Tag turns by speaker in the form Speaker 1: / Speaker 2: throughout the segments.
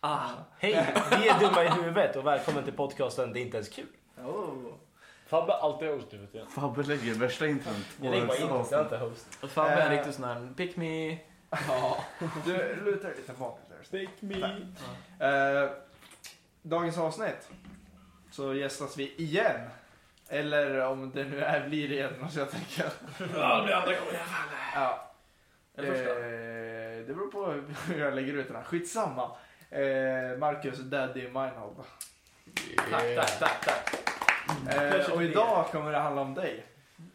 Speaker 1: Ah, hej! Vi är dumma i huvudet och välkommen till podcasten Det är inte ens kul.
Speaker 2: Oh.
Speaker 3: Fabbe har alltid host i huvudet igen.
Speaker 4: Fabbe lägger värsta intron.
Speaker 1: Jag lägger bara in så jag inte host.
Speaker 2: Fan, jag är en
Speaker 4: Eh.
Speaker 2: riktig sån här pick me. Ja.
Speaker 4: Du lutar dig lite bakåt där.
Speaker 3: Take me.
Speaker 4: Eh, dagens avsnitt så gästas vi igen. Eller om det nu är blir igen måste jag tänka.
Speaker 3: Ja, det blir andra gången.
Speaker 4: Ja.
Speaker 2: Eller första.
Speaker 4: Eh, det beror på hur jag lägger ut den här. Skitsamma. Eh, Marcus Daddy Meinhold.
Speaker 2: Tack, tack, tack, tack.
Speaker 4: Eh, och idag kommer det handla om dig.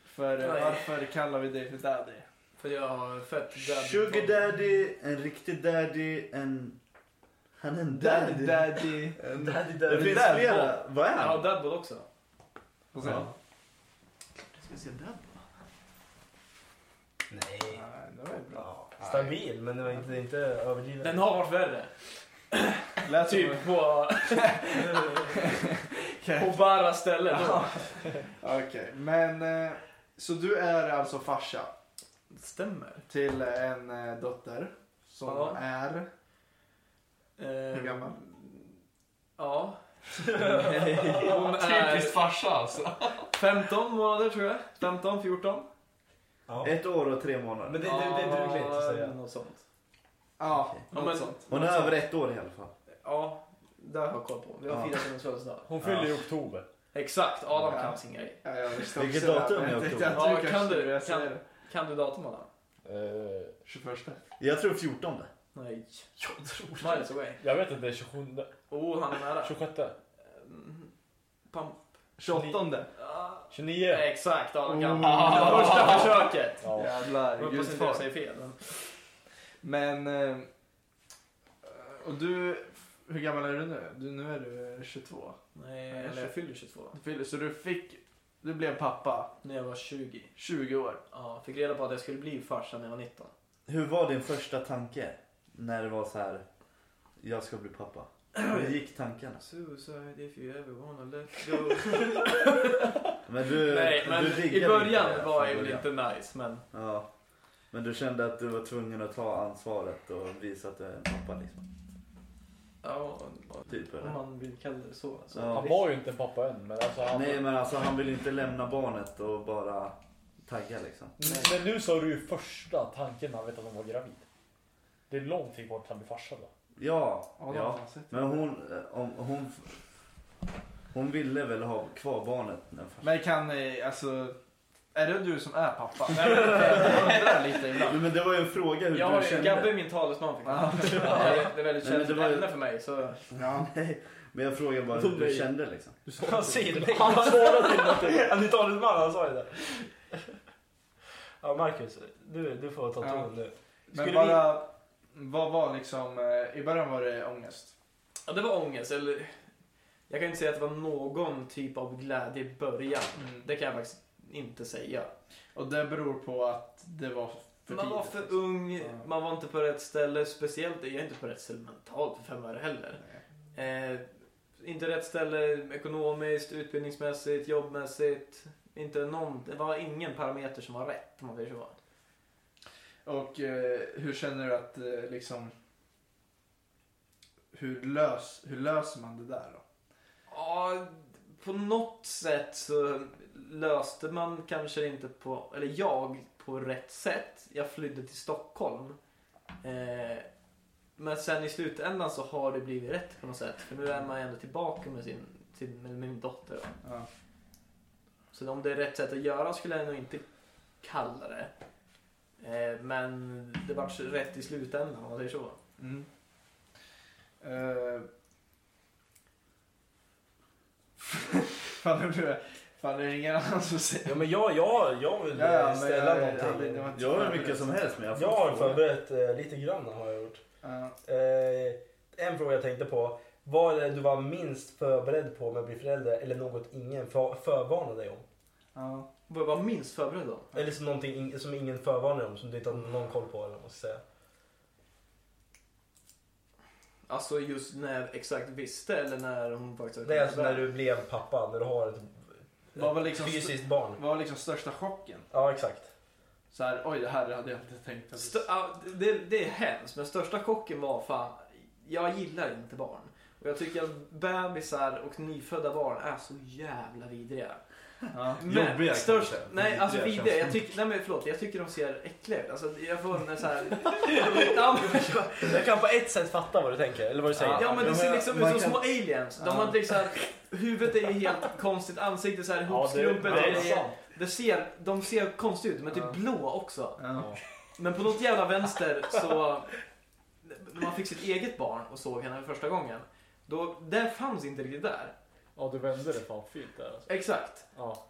Speaker 4: För eh,
Speaker 2: Oj.
Speaker 4: varför kallar vi dig för Daddy?
Speaker 2: För jag har fett död.
Speaker 5: Sugar daddy, en riktig daddy, en... Han är en daddy.
Speaker 4: Daddy.
Speaker 5: En-
Speaker 2: Daddy,
Speaker 5: Det
Speaker 2: daddy.
Speaker 5: finns
Speaker 4: daddy.
Speaker 5: flera. Vad är
Speaker 3: Ja,
Speaker 5: han?
Speaker 3: Dadbot också.
Speaker 4: Vad säger du?
Speaker 5: Ska vi se daddy?
Speaker 1: Nej.
Speaker 4: Nej, det var ju bra.
Speaker 5: Ja.
Speaker 1: Stabil, men det var inte, inte överdrivet.
Speaker 3: Den har varit värre.
Speaker 4: Lät som-
Speaker 2: Mm.
Speaker 3: Typ på, på bara ställen.
Speaker 4: Ja. Okej, men eh, så du är alltså farsa
Speaker 2: Stämmer.
Speaker 4: till en eh, dotter som
Speaker 2: Ja.
Speaker 4: är hur
Speaker 2: Eh,
Speaker 4: gammal?
Speaker 2: ja. Hon är
Speaker 3: Typiskt farsa alltså.
Speaker 2: 15 månader tror jag. 15, 14.
Speaker 1: Ja.
Speaker 5: Ett år och tre månader.
Speaker 1: Men det, det, det duger inte att
Speaker 2: Ja,
Speaker 1: säga.
Speaker 2: Något sånt.
Speaker 4: Ja,
Speaker 5: Okej.
Speaker 2: Ja,
Speaker 4: något
Speaker 2: men-
Speaker 4: sånt.
Speaker 5: Hon är över ett år i alla fall.
Speaker 2: Ja, det har jag koll på. Vi har
Speaker 5: Ja.
Speaker 2: firat hennes födelsedag.
Speaker 3: Hon fyller i oktober.
Speaker 2: Exakt, Adam
Speaker 4: Ja.
Speaker 2: kan sin grej.
Speaker 4: Ja, jag visste
Speaker 5: Vilket
Speaker 4: också det,
Speaker 5: datum
Speaker 4: men
Speaker 5: är
Speaker 4: jag tänkte
Speaker 5: oktober?
Speaker 4: att
Speaker 2: Ja, kan
Speaker 4: kanske
Speaker 2: du-
Speaker 4: skulle
Speaker 2: kan-
Speaker 4: säga det.
Speaker 2: Kan du datum Adam?
Speaker 3: Eh,
Speaker 4: 21.
Speaker 5: Jag tror 14.
Speaker 2: Nej. Jag tror Miles away.
Speaker 3: Jag vet inte, 27,
Speaker 2: Oh, han är nära.
Speaker 3: 26,
Speaker 2: Mm, Pam...
Speaker 4: 28.
Speaker 2: Ah,
Speaker 3: 29.
Speaker 2: Exakt, Adam kan.
Speaker 4: Oh.
Speaker 2: Det var första försöket.
Speaker 3: Ja.
Speaker 2: Jag
Speaker 4: Jävlar,
Speaker 2: hoppas inte jag
Speaker 4: gudfar.
Speaker 2: säger fel. Men...
Speaker 4: Men, eh, och du, hur gammal är du nu? Du, nu är du eh, 22.
Speaker 2: Nej,
Speaker 4: Nej,
Speaker 2: eller jag
Speaker 4: tjugo-
Speaker 2: fyller 22.
Speaker 4: Du fyller- Så du fick, du blev pappa
Speaker 2: När jag var 20.
Speaker 4: 20 år.
Speaker 2: Ja, fick reda på att jag skulle bli farsa när jag var 19.
Speaker 5: Hur var din första tanke? När det var så här. Jag ska bli pappa. Hur gick tankarna?
Speaker 2: Suicide if you ever wanna let go.
Speaker 5: Men du,
Speaker 2: Nej, men
Speaker 5: du
Speaker 2: i
Speaker 5: riggade
Speaker 2: början
Speaker 5: inte
Speaker 2: var
Speaker 5: från
Speaker 2: jag väl
Speaker 5: början.
Speaker 2: inte nice. Men
Speaker 5: Ja. Men du kände att du var tvungen att ta ansvaret och visa att du är en pappa liksom.
Speaker 2: ja,
Speaker 5: Typ
Speaker 2: om
Speaker 5: eller?
Speaker 2: man vill kalla det så. så.
Speaker 5: Ja.
Speaker 3: Han var ju inte en pappa än, men alltså han...
Speaker 5: Nej men alltså han vill inte lämna barnet och bara tagga liksom.
Speaker 3: Men nu sa du ju första tanken när han vet att hon var gravid. Det är lång tid bort till han blir farsa då.
Speaker 5: Ja,
Speaker 4: Ja, det har
Speaker 5: ja.
Speaker 4: man sett.
Speaker 5: men hon, eh, om, hon, hon ville väl ha kvar barnet. När fars-
Speaker 4: Men kan, eh, alltså, är det du som är pappa? Nej, men Jag undrar lite ibland.
Speaker 5: Nej, men det var ju en fråga hur
Speaker 2: Jag
Speaker 5: du
Speaker 2: har ju,
Speaker 5: kände.
Speaker 2: Gabbe är min talesman för
Speaker 4: Ja.
Speaker 2: det. är- Det är väldigt
Speaker 5: Nej, men det
Speaker 2: känsligt
Speaker 5: var ju-
Speaker 2: ämne för mig. Så...
Speaker 4: Ja.
Speaker 5: Nej, men jag frågar bara hur du kände liksom.
Speaker 1: Han säger nej.
Speaker 3: Han svarade inte att det
Speaker 1: Han är talesman, han sa ju det. Ja, Marcus, du, du får ta
Speaker 4: Ja.
Speaker 1: ton nu.
Speaker 4: Men
Speaker 1: Skulle
Speaker 4: bara, vad var liksom, eh, i början var det ångest.
Speaker 2: Ja, det var ångest. Eller... Jag kan inte säga att det var någon typ av glädje i början. Det kan jag faktiskt inte säga.
Speaker 4: Och det beror på att det var för
Speaker 2: man var
Speaker 4: tidigt,
Speaker 2: för
Speaker 4: liksom.
Speaker 2: ung,
Speaker 4: Ja.
Speaker 2: man var inte på rätt ställe. Speciellt, jag är inte på rätt ställe mentalt för fem öre heller.
Speaker 4: Nej.
Speaker 2: Eh, inte rätt ställe ekonomiskt, utbildningsmässigt, jobbmässigt. Inte någon, det var ingen parameter som var rätt om man säger så.
Speaker 4: Och eh, hur känner du att eh, liksom, hur, lös, hur löser man det där då?
Speaker 2: Ja, på något sätt så löste man kanske inte på, eller jag, på rätt sätt. Jag flydde till Stockholm. Eh, men sen i slutändan så har det blivit rätt på något sätt. För nu är man ändå tillbaka med sin, till, med min dotter. Då.
Speaker 4: Ja.
Speaker 2: Så om det är rätt sätt att göra skulle jag nog inte kalla det. Eh, men det vart så rätt i slutändan om man säger så.
Speaker 4: Mm. Eh. fan, nu blir det, fan, det är ingen annan som säger
Speaker 1: Ja, men jag, jag, jag vill
Speaker 4: Ja,
Speaker 1: eh,
Speaker 4: men
Speaker 1: ställa
Speaker 4: jag-
Speaker 1: någonting.
Speaker 4: jag- jag-
Speaker 5: Jag har hur mycket som helst men jag
Speaker 1: Jag har
Speaker 5: frågan.
Speaker 1: förberett eh, lite grann har jag gjort.
Speaker 4: Ja.
Speaker 1: Eh, en fråga jag tänkte på. Vad är det du var minst förberedd på med att bli förälder eller något ingen för, förvarnade dig om?
Speaker 4: Ja.
Speaker 2: Vad jag var minst förberedd då?
Speaker 1: Eller som någonting in, som ingen förvarnade dig om som du inte hade någon koll på eller vad man ska säga.
Speaker 2: Alltså just när jag exakt visste eller när hon faktiskt
Speaker 1: Nej, alltså när du blev pappa, när du har ett
Speaker 4: Vad var liksom-
Speaker 1: fysiskt barn.
Speaker 4: Vad var liksom största chocken?
Speaker 1: Ja, exakt.
Speaker 4: Så här, oj det här hade jag inte tänkt. att-
Speaker 2: Stö- ja, det, det är hemskt men största chocken var fan jag gillar inte barn. Och jag tycker att bebisar och nyfödda barn är så jävla vidriga.
Speaker 4: Ja.
Speaker 2: Men
Speaker 5: Jobbiga,
Speaker 2: störst,
Speaker 5: kanske.
Speaker 2: nej alltså
Speaker 5: Vidriga
Speaker 2: vidriga,
Speaker 5: känns
Speaker 2: jag tycker, nej men förlåt, jag tycker de ser äckliga ut. Alltså jag får en så här, ja, men,
Speaker 1: Jag kan på ett sätt fatta vad du tänker, eller vad du säger.
Speaker 2: ja men
Speaker 5: Ja,
Speaker 2: de ser
Speaker 5: men
Speaker 2: liksom ut
Speaker 5: man
Speaker 2: som
Speaker 5: kan-
Speaker 2: små aliens. De
Speaker 5: Ja.
Speaker 2: har liksom, huvudet är ju helt konstigt, ansiktet så här
Speaker 3: Ja, det,
Speaker 2: ihopskrumpet.
Speaker 3: det är
Speaker 2: och det är-
Speaker 3: sant.
Speaker 2: det ser, de ser konstiga ut, men typ
Speaker 4: Ja.
Speaker 2: blå också.
Speaker 4: Ja.
Speaker 2: Men på något jävla vänster så... När man fick sitt eget barn och såg henne för första gången. Då, det fanns inte riktigt där.
Speaker 3: Ja, du vände det fan fint där alltså.
Speaker 2: Exakt.
Speaker 3: Ja.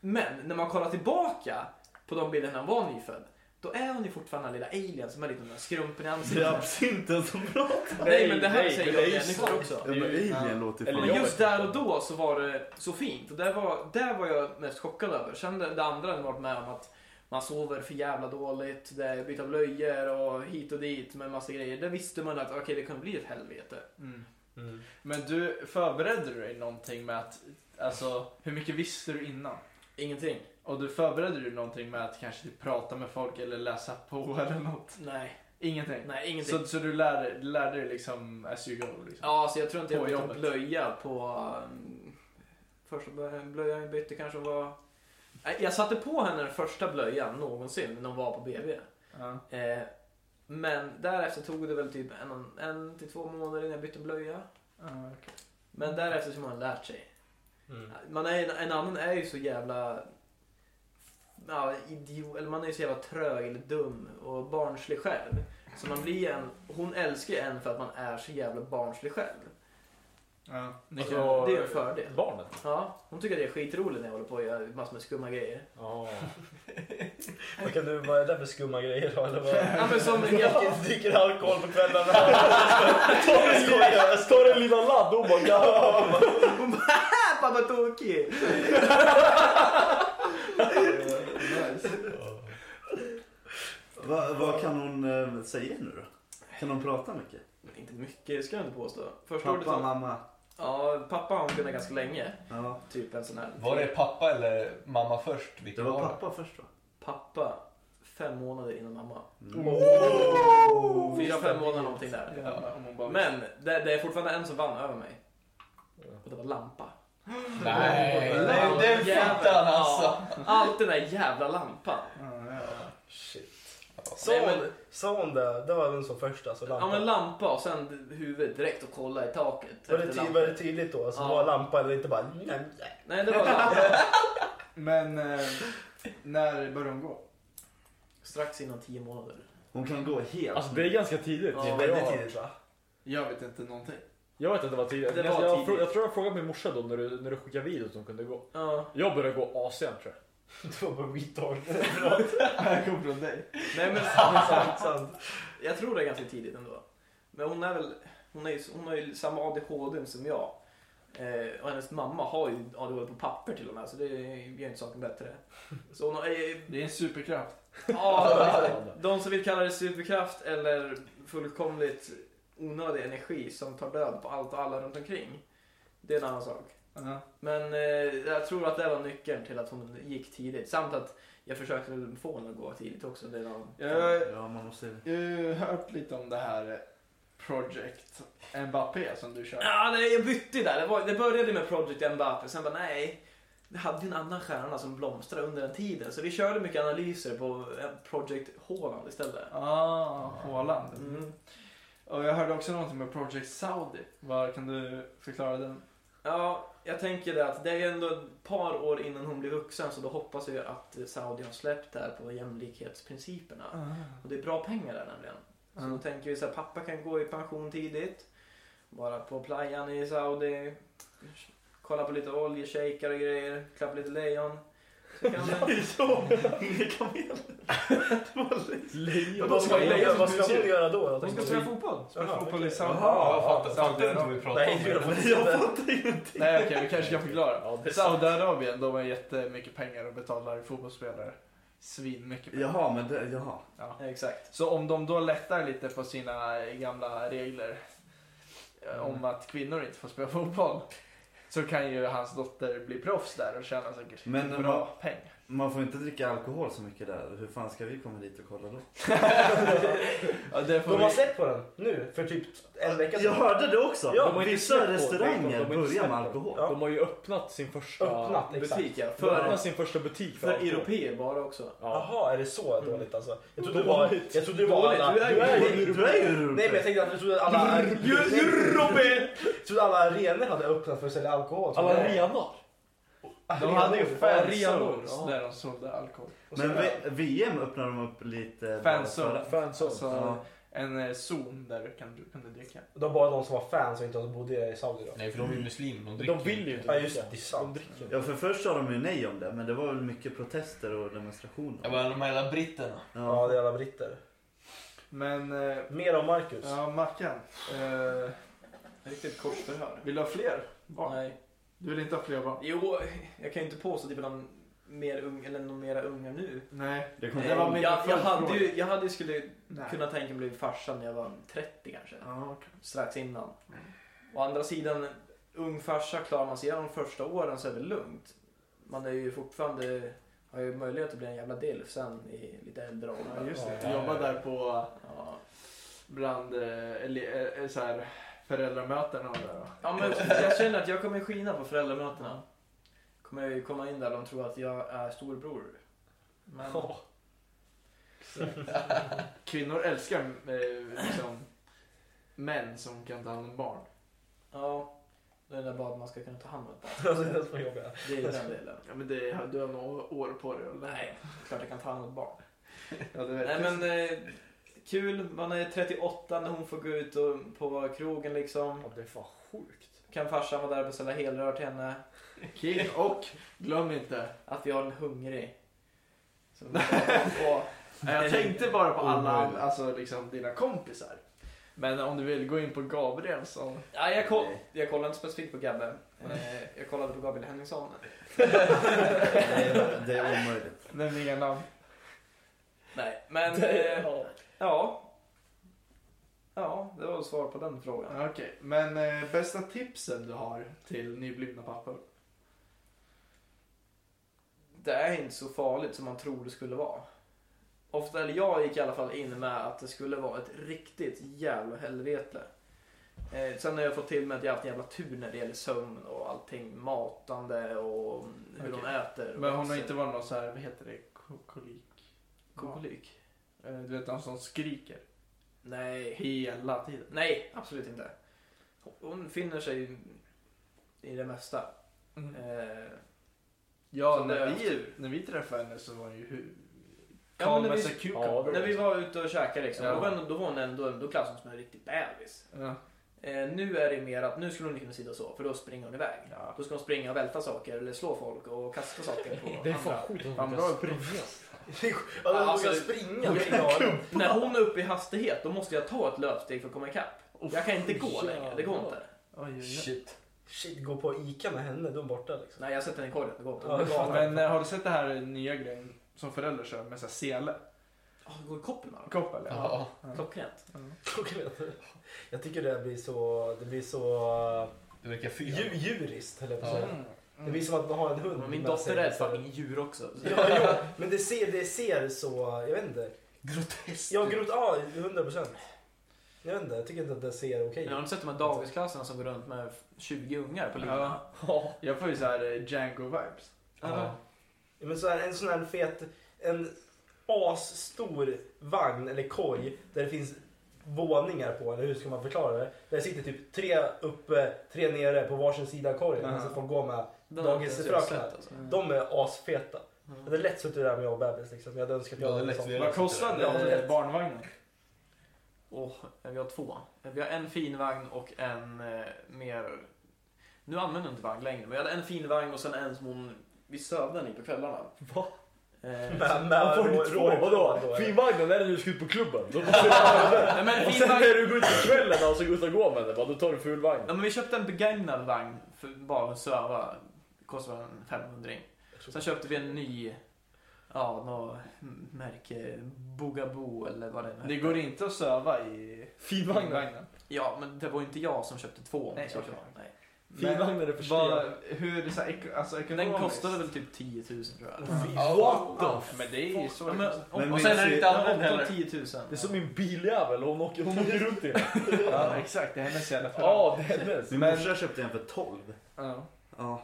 Speaker 2: Men när man kollar tillbaka på de bilderna när hon var nyfödd. Då är hon ju fortfarande den lilla alien som är lite den där skrumpen i
Speaker 5: Det är
Speaker 2: ansiktet.
Speaker 5: absinten som pratar.
Speaker 2: Nej men det här
Speaker 3: Nej,
Speaker 2: säger
Speaker 3: men det
Speaker 2: jag
Speaker 3: är
Speaker 2: till
Speaker 3: ju
Speaker 2: människor
Speaker 3: sant.
Speaker 2: också.
Speaker 5: Ja, men
Speaker 4: Ja.
Speaker 5: alien låter ju
Speaker 3: Eller
Speaker 2: Men
Speaker 5: fan...
Speaker 3: jag-
Speaker 2: just där och då så var det så fint. Och där var, där var jag mest chockad över. Sen det, det andra har jag varit med om att man sover för jävla dåligt. Det är byta blöjor och hit och dit med massa grejer. Där visste man att okej det kunde bli ett helvete.
Speaker 4: Mm.
Speaker 1: Mm.
Speaker 4: Men du, förberedde du dig någonting med att, alltså hur mycket visste du innan?
Speaker 2: Ingenting.
Speaker 4: Och du förberedde du någonting med att kanske typ prata med folk eller läsa på eller något?
Speaker 2: Nej,
Speaker 4: Ingenting?
Speaker 2: nej ingenting.
Speaker 4: Så, så du lärde, lärde dig liksom as you go? Liksom.
Speaker 2: Ja, så jag tror inte jag
Speaker 4: På
Speaker 2: bytte
Speaker 4: jobbet.
Speaker 2: blöja på... um, Första blö- blöjan jag bytte kanske var... Nej, Jag satte på henne den första blöjan någonsin när hon var på BB.
Speaker 4: Ja.
Speaker 2: Eh, Men därefter tog det väl typ en, en till två månader innan jag bytte blöja.
Speaker 4: Ja, okej.
Speaker 2: Men därefter så har man lärt sig.
Speaker 1: Mm.
Speaker 2: Man är, en annan är ju så jävla... Ja, idiot, eller man är ju så jävla trög eller dum och barnslig själv. Så man blir en, hon älskar ju en för att man är så jävla barnslig själv.
Speaker 4: ja. Ni
Speaker 3: Alltså,
Speaker 4: kan-
Speaker 2: det är en fördel.
Speaker 3: Barnet?
Speaker 2: Ja, hon tycker det är skitroligt när jag håller på och gör massor med skumma grejer.
Speaker 3: Ja.
Speaker 1: Vad kan du, vad är det för skumma grejer då? Eller vad?
Speaker 2: Ja, men som
Speaker 1: Jag dricker alkohol på kvällarna. Jag skojar, jag skojar.
Speaker 3: Står det en lilla ladd oh och bara ja.
Speaker 2: Hon bara "Haha, Äh, pappa tokig!
Speaker 5: Vad vad kan hon eh, säga nu då? Kan hon prata mycket?
Speaker 2: Inte mycket ska jag inte påstå. Första ordet
Speaker 5: Pappa,
Speaker 2: som...
Speaker 5: mamma.
Speaker 2: Ja, pappa har hon kunnat ganska länge.
Speaker 5: Ja.
Speaker 2: Typ en sån här...
Speaker 6: Var det pappa eller mamma först?
Speaker 5: Det
Speaker 6: Vilken
Speaker 5: var pappa först va?
Speaker 2: Pappa, fem månader innan mamma.
Speaker 5: Mm.
Speaker 1: Oh,
Speaker 3: Oh.
Speaker 2: Fyra, fem månader någonting där.
Speaker 4: Ja, om hon bara
Speaker 2: Men det, det är fortfarande en som vann över mig. Och det var lampa.
Speaker 6: Nej,
Speaker 2: Lampa.
Speaker 6: det är fittan alltså.
Speaker 2: Ja, Alltid den där jävla lampan.
Speaker 4: Ja, ja.
Speaker 1: Shit. Sa
Speaker 2: Nej,
Speaker 1: hon-
Speaker 2: men-
Speaker 1: sa hon det? Det var hon som först alltså,
Speaker 2: Ja men
Speaker 1: lampan.
Speaker 2: lampa och sen huvudet direkt och kolla i taket.
Speaker 1: Var det,
Speaker 2: efter
Speaker 1: ty-
Speaker 2: lampan.
Speaker 1: var det tydligt då? Alltså,
Speaker 2: Ja.
Speaker 1: Var lampa eller inte bara... Nej, nej.
Speaker 2: Nej det var lampa.
Speaker 4: Men eh, när började hon gå?
Speaker 2: Strax innan tio månader.
Speaker 5: Hon kan gå helt.
Speaker 3: Alltså det är ganska tidigt.
Speaker 2: Ja,
Speaker 1: Det är väldigt tidigt va?
Speaker 4: Jag vet inte någonting.
Speaker 3: Jag vet att det var tidigt.
Speaker 2: Det
Speaker 3: jag,
Speaker 2: var
Speaker 3: jag,
Speaker 2: tidigt.
Speaker 3: frå- jag tror jag frågade min morsa då när du, när du skickade videos som kunde gå.
Speaker 2: Ja.
Speaker 3: Jag började gå asent tror jag.
Speaker 1: Du var bara retard.
Speaker 4: Jag kom från dig.
Speaker 2: Nej men
Speaker 1: sant, sant.
Speaker 2: jag tror det är ganska tidigt ändå. Men hon är väl, hon, är, ju- hon har ju samma ADHD som jag. Eh, och hennes mamma har ju ADHD på papper till och med så det gör inte saken bättre. Så hon har, eh,
Speaker 4: Det är en superkraft.
Speaker 2: Ja, de som vill kalla det superkraft eller fullkomligt onödig energi som tar död på allt och alla runt omkring. Det är en annan sak.
Speaker 4: Ja.
Speaker 2: Men eh, jag tror att det var nyckeln till att hon gick tidigt. Samt att jag försökte få henne att gå tidigt också. Det är en annan...
Speaker 4: Jag,
Speaker 5: Ja, man måste...
Speaker 4: jag har ju hört lite om det här eh, Project Mbappé som du kör.
Speaker 2: Ja, nej, jag bytte ju där. Det, var, det började med Project Mbappé, sen bara nej. Det hade ju en annan stjärna som blomstrade under den tiden. Så vi körde mycket analyser på eh, Project Haaland istället.
Speaker 4: Ah, Haaland.
Speaker 2: Mm.
Speaker 4: Och jag hörde också någonting med Project Saudi. Vad kan du förklara den?
Speaker 2: Ja, jag tänker det att det är ju ändå ett par år innan hon blir vuxen så då hoppas jag ju att Saudi har släppt där på jämlikhetsprinciperna. Och det är bra pengar där nämligen. Så
Speaker 4: Mm.
Speaker 2: då tänker vi så här, pappa kan gå i pension tidigt. Bara på playan i Saudi. Kolla på lite oljeshejkar och grejer. Klappa lite lejon. Så kan man...
Speaker 1: Men Vad ska, hon- vad ska hon göra då?
Speaker 2: Hon ska spela fotboll.
Speaker 1: Jaha,
Speaker 4: Spela fotboll i
Speaker 1: okej.
Speaker 4: Saudi.
Speaker 6: Jaha, jag fattar- fattar inte vad vi pratar
Speaker 1: Nej,
Speaker 6: om.
Speaker 1: det gjorde hon inte.
Speaker 4: Nej okej, vi kanske kan förklara.
Speaker 3: Ja, det är sant.
Speaker 4: Saudiarabien, de har jättemycket pengar och betalar fotbollsspelare svinmycket pengar.
Speaker 5: Jaha, men det, jaha.
Speaker 4: Ja.
Speaker 2: Ja, exakt.
Speaker 4: Så om de då lättar lite på sina gamla regler eh, om att kvinnor inte får spela fotboll så kan ju hans dotter bli proffs där och tjäna säkert
Speaker 5: Men eh,
Speaker 4: bra pengar.
Speaker 5: Man får inte dricka alkohol så mycket där. Hur fan ska vi komma dit och kolla då?
Speaker 2: Ja, det får
Speaker 1: De har
Speaker 2: vi...
Speaker 1: släppt på den nu, för typ en vecka
Speaker 5: Jag hörde det också!
Speaker 1: Ja,
Speaker 5: Ja,
Speaker 3: de har inte släppt
Speaker 5: Vissa
Speaker 3: på- de har
Speaker 5: restauranger
Speaker 3: inte
Speaker 5: börjar
Speaker 3: släppt
Speaker 5: med
Speaker 3: på.
Speaker 5: alkohol.
Speaker 1: Ja.
Speaker 3: De har ju öppnat sin första...
Speaker 1: Öppnat, exakt.
Speaker 2: Butik, ja.
Speaker 3: För,
Speaker 2: För,
Speaker 3: sin första butik
Speaker 2: för
Speaker 3: alkohol.
Speaker 2: europeer bara också.
Speaker 3: Ja.
Speaker 1: Jaha, är det så dåligt alltså? Jag trodde det var...
Speaker 3: Dåligt.
Speaker 1: Jag trodde det var alla...
Speaker 2: Dåligt, du är ju-
Speaker 1: ju-
Speaker 5: Du är ju
Speaker 1: Nej men jag
Speaker 5: europe!
Speaker 1: tänkte att jag trodde att alla...
Speaker 2: Europe!
Speaker 1: Jag trodde alla arenor hade öppnat för att sälja alkohol.
Speaker 3: Alla
Speaker 1: Trodde jag.
Speaker 3: arenor.
Speaker 4: De hade ju
Speaker 2: Arenor,
Speaker 4: fanzones
Speaker 2: ja.
Speaker 4: där de sålde alkohol.
Speaker 5: Men V- VM öppnar de upp lite...
Speaker 4: Fanzone.
Speaker 3: Fanzone.
Speaker 4: Så
Speaker 5: Ja.
Speaker 4: en eh, zon där du kan- du kunde dricka.
Speaker 1: Det var bara de som var fans och inte de som bodde i Saudi då.
Speaker 6: Nej, för de är ju muslimer. De dricker
Speaker 3: De vill ju inte
Speaker 1: Ja just det,
Speaker 3: dricka.
Speaker 1: det är
Speaker 3: De
Speaker 1: sant.
Speaker 3: dricker
Speaker 5: Ja för först sa de ju nej om det men det var väl mycket protester och demonstrationer.
Speaker 6: Jag bara, de här jävla britterna.
Speaker 1: Ja,
Speaker 5: Ja.
Speaker 1: det är alla britter.
Speaker 4: Men, eh,
Speaker 1: Mer om Marcus.
Speaker 4: ja Mackan. Eh,
Speaker 2: Riktigt korsförhör.
Speaker 4: vill du ha fler barn?
Speaker 2: Nej.
Speaker 4: Du vill inte ha fler barn?
Speaker 2: Jo, jag kan ju inte påstå att det är någon mer ung, eller någon mera unga nu. Eh,
Speaker 4: Nej.
Speaker 5: Det kom...
Speaker 4: Nej. var min
Speaker 2: jag, jag,
Speaker 4: följdfråga.
Speaker 2: hade ju, jag hade ju skulle
Speaker 4: Nej.
Speaker 2: kunna tänka mig bli farsa när jag var 30 kanske.
Speaker 4: Ja, Mm. okej.
Speaker 2: Strax innan. Å andra sidan, ung farsa klarar man sig igenom de första åren så är det lugnt. Man är ju fortfarande, har ju möjlighet att bli en jävla dilf sen i lite äldre
Speaker 4: ja,
Speaker 2: ålder.
Speaker 4: just det.
Speaker 3: Ja,
Speaker 4: Du
Speaker 3: ja,
Speaker 4: jobbar
Speaker 3: ja.
Speaker 4: där på
Speaker 2: Ja,
Speaker 4: bland eh, ele- eh, så här, föräldramöten och där. då.
Speaker 2: ja men jag känner att jag kommer skina på föräldramötena. Kommer jag ju komma in där och de tror att jag är storbror. Men,
Speaker 3: Ja.
Speaker 4: Kvinnor älskar eh, liksom, män som kan ta hand om barn.
Speaker 2: ja. Det är bara att man ska kunna ta hand om ett barn.
Speaker 1: Alltså, det är så jobbiga.
Speaker 2: Det är ju den delen.
Speaker 4: Ja, men det, du har några år på dig. Eller?
Speaker 2: Nej, klart jag kan ta hand om ett barn.
Speaker 4: Ja, det
Speaker 2: Nej men eh, kul, man är 38 när hon får gå ut och, på krogen liksom.
Speaker 3: Ja, det är fan sjukt.
Speaker 2: Kan farsan vara där och beställa helrör till henne.
Speaker 4: King och glöm inte.
Speaker 2: Att vi har en hungrig. Som vi kan få.
Speaker 4: Nej, Jag tänkte bara på alla,
Speaker 5: Omöjligt.
Speaker 4: alltså liksom dina kompisar. Men om du vill gå in på Gabriel så.
Speaker 2: Ja, jag, koll, jag kollade inte specifikt på Gabbe. Eh, jag kollade på Gabriel Henningsson.
Speaker 5: det, det är omöjligt.
Speaker 4: Nämn inga namn.
Speaker 2: Nej, men eh, ja. Ja, det var svar på den frågan.
Speaker 4: Okej, men eh, bästa tipsen du har till nyblivna pappor?
Speaker 2: Det är inte så farligt som man tror det skulle vara. Ofta, eller jag gick i alla fall in med att det skulle vara ett riktigt jävla helvete. Eh, sen har jag fått till mig att jag har haft en jävla tur när det gäller sömn och allting. Matande och hur de
Speaker 4: Okej.
Speaker 2: äter.
Speaker 4: Men hon har inte varit någon så här, vad heter det, Ko- kolik?
Speaker 2: Kokolik?
Speaker 4: Eh, Du vet de som skriker
Speaker 2: Nej.
Speaker 4: hela tiden.
Speaker 2: Nej, absolut inte. Hon finner sig i det mesta. Eh,
Speaker 4: Mm. Ja,
Speaker 2: Så det
Speaker 4: när
Speaker 2: är
Speaker 4: vi, när vi träffade henne så var hon ju hur...
Speaker 2: Ja,
Speaker 4: Calm
Speaker 2: men när
Speaker 4: as
Speaker 2: vi-
Speaker 4: a cucumber.
Speaker 3: Ja,
Speaker 2: när vi var ute och käkade liksom,
Speaker 4: Ja.
Speaker 2: då, var hon, då var hon ändå, då klassades hon som en riktig bebis.
Speaker 4: Ja.
Speaker 2: Eh, nu är det mer att nu skulle hon inte kunna sitta så, för då springer hon iväg.
Speaker 4: Ja.
Speaker 2: Då ska hon springa och välta saker eller slå folk och kasta saker på
Speaker 3: Det är
Speaker 2: andra.
Speaker 3: fan sjukt.
Speaker 4: Fan,
Speaker 3: Han
Speaker 4: bra.
Speaker 3: kan springa.
Speaker 1: Ja, de
Speaker 2: Alltså,
Speaker 1: vågar springa.
Speaker 2: jag-
Speaker 1: Det är galet.
Speaker 2: När hon är uppe i hastighet, då måste jag ta ett löpsteg för att komma ikapp. Jag kan inte gå
Speaker 3: jävlar.
Speaker 2: längre, det går inte.
Speaker 4: Oj, oj,
Speaker 6: Shit.
Speaker 1: Shit, gå på Ica med henne, de är borta liksom.
Speaker 2: Nej, jag sätter henne i korgen, det går inte.
Speaker 1: Ja, det är
Speaker 4: oj.
Speaker 1: galet.
Speaker 4: Men eh, har du sett det här nya grejen som föräldrar kör med så här sele?
Speaker 2: Åh, det Ah, går i koppen med dem.
Speaker 4: Koppel?
Speaker 6: Ja.
Speaker 2: Klockrent.
Speaker 1: Jag tycker det blir så... Det blir så...
Speaker 6: Det verkar fyra.
Speaker 1: Dju, djuriskt, eller
Speaker 6: Ja.
Speaker 1: ja.
Speaker 4: Mm.
Speaker 1: Det blir som att man har en hund.
Speaker 2: Mm, Men Min
Speaker 1: med
Speaker 2: dotter
Speaker 1: sig.
Speaker 2: är ett fucking djur också. Så.
Speaker 1: Ja, jo, men det ser, det ser så... Jag vet inte.
Speaker 6: Groteskt.
Speaker 1: Jag har grott av 100 procent. Jag vet inte, jag tycker inte att det ser okej
Speaker 2: Jag har
Speaker 1: ut.
Speaker 2: inte sett de här dagisklasserna som går runt med 20 ungar på linan.
Speaker 4: Ja. Jag får ju så här eh, Django-vibes.
Speaker 6: Ja.
Speaker 1: Men så här, en sån här fet, en asstor vagn eller koj där det finns våningar på, eller hur ska man förklara det? Där det sitter typ tre uppe, tre nere på varsin sida av korgen.
Speaker 4: Ja.
Speaker 1: Så får gå med.
Speaker 2: Den har
Speaker 1: Dagis
Speaker 2: inte ens jag
Speaker 1: fröknar.
Speaker 2: sett, alltså.
Speaker 1: De är asfeta. Jag
Speaker 2: Mm.
Speaker 1: hade lätt suttit där med jag och bebis liksom. Jag hade önskat
Speaker 6: Ja, det är
Speaker 1: hade en
Speaker 6: lätt
Speaker 1: sån.
Speaker 6: vi-
Speaker 4: Vad
Speaker 1: Ja,
Speaker 4: kostade
Speaker 1: det
Speaker 4: eh,
Speaker 1: är-
Speaker 4: barnvagnen?
Speaker 2: Åh, vi har två. Vi har en fin vagn och en eh, mer... Nu använder jag inte vagn längre, men jag hade en fin vagn och sen en som hon... Vi sövde den i på kvällarna.
Speaker 3: Va?
Speaker 2: Eh,
Speaker 1: Men,
Speaker 3: Han får
Speaker 1: men,
Speaker 3: du
Speaker 1: rå-
Speaker 3: två,
Speaker 1: rå-
Speaker 3: vadå?
Speaker 1: då är det.
Speaker 3: Finvagnen, är det när du ska ut på klubben? Då måste du ha den.
Speaker 2: nej, men en
Speaker 3: Och
Speaker 2: fin
Speaker 3: sen
Speaker 2: vagn...
Speaker 3: när du går ut på kvällen och så går ut och går med den, bara, då tar du fulvagn.
Speaker 2: ja, men vi köpte en begagnad vagn för bara att söva. Kostade en 500 Sen köpte vi en ny... Ja, något märke. Bogabo eller vad det är.
Speaker 4: Det går inte att söva i
Speaker 3: Finvagnen?
Speaker 4: vagnen.
Speaker 2: Ja, men det var ju inte jag som köpte två. om
Speaker 4: Nej,
Speaker 2: det skulle
Speaker 4: okej.
Speaker 2: vara. Nej. Finvagnen är förstörd.
Speaker 4: Vad, hur, så här, ek, alltså
Speaker 2: Den
Speaker 4: ekonomiskt.
Speaker 2: kostade väl typ 10 000 tror jag.
Speaker 4: What the Men det är ju så
Speaker 2: Ja,
Speaker 4: det
Speaker 2: men,
Speaker 4: kostar.
Speaker 2: och,
Speaker 5: Men
Speaker 2: och sen är
Speaker 5: minns
Speaker 2: det
Speaker 5: ju-
Speaker 2: inte använt
Speaker 5: Ja,
Speaker 2: heller. 10 000.
Speaker 3: Det är som min biljävel, hon åker, hon åker runt i den.
Speaker 4: Ja, exakt. Det är hennes jävla
Speaker 3: Ja, det är hennes.
Speaker 5: Min
Speaker 4: Men-
Speaker 5: morsa köpte en för 12.
Speaker 4: Ja.
Speaker 5: Ja,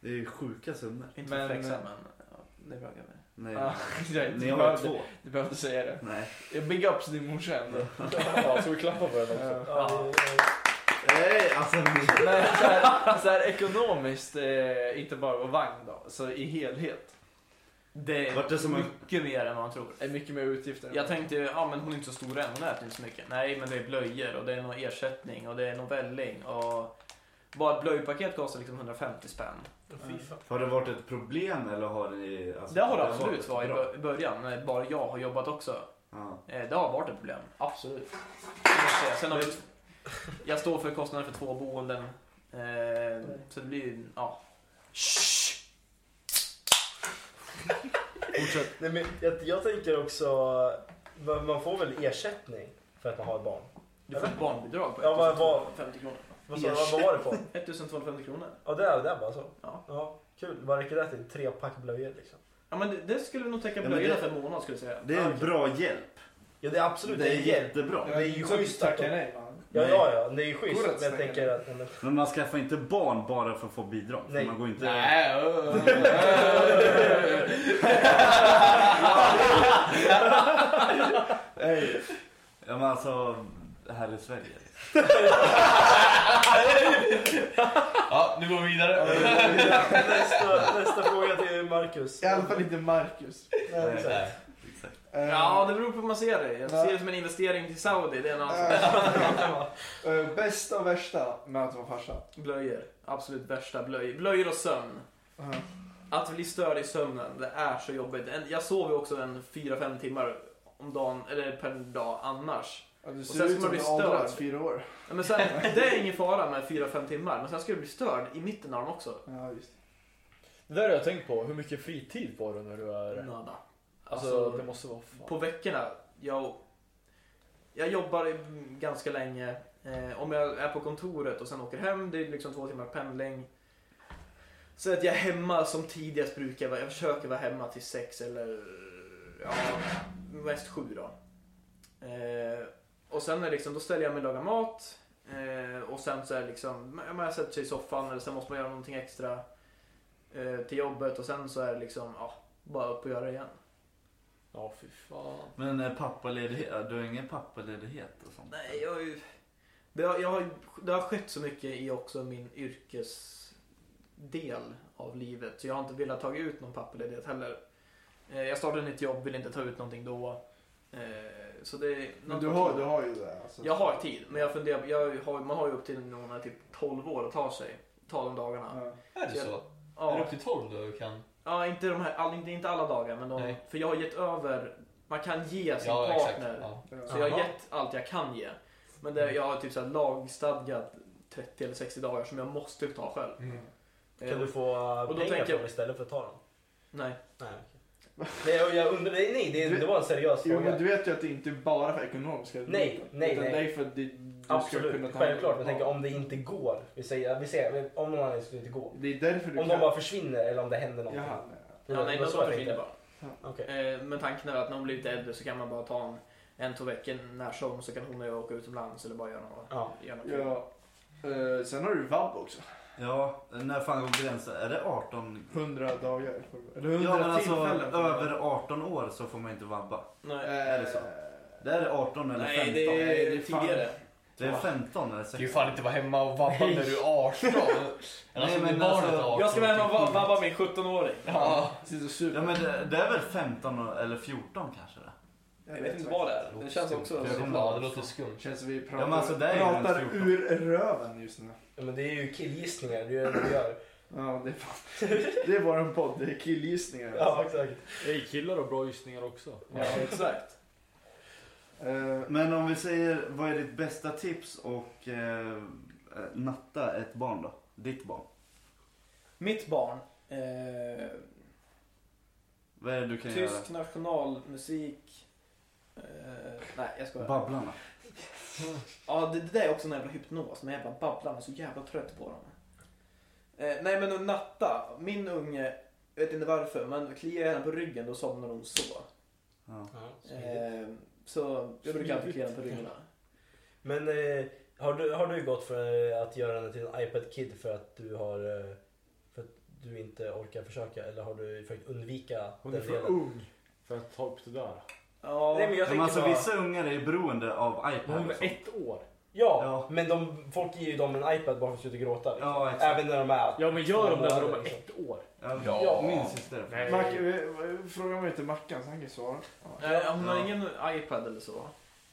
Speaker 5: det är ju sjuka summor.
Speaker 2: Inte
Speaker 4: Men-
Speaker 2: men, eh, flexa men ja, det är bra grejer.
Speaker 5: Nej,
Speaker 4: Ja, exakt.
Speaker 5: ni
Speaker 4: Du
Speaker 5: har ju
Speaker 4: behövde-
Speaker 5: två.
Speaker 4: Du behövde säga det.
Speaker 5: Nej.
Speaker 4: Big ups till din morsa ändå.
Speaker 3: Ja, ska vi klappa på den också?
Speaker 4: Ja.
Speaker 1: Ja, det är-
Speaker 5: Nej, alltså ni...
Speaker 4: Men så här, så här ekonomiskt, eh, inte bara på vagn då, så i helhet.
Speaker 2: Det är
Speaker 5: Vart det som en-
Speaker 2: mycket mer än man tror.
Speaker 4: Är mycket mer utgifter. än-
Speaker 2: Jag tänkte ju, ja men hon är inte så stor än, hon äter inte så mycket. Nej men det är blöjor och det är någon ersättning och det är någon välling och bara ett blöjpaket kostar liksom 150 spänn.
Speaker 1: Fy fan.
Speaker 5: Har det varit ett problem eller har ni... Alltså,
Speaker 2: Det har det
Speaker 5: varit
Speaker 2: absolut varit i
Speaker 5: bra?
Speaker 2: bö- i början, när bara jag har jobbat också.
Speaker 5: Ja.
Speaker 2: Eh, Det har varit ett problem, absolut. Det måste jag säga. Sen har vi, jag står för kostnaden för två boenden. Eh, så det blir ju, ja.
Speaker 1: Nej, men jag, jag tänker också, man man får väl ersättning för att man har ett barn?
Speaker 2: Du får ett barnbidrag på
Speaker 1: Ja, vad-
Speaker 2: 1250 kronor.
Speaker 1: Vad, sa, vad, vad var det på?
Speaker 2: 1250 kronor.
Speaker 1: Ja, det är det är bara så.
Speaker 2: Ja.
Speaker 1: kul. Vad räcker det till? Tre pack blöjor liksom?
Speaker 2: Ja men det, det skulle vi nog täcka
Speaker 5: Ja, men
Speaker 2: blöjorna
Speaker 5: det-
Speaker 2: för en månad skulle jag säga.
Speaker 5: Det är en bra hjälp.
Speaker 1: Ja, det är absolut
Speaker 5: Det är
Speaker 1: hjälp.
Speaker 5: jättebra.
Speaker 1: Det är ju schysst att
Speaker 4: Tacka
Speaker 1: de...
Speaker 4: nej man.
Speaker 1: Ja,
Speaker 5: Nej.
Speaker 1: ja, ja, det är ju schysst.
Speaker 4: Går det
Speaker 1: Men
Speaker 4: att
Speaker 1: jag
Speaker 4: stänga
Speaker 1: tänker att... nej, men-
Speaker 5: Men man skaffar inte barn bara för att få bidrag. För
Speaker 1: Nej.
Speaker 5: Man går inte...
Speaker 4: Nej, ö, ö, ö.
Speaker 5: Nej. Ja, men alltså, här i Sverige.
Speaker 6: Ja, nu går vi vidare.
Speaker 1: nästa, nästa fråga till Marcus.
Speaker 4: I alla fall inte Marcus.
Speaker 1: Nej, exakt.
Speaker 5: Exakt.
Speaker 4: Eh,
Speaker 2: Ja, det beror på hur man ser det. Jag
Speaker 4: Ja.
Speaker 2: ser det som en investering till Saudi. Det är en alltså annan sak.
Speaker 4: Eh, eh, Bästa och värsta med att vara farsa.
Speaker 2: Blöjor. Absolut värsta blöjor. Blöjor och sömn. Att bli störd i sömnen, det är så jobbigt. En- Jag sover ju också en 4-5 timmar om dagen, eller per dag annars.
Speaker 4: Ja, Du
Speaker 2: sen
Speaker 4: ser
Speaker 2: ska man
Speaker 4: ut som
Speaker 2: bli
Speaker 4: du har åldrats
Speaker 2: störd.
Speaker 4: fyra år.
Speaker 2: Ja, Men sen, det är ingen fara med 4-5 timmar, men sen ska du bli störd i mitten av dem också.
Speaker 4: Ja, just.
Speaker 3: Det där har jag tänkt på, hur mycket fritid får du när du är...
Speaker 2: Nada.
Speaker 3: Alltså,
Speaker 2: Alltså,
Speaker 3: det måste vara fan.
Speaker 2: på veckorna, jag, jag jobbar i- ganska länge. Eh, om jag är på kontoret och sen åker hem, det är liksom två timmar pendling. Så att jag är hemma som tidigast brukar jag vara. Jag försöker vara hemma till sex eller ja, mest sju då. Eh, och sen är liksom, då ställer jag mig och lagar mat. Eh, och sen så är det liksom, ja, man sätter sig i soffan eller sen måste man göra någonting extra eh, till jobbet och sen så är det liksom, ja, bara upp och göra det igen.
Speaker 3: Ja, fy fan.
Speaker 5: Men eh, pappaledighet, du har ingen pappaledighet och sånt?
Speaker 2: Nej, jag har ju... Det har, jag har, ju- det har skett så mycket i också min yrkesdel av livet. Så jag har inte velat ta ut någon pappaledighet heller. Eh, Jag startade nytt jobb, ville inte ta ut någonting då. Eh, Så det är
Speaker 4: Men du har, du har ju det. Alltså.
Speaker 2: Jag har tid, men jag funderar, jag har, man har ju upp till när man är typ 12 år att ta sig. Ta de dagarna.
Speaker 4: Ja.
Speaker 6: Är det så? Är det
Speaker 2: Ja,
Speaker 6: upp till 12 då du kan?
Speaker 2: ja inte, de här, all, inte, inte alla dagar, men de,
Speaker 6: Nej.
Speaker 2: för jag har gett över. Man kan ge sin
Speaker 6: Ja, exakt.
Speaker 2: partner
Speaker 6: Ja.
Speaker 2: Så jag har
Speaker 1: Jaha.
Speaker 2: gett allt jag kan ge. Men det, jag har typ så här lagstadgat 30 eller 60 dagar som jag måste ta själv.
Speaker 6: Mm.
Speaker 1: Kan
Speaker 2: Eh,
Speaker 1: du få
Speaker 2: Och då
Speaker 1: pengar
Speaker 2: tänker
Speaker 1: för
Speaker 2: jag-
Speaker 1: dem istället för att ta dem?
Speaker 2: Nej.
Speaker 1: Nej, okej. Nej, jag- jag undrar, nej, nej det, är- det var en seriös
Speaker 4: Jo,
Speaker 1: fråga.
Speaker 4: men du vet ju att det inte är bara för ekonomiska
Speaker 1: Nej,
Speaker 4: argumenten,
Speaker 1: nej,
Speaker 4: utan
Speaker 1: nej.
Speaker 4: Det är för att du, du ska kunna
Speaker 1: Absolut,
Speaker 4: ta
Speaker 1: självklart. Men jag tänker om det inte går. Vi säger, vi säger om någon anledning skulle det inte gå.
Speaker 4: Det är därför du
Speaker 1: Om de bara försvinner eller om det händer någonting.
Speaker 4: Jaha, nej.
Speaker 1: Det
Speaker 2: Ja,
Speaker 1: var-
Speaker 2: nej,
Speaker 1: det var
Speaker 2: de
Speaker 1: så jag
Speaker 2: försvinner
Speaker 1: tänkte.
Speaker 2: bara.
Speaker 1: Okej.
Speaker 2: Eh, Men tanken är att när hon blir lite äldre så kan man bara ta en, en två veckor när som så kan hon och jag åka utomlands eller bara göra något.
Speaker 1: Ja.
Speaker 2: Göra något. kul.
Speaker 4: Ja. Eh, sen har du vab också.
Speaker 5: Ja, när fan går gränsen? Är det 18?
Speaker 4: 100 dagar. får du- Eller 100
Speaker 5: Ja men alltså
Speaker 4: tillfällen. får du-
Speaker 5: över 18 år så får man inte vabba.
Speaker 2: Nej.
Speaker 4: Eh,
Speaker 5: är det så? Det är 18 eller 15.
Speaker 2: Nej, det är,
Speaker 4: det är fan-
Speaker 2: tidigare.
Speaker 5: Det är 15 eller
Speaker 6: Du kan ju
Speaker 5: 16.
Speaker 6: fan inte vara hemma och vabba när du är 18. Eller alltså,
Speaker 5: men
Speaker 6: när barnet är
Speaker 5: alltså,
Speaker 6: 18.
Speaker 2: Jag ska vara hemma och va- vabba min 17-åring.
Speaker 6: Ja.
Speaker 4: Sitter och super.
Speaker 5: Ja men det, det är väl 15 och- eller 14 kanske det?
Speaker 2: Jag vet inte vad det är. Det känns också...
Speaker 5: Jag kommer-
Speaker 6: Ja, det låter skumt.
Speaker 4: Känns som vi pratar,
Speaker 5: Ja, men alltså, det är ju
Speaker 4: pratar
Speaker 5: runt 14.
Speaker 4: ur röven just nu.
Speaker 1: Ja, men det är ju killgissningar, det är ju det vi gör.
Speaker 4: Ja, det är fan. Det är våran podd, det är killgissningar. alltså.
Speaker 1: Ja, exakt.
Speaker 3: Hej, killar har bra gissningar också.
Speaker 2: Ja, exakt.
Speaker 4: Eh,
Speaker 5: Men om vi säger, vad är ditt bästa tips och eh, natta ett barn då? Ditt barn.
Speaker 2: Mitt barn. Eh,
Speaker 5: Vad är det du kan
Speaker 2: Tysk nationalmusik. Eh, nej, jag
Speaker 5: göra?
Speaker 2: skojar.
Speaker 5: Babblarna.
Speaker 2: ja, det, det där är också en jävla hypnos. Men jag bara babblar, jag är så jävla trött på dem. Eh, nej men att natta, min unge, jag vet inte varför, men kliar jag henne på ryggen då somnar hon så.
Speaker 5: Ja.
Speaker 2: Eh, så jag brukar alltid klia henne på ryggarna.
Speaker 1: Men eh, har, du, har du gått för eh, att göra henne till en iPad Kid för att du har eh, för att du inte orkar försöka eller har du försökt undvika
Speaker 3: Hon är
Speaker 1: den
Speaker 3: för
Speaker 1: delen?
Speaker 3: ung för att ta upp det där.
Speaker 2: Ja,
Speaker 1: Nej men jag
Speaker 5: Men
Speaker 1: tänker
Speaker 5: alltså
Speaker 1: bara,
Speaker 5: vissa ungar är ju beroende av iPad.
Speaker 3: Hon
Speaker 5: och
Speaker 3: är
Speaker 5: sånt.
Speaker 3: ett år.
Speaker 1: ja,
Speaker 5: Ja.
Speaker 1: men de, folk ger ju dem en iPad bara för att sluta gråta. Liksom.
Speaker 5: Ja, exakt.
Speaker 1: Även när de är liksom.
Speaker 3: Ja men gör de det när de är ett år?
Speaker 5: Ja. Min syster.
Speaker 3: Nej.
Speaker 4: Mac, eh, fråga mig inte Mackan så han kan svara.
Speaker 2: Eh, hon har
Speaker 5: Ja.
Speaker 2: ingen iPad eller så.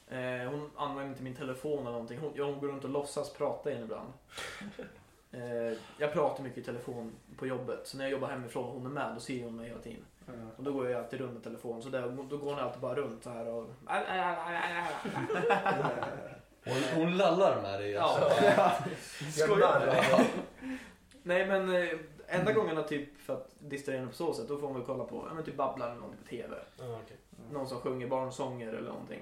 Speaker 2: Eh, hon använder inte min telefon eller någonting. Hon, ja, hon går runt och låtsas prata in ibland. eh, jag pratar mycket i telefon på jobbet. Så när jag jobbar hemifrån och hon är med, då ser hon mig hela tiden.
Speaker 4: Eh,
Speaker 2: Och då går jag alltid runt med telefon. Så där, då går hon alltid bara runt så här och...
Speaker 6: Hon, hon lallar med dig. Alltså.
Speaker 2: Ja.
Speaker 1: Skojar
Speaker 2: Nej men eh, enda gången att typ för att distrahera henne på så sätt, då får hon väl kolla på ja, men typ Babblar eller någonting på TV.
Speaker 1: Ja, okej.
Speaker 2: Någon som sjunger barnsånger eller någonting.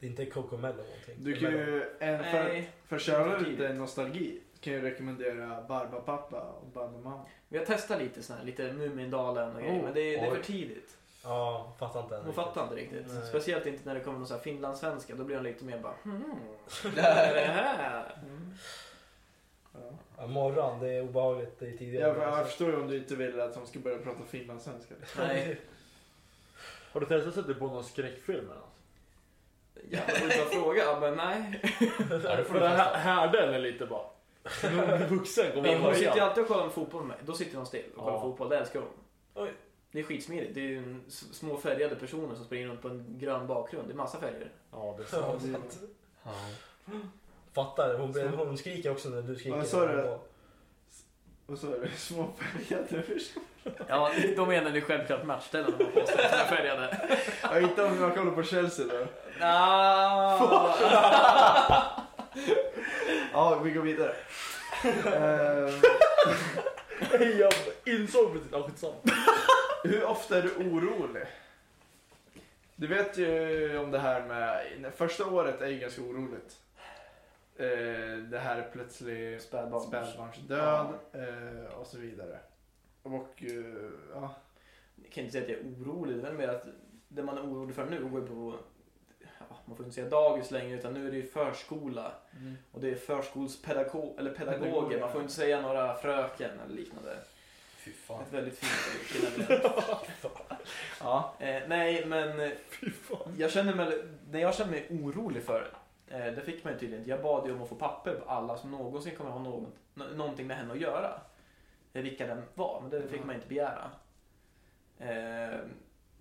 Speaker 1: Det är inte Coco Mello någonting.
Speaker 4: Du kan ju, en, för,
Speaker 2: Nej,
Speaker 4: för att köra lite nostalgi, kan jag rekommendera Barbapappa och Barbamamma.
Speaker 2: vi har testat lite sån här, lite Mumindalen och grejer.
Speaker 4: Oh,
Speaker 2: men det är, det är
Speaker 6: oj.
Speaker 2: för tidigt.
Speaker 1: Ja, fattar inte än.
Speaker 2: Hon fattar inte riktigt.
Speaker 1: Nej.
Speaker 2: Speciellt inte när det kommer någon så här finlandssvenska. Då blir hon lite mer bara hmm. vad är det här?"
Speaker 4: Ja.
Speaker 1: Ja, morgon, det är obehagligt. Det är Alltså. tidigt.
Speaker 4: Jag, jag förstår ju om du inte vill att de ska börja prata finlandssvenska.
Speaker 2: Nej,
Speaker 3: Har du testat att sätta på någon skräckfilm eller något?
Speaker 2: jävla bra fråga. Men nej.
Speaker 6: Ja, det får
Speaker 3: För
Speaker 6: du
Speaker 3: det
Speaker 6: testa.
Speaker 3: här härde eller lite bara. Någon vuxen kommer in
Speaker 2: Hon
Speaker 3: och
Speaker 2: sitter ju
Speaker 3: igen.
Speaker 2: alltid och kollar på fotboll med mig. Då sitter hon still och kollar
Speaker 3: Ja.
Speaker 2: fotboll. Det älskar hon.
Speaker 1: Oj.
Speaker 2: Det är skitsmidigt. Det är ju en s- små färgade personer som springer runt på en grön bakgrund. Det är massa färger.
Speaker 3: Ja, det är sant.
Speaker 1: Ja, sant.
Speaker 6: Ja.
Speaker 1: Fattar, hon, blir- hon skriker också när du skriker.
Speaker 4: Vad sa du? Och så är det småfärgade först.
Speaker 2: Ja, då menar ni självklart matchställen de har på sig. som är Färgade.
Speaker 4: Ja, inte om jag kollar på Chelsea då.
Speaker 2: Ah.
Speaker 4: Ja, vi går vidare. Ehm,
Speaker 3: Jag insåg precis, ja skitsamma.
Speaker 4: hur ofta är du orolig? Du vet ju om det här med, första året är ju ganska oroligt. Eh, det här är plötsligt
Speaker 2: Spädbarn.
Speaker 4: spädbarnsdöd eh, och så vidare. Och eh, ja,
Speaker 2: Jag kan inte säga att jag är orolig, det är mer att det man är orolig för nu går ju på, ja, man får inte säga dagis längre utan nu är det ju förskola och det är förskolspedagog, eller pedagoger,
Speaker 4: Pedagoger,
Speaker 2: man får inte säga några fröken eller liknande.
Speaker 6: Fy fan.
Speaker 2: Ett väldigt fint yrke nämligen.
Speaker 4: ja.
Speaker 2: eh, Nej men, eh, jag känner mig, när jag känner mig orolig för eh, det fick man ju tydligen, jag bad ju om att få papper på alla som någonsin kommer ha något, nå- någonting med henne att göra. Eh, Vilka den var, men det fick man inte begära. Eh,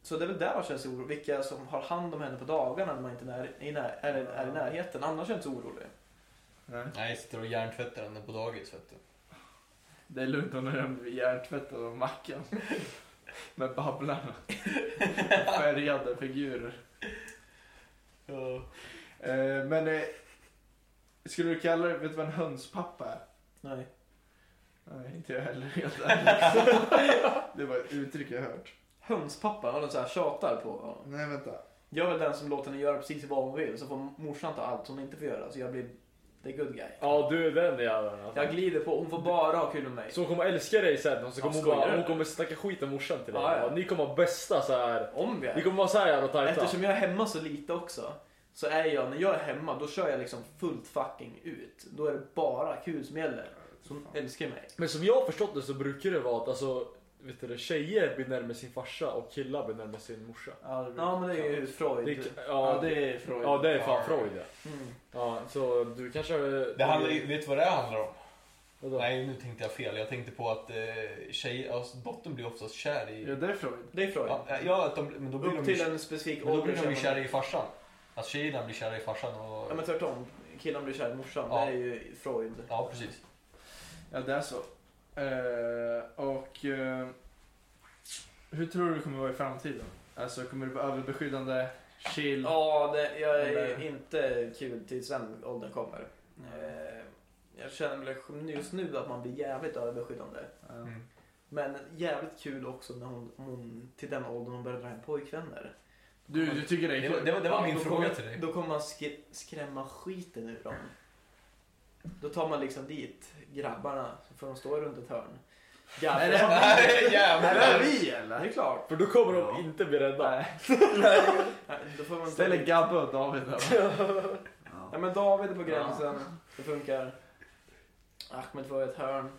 Speaker 2: så det är väl där jag känner sig orolig. Vilka som har hand om henne på dagarna när man inte är, i när, är, är i närheten. Annars känns jag inte så orolig.
Speaker 4: Nej.
Speaker 6: Nej, jag sitter och hjärntvättar henne på dagis vet du.
Speaker 4: Det är lugnt om den blir hjärntvättad av Mackan. Med Babblarna. Färgade figurer. Eh, men eh, skulle du kalla det, vet du vad en hönspappa är?
Speaker 2: Nej.
Speaker 4: Nej, inte jag heller helt ärligt. Det var ett uttryck jag hört.
Speaker 2: Hönspappa, vad de så här tjatar på.
Speaker 4: Nej, vänta.
Speaker 2: Jag är väl den som låter henne göra precis vad hon vill så får morsan ta allt hon inte får göra. Så jag blir the good guy.
Speaker 3: Ja, du är den jäveln alltså.
Speaker 2: Jag glider på, hon får bara ha kul med mig.
Speaker 3: Så hon kommer älska dig sen och så
Speaker 2: Ja,
Speaker 3: kommer hon,
Speaker 2: skojar
Speaker 3: bara,
Speaker 2: du?
Speaker 3: hon kommer snacka skit om morsan till dig.
Speaker 2: Ja, ja.
Speaker 3: Bara, Ni kommer ha bästa så här.
Speaker 2: Om vi
Speaker 3: Ni
Speaker 2: är.
Speaker 3: kommer vara så här jävla tajta.
Speaker 2: Eftersom jag är hemma så lite också. Så är jag, när jag är hemma då kör jag liksom fullt fucking ut. Då är det bara kul som gäller. Så hon älskar mig.
Speaker 3: Men som jag har förstått det så brukar det vara att alltså, vet du, det, tjejer blir närmare sin farsa och killar blir närmare sin morsa.
Speaker 4: Ja, det,
Speaker 2: Ja men det är ju Freud.
Speaker 3: Det, är-
Speaker 4: ja,
Speaker 3: ja, det,
Speaker 4: det är Freud.
Speaker 3: ja, det är fan Freud ja.
Speaker 2: Mm.
Speaker 3: ja. Så du kanske...
Speaker 6: Det handlar, ju- vet du vad det handlar om?
Speaker 3: Vadå?
Speaker 6: Nej, nu tänkte jag fel. Jag tänkte på att eh, tjejer, alltså, dottern blir oftast kär i...
Speaker 4: Ja, det är Freud.
Speaker 2: Det är Freud.
Speaker 6: Ja, ja att de, men då blir
Speaker 2: Upp
Speaker 6: de ju
Speaker 2: till en specifik
Speaker 6: Men då blir de
Speaker 2: känner
Speaker 6: ju
Speaker 2: man-
Speaker 6: kära i farsan. Alltså tjejerna blir kära i farsan och...
Speaker 2: Ja men tvärtom. Killen blir kär i morsan.
Speaker 6: Ja. Mm.
Speaker 2: Det är ju Freud.
Speaker 6: Ja, precis.
Speaker 4: Ja, det är så. Eh, och eh, hur tror du det kommer vara i framtiden? Alltså, kommer du vara överbeskyddande? Chill?
Speaker 2: Ja, det, jag är
Speaker 4: Eller-
Speaker 6: eh,
Speaker 2: inte kul tills den åldern kommer. Eh, Jag känner väl just nu att man blir jävligt överbeskyddande.
Speaker 4: Ja.
Speaker 6: Mm.
Speaker 2: Men jävligt kul också när hon, hon till den åldern hon börjar dra hem pojkvänner.
Speaker 4: Du, du tycker det är
Speaker 6: Det var,
Speaker 4: kul?
Speaker 6: det var, det var
Speaker 2: Ja,
Speaker 6: min
Speaker 2: då
Speaker 6: fråga
Speaker 2: kommer-
Speaker 6: till dig.
Speaker 2: Då kommer man skri- skrämma skiten ur dem. Då tar man liksom dit grabbarna, så får de stå runt ett hörn. Grabbar,
Speaker 4: Är det här
Speaker 2: Jävlar.
Speaker 4: jävlar vi
Speaker 2: det
Speaker 4: eller?
Speaker 2: är klart.
Speaker 3: För då kommer
Speaker 5: Ja.
Speaker 3: de inte bli rädda.
Speaker 2: Nej, Då får man ta
Speaker 4: Ställer
Speaker 2: dit.
Speaker 4: Gabbe och David där.
Speaker 5: Ja.
Speaker 2: Nej men David är på gränsen. Det funkar. Ahmed får ett hörn.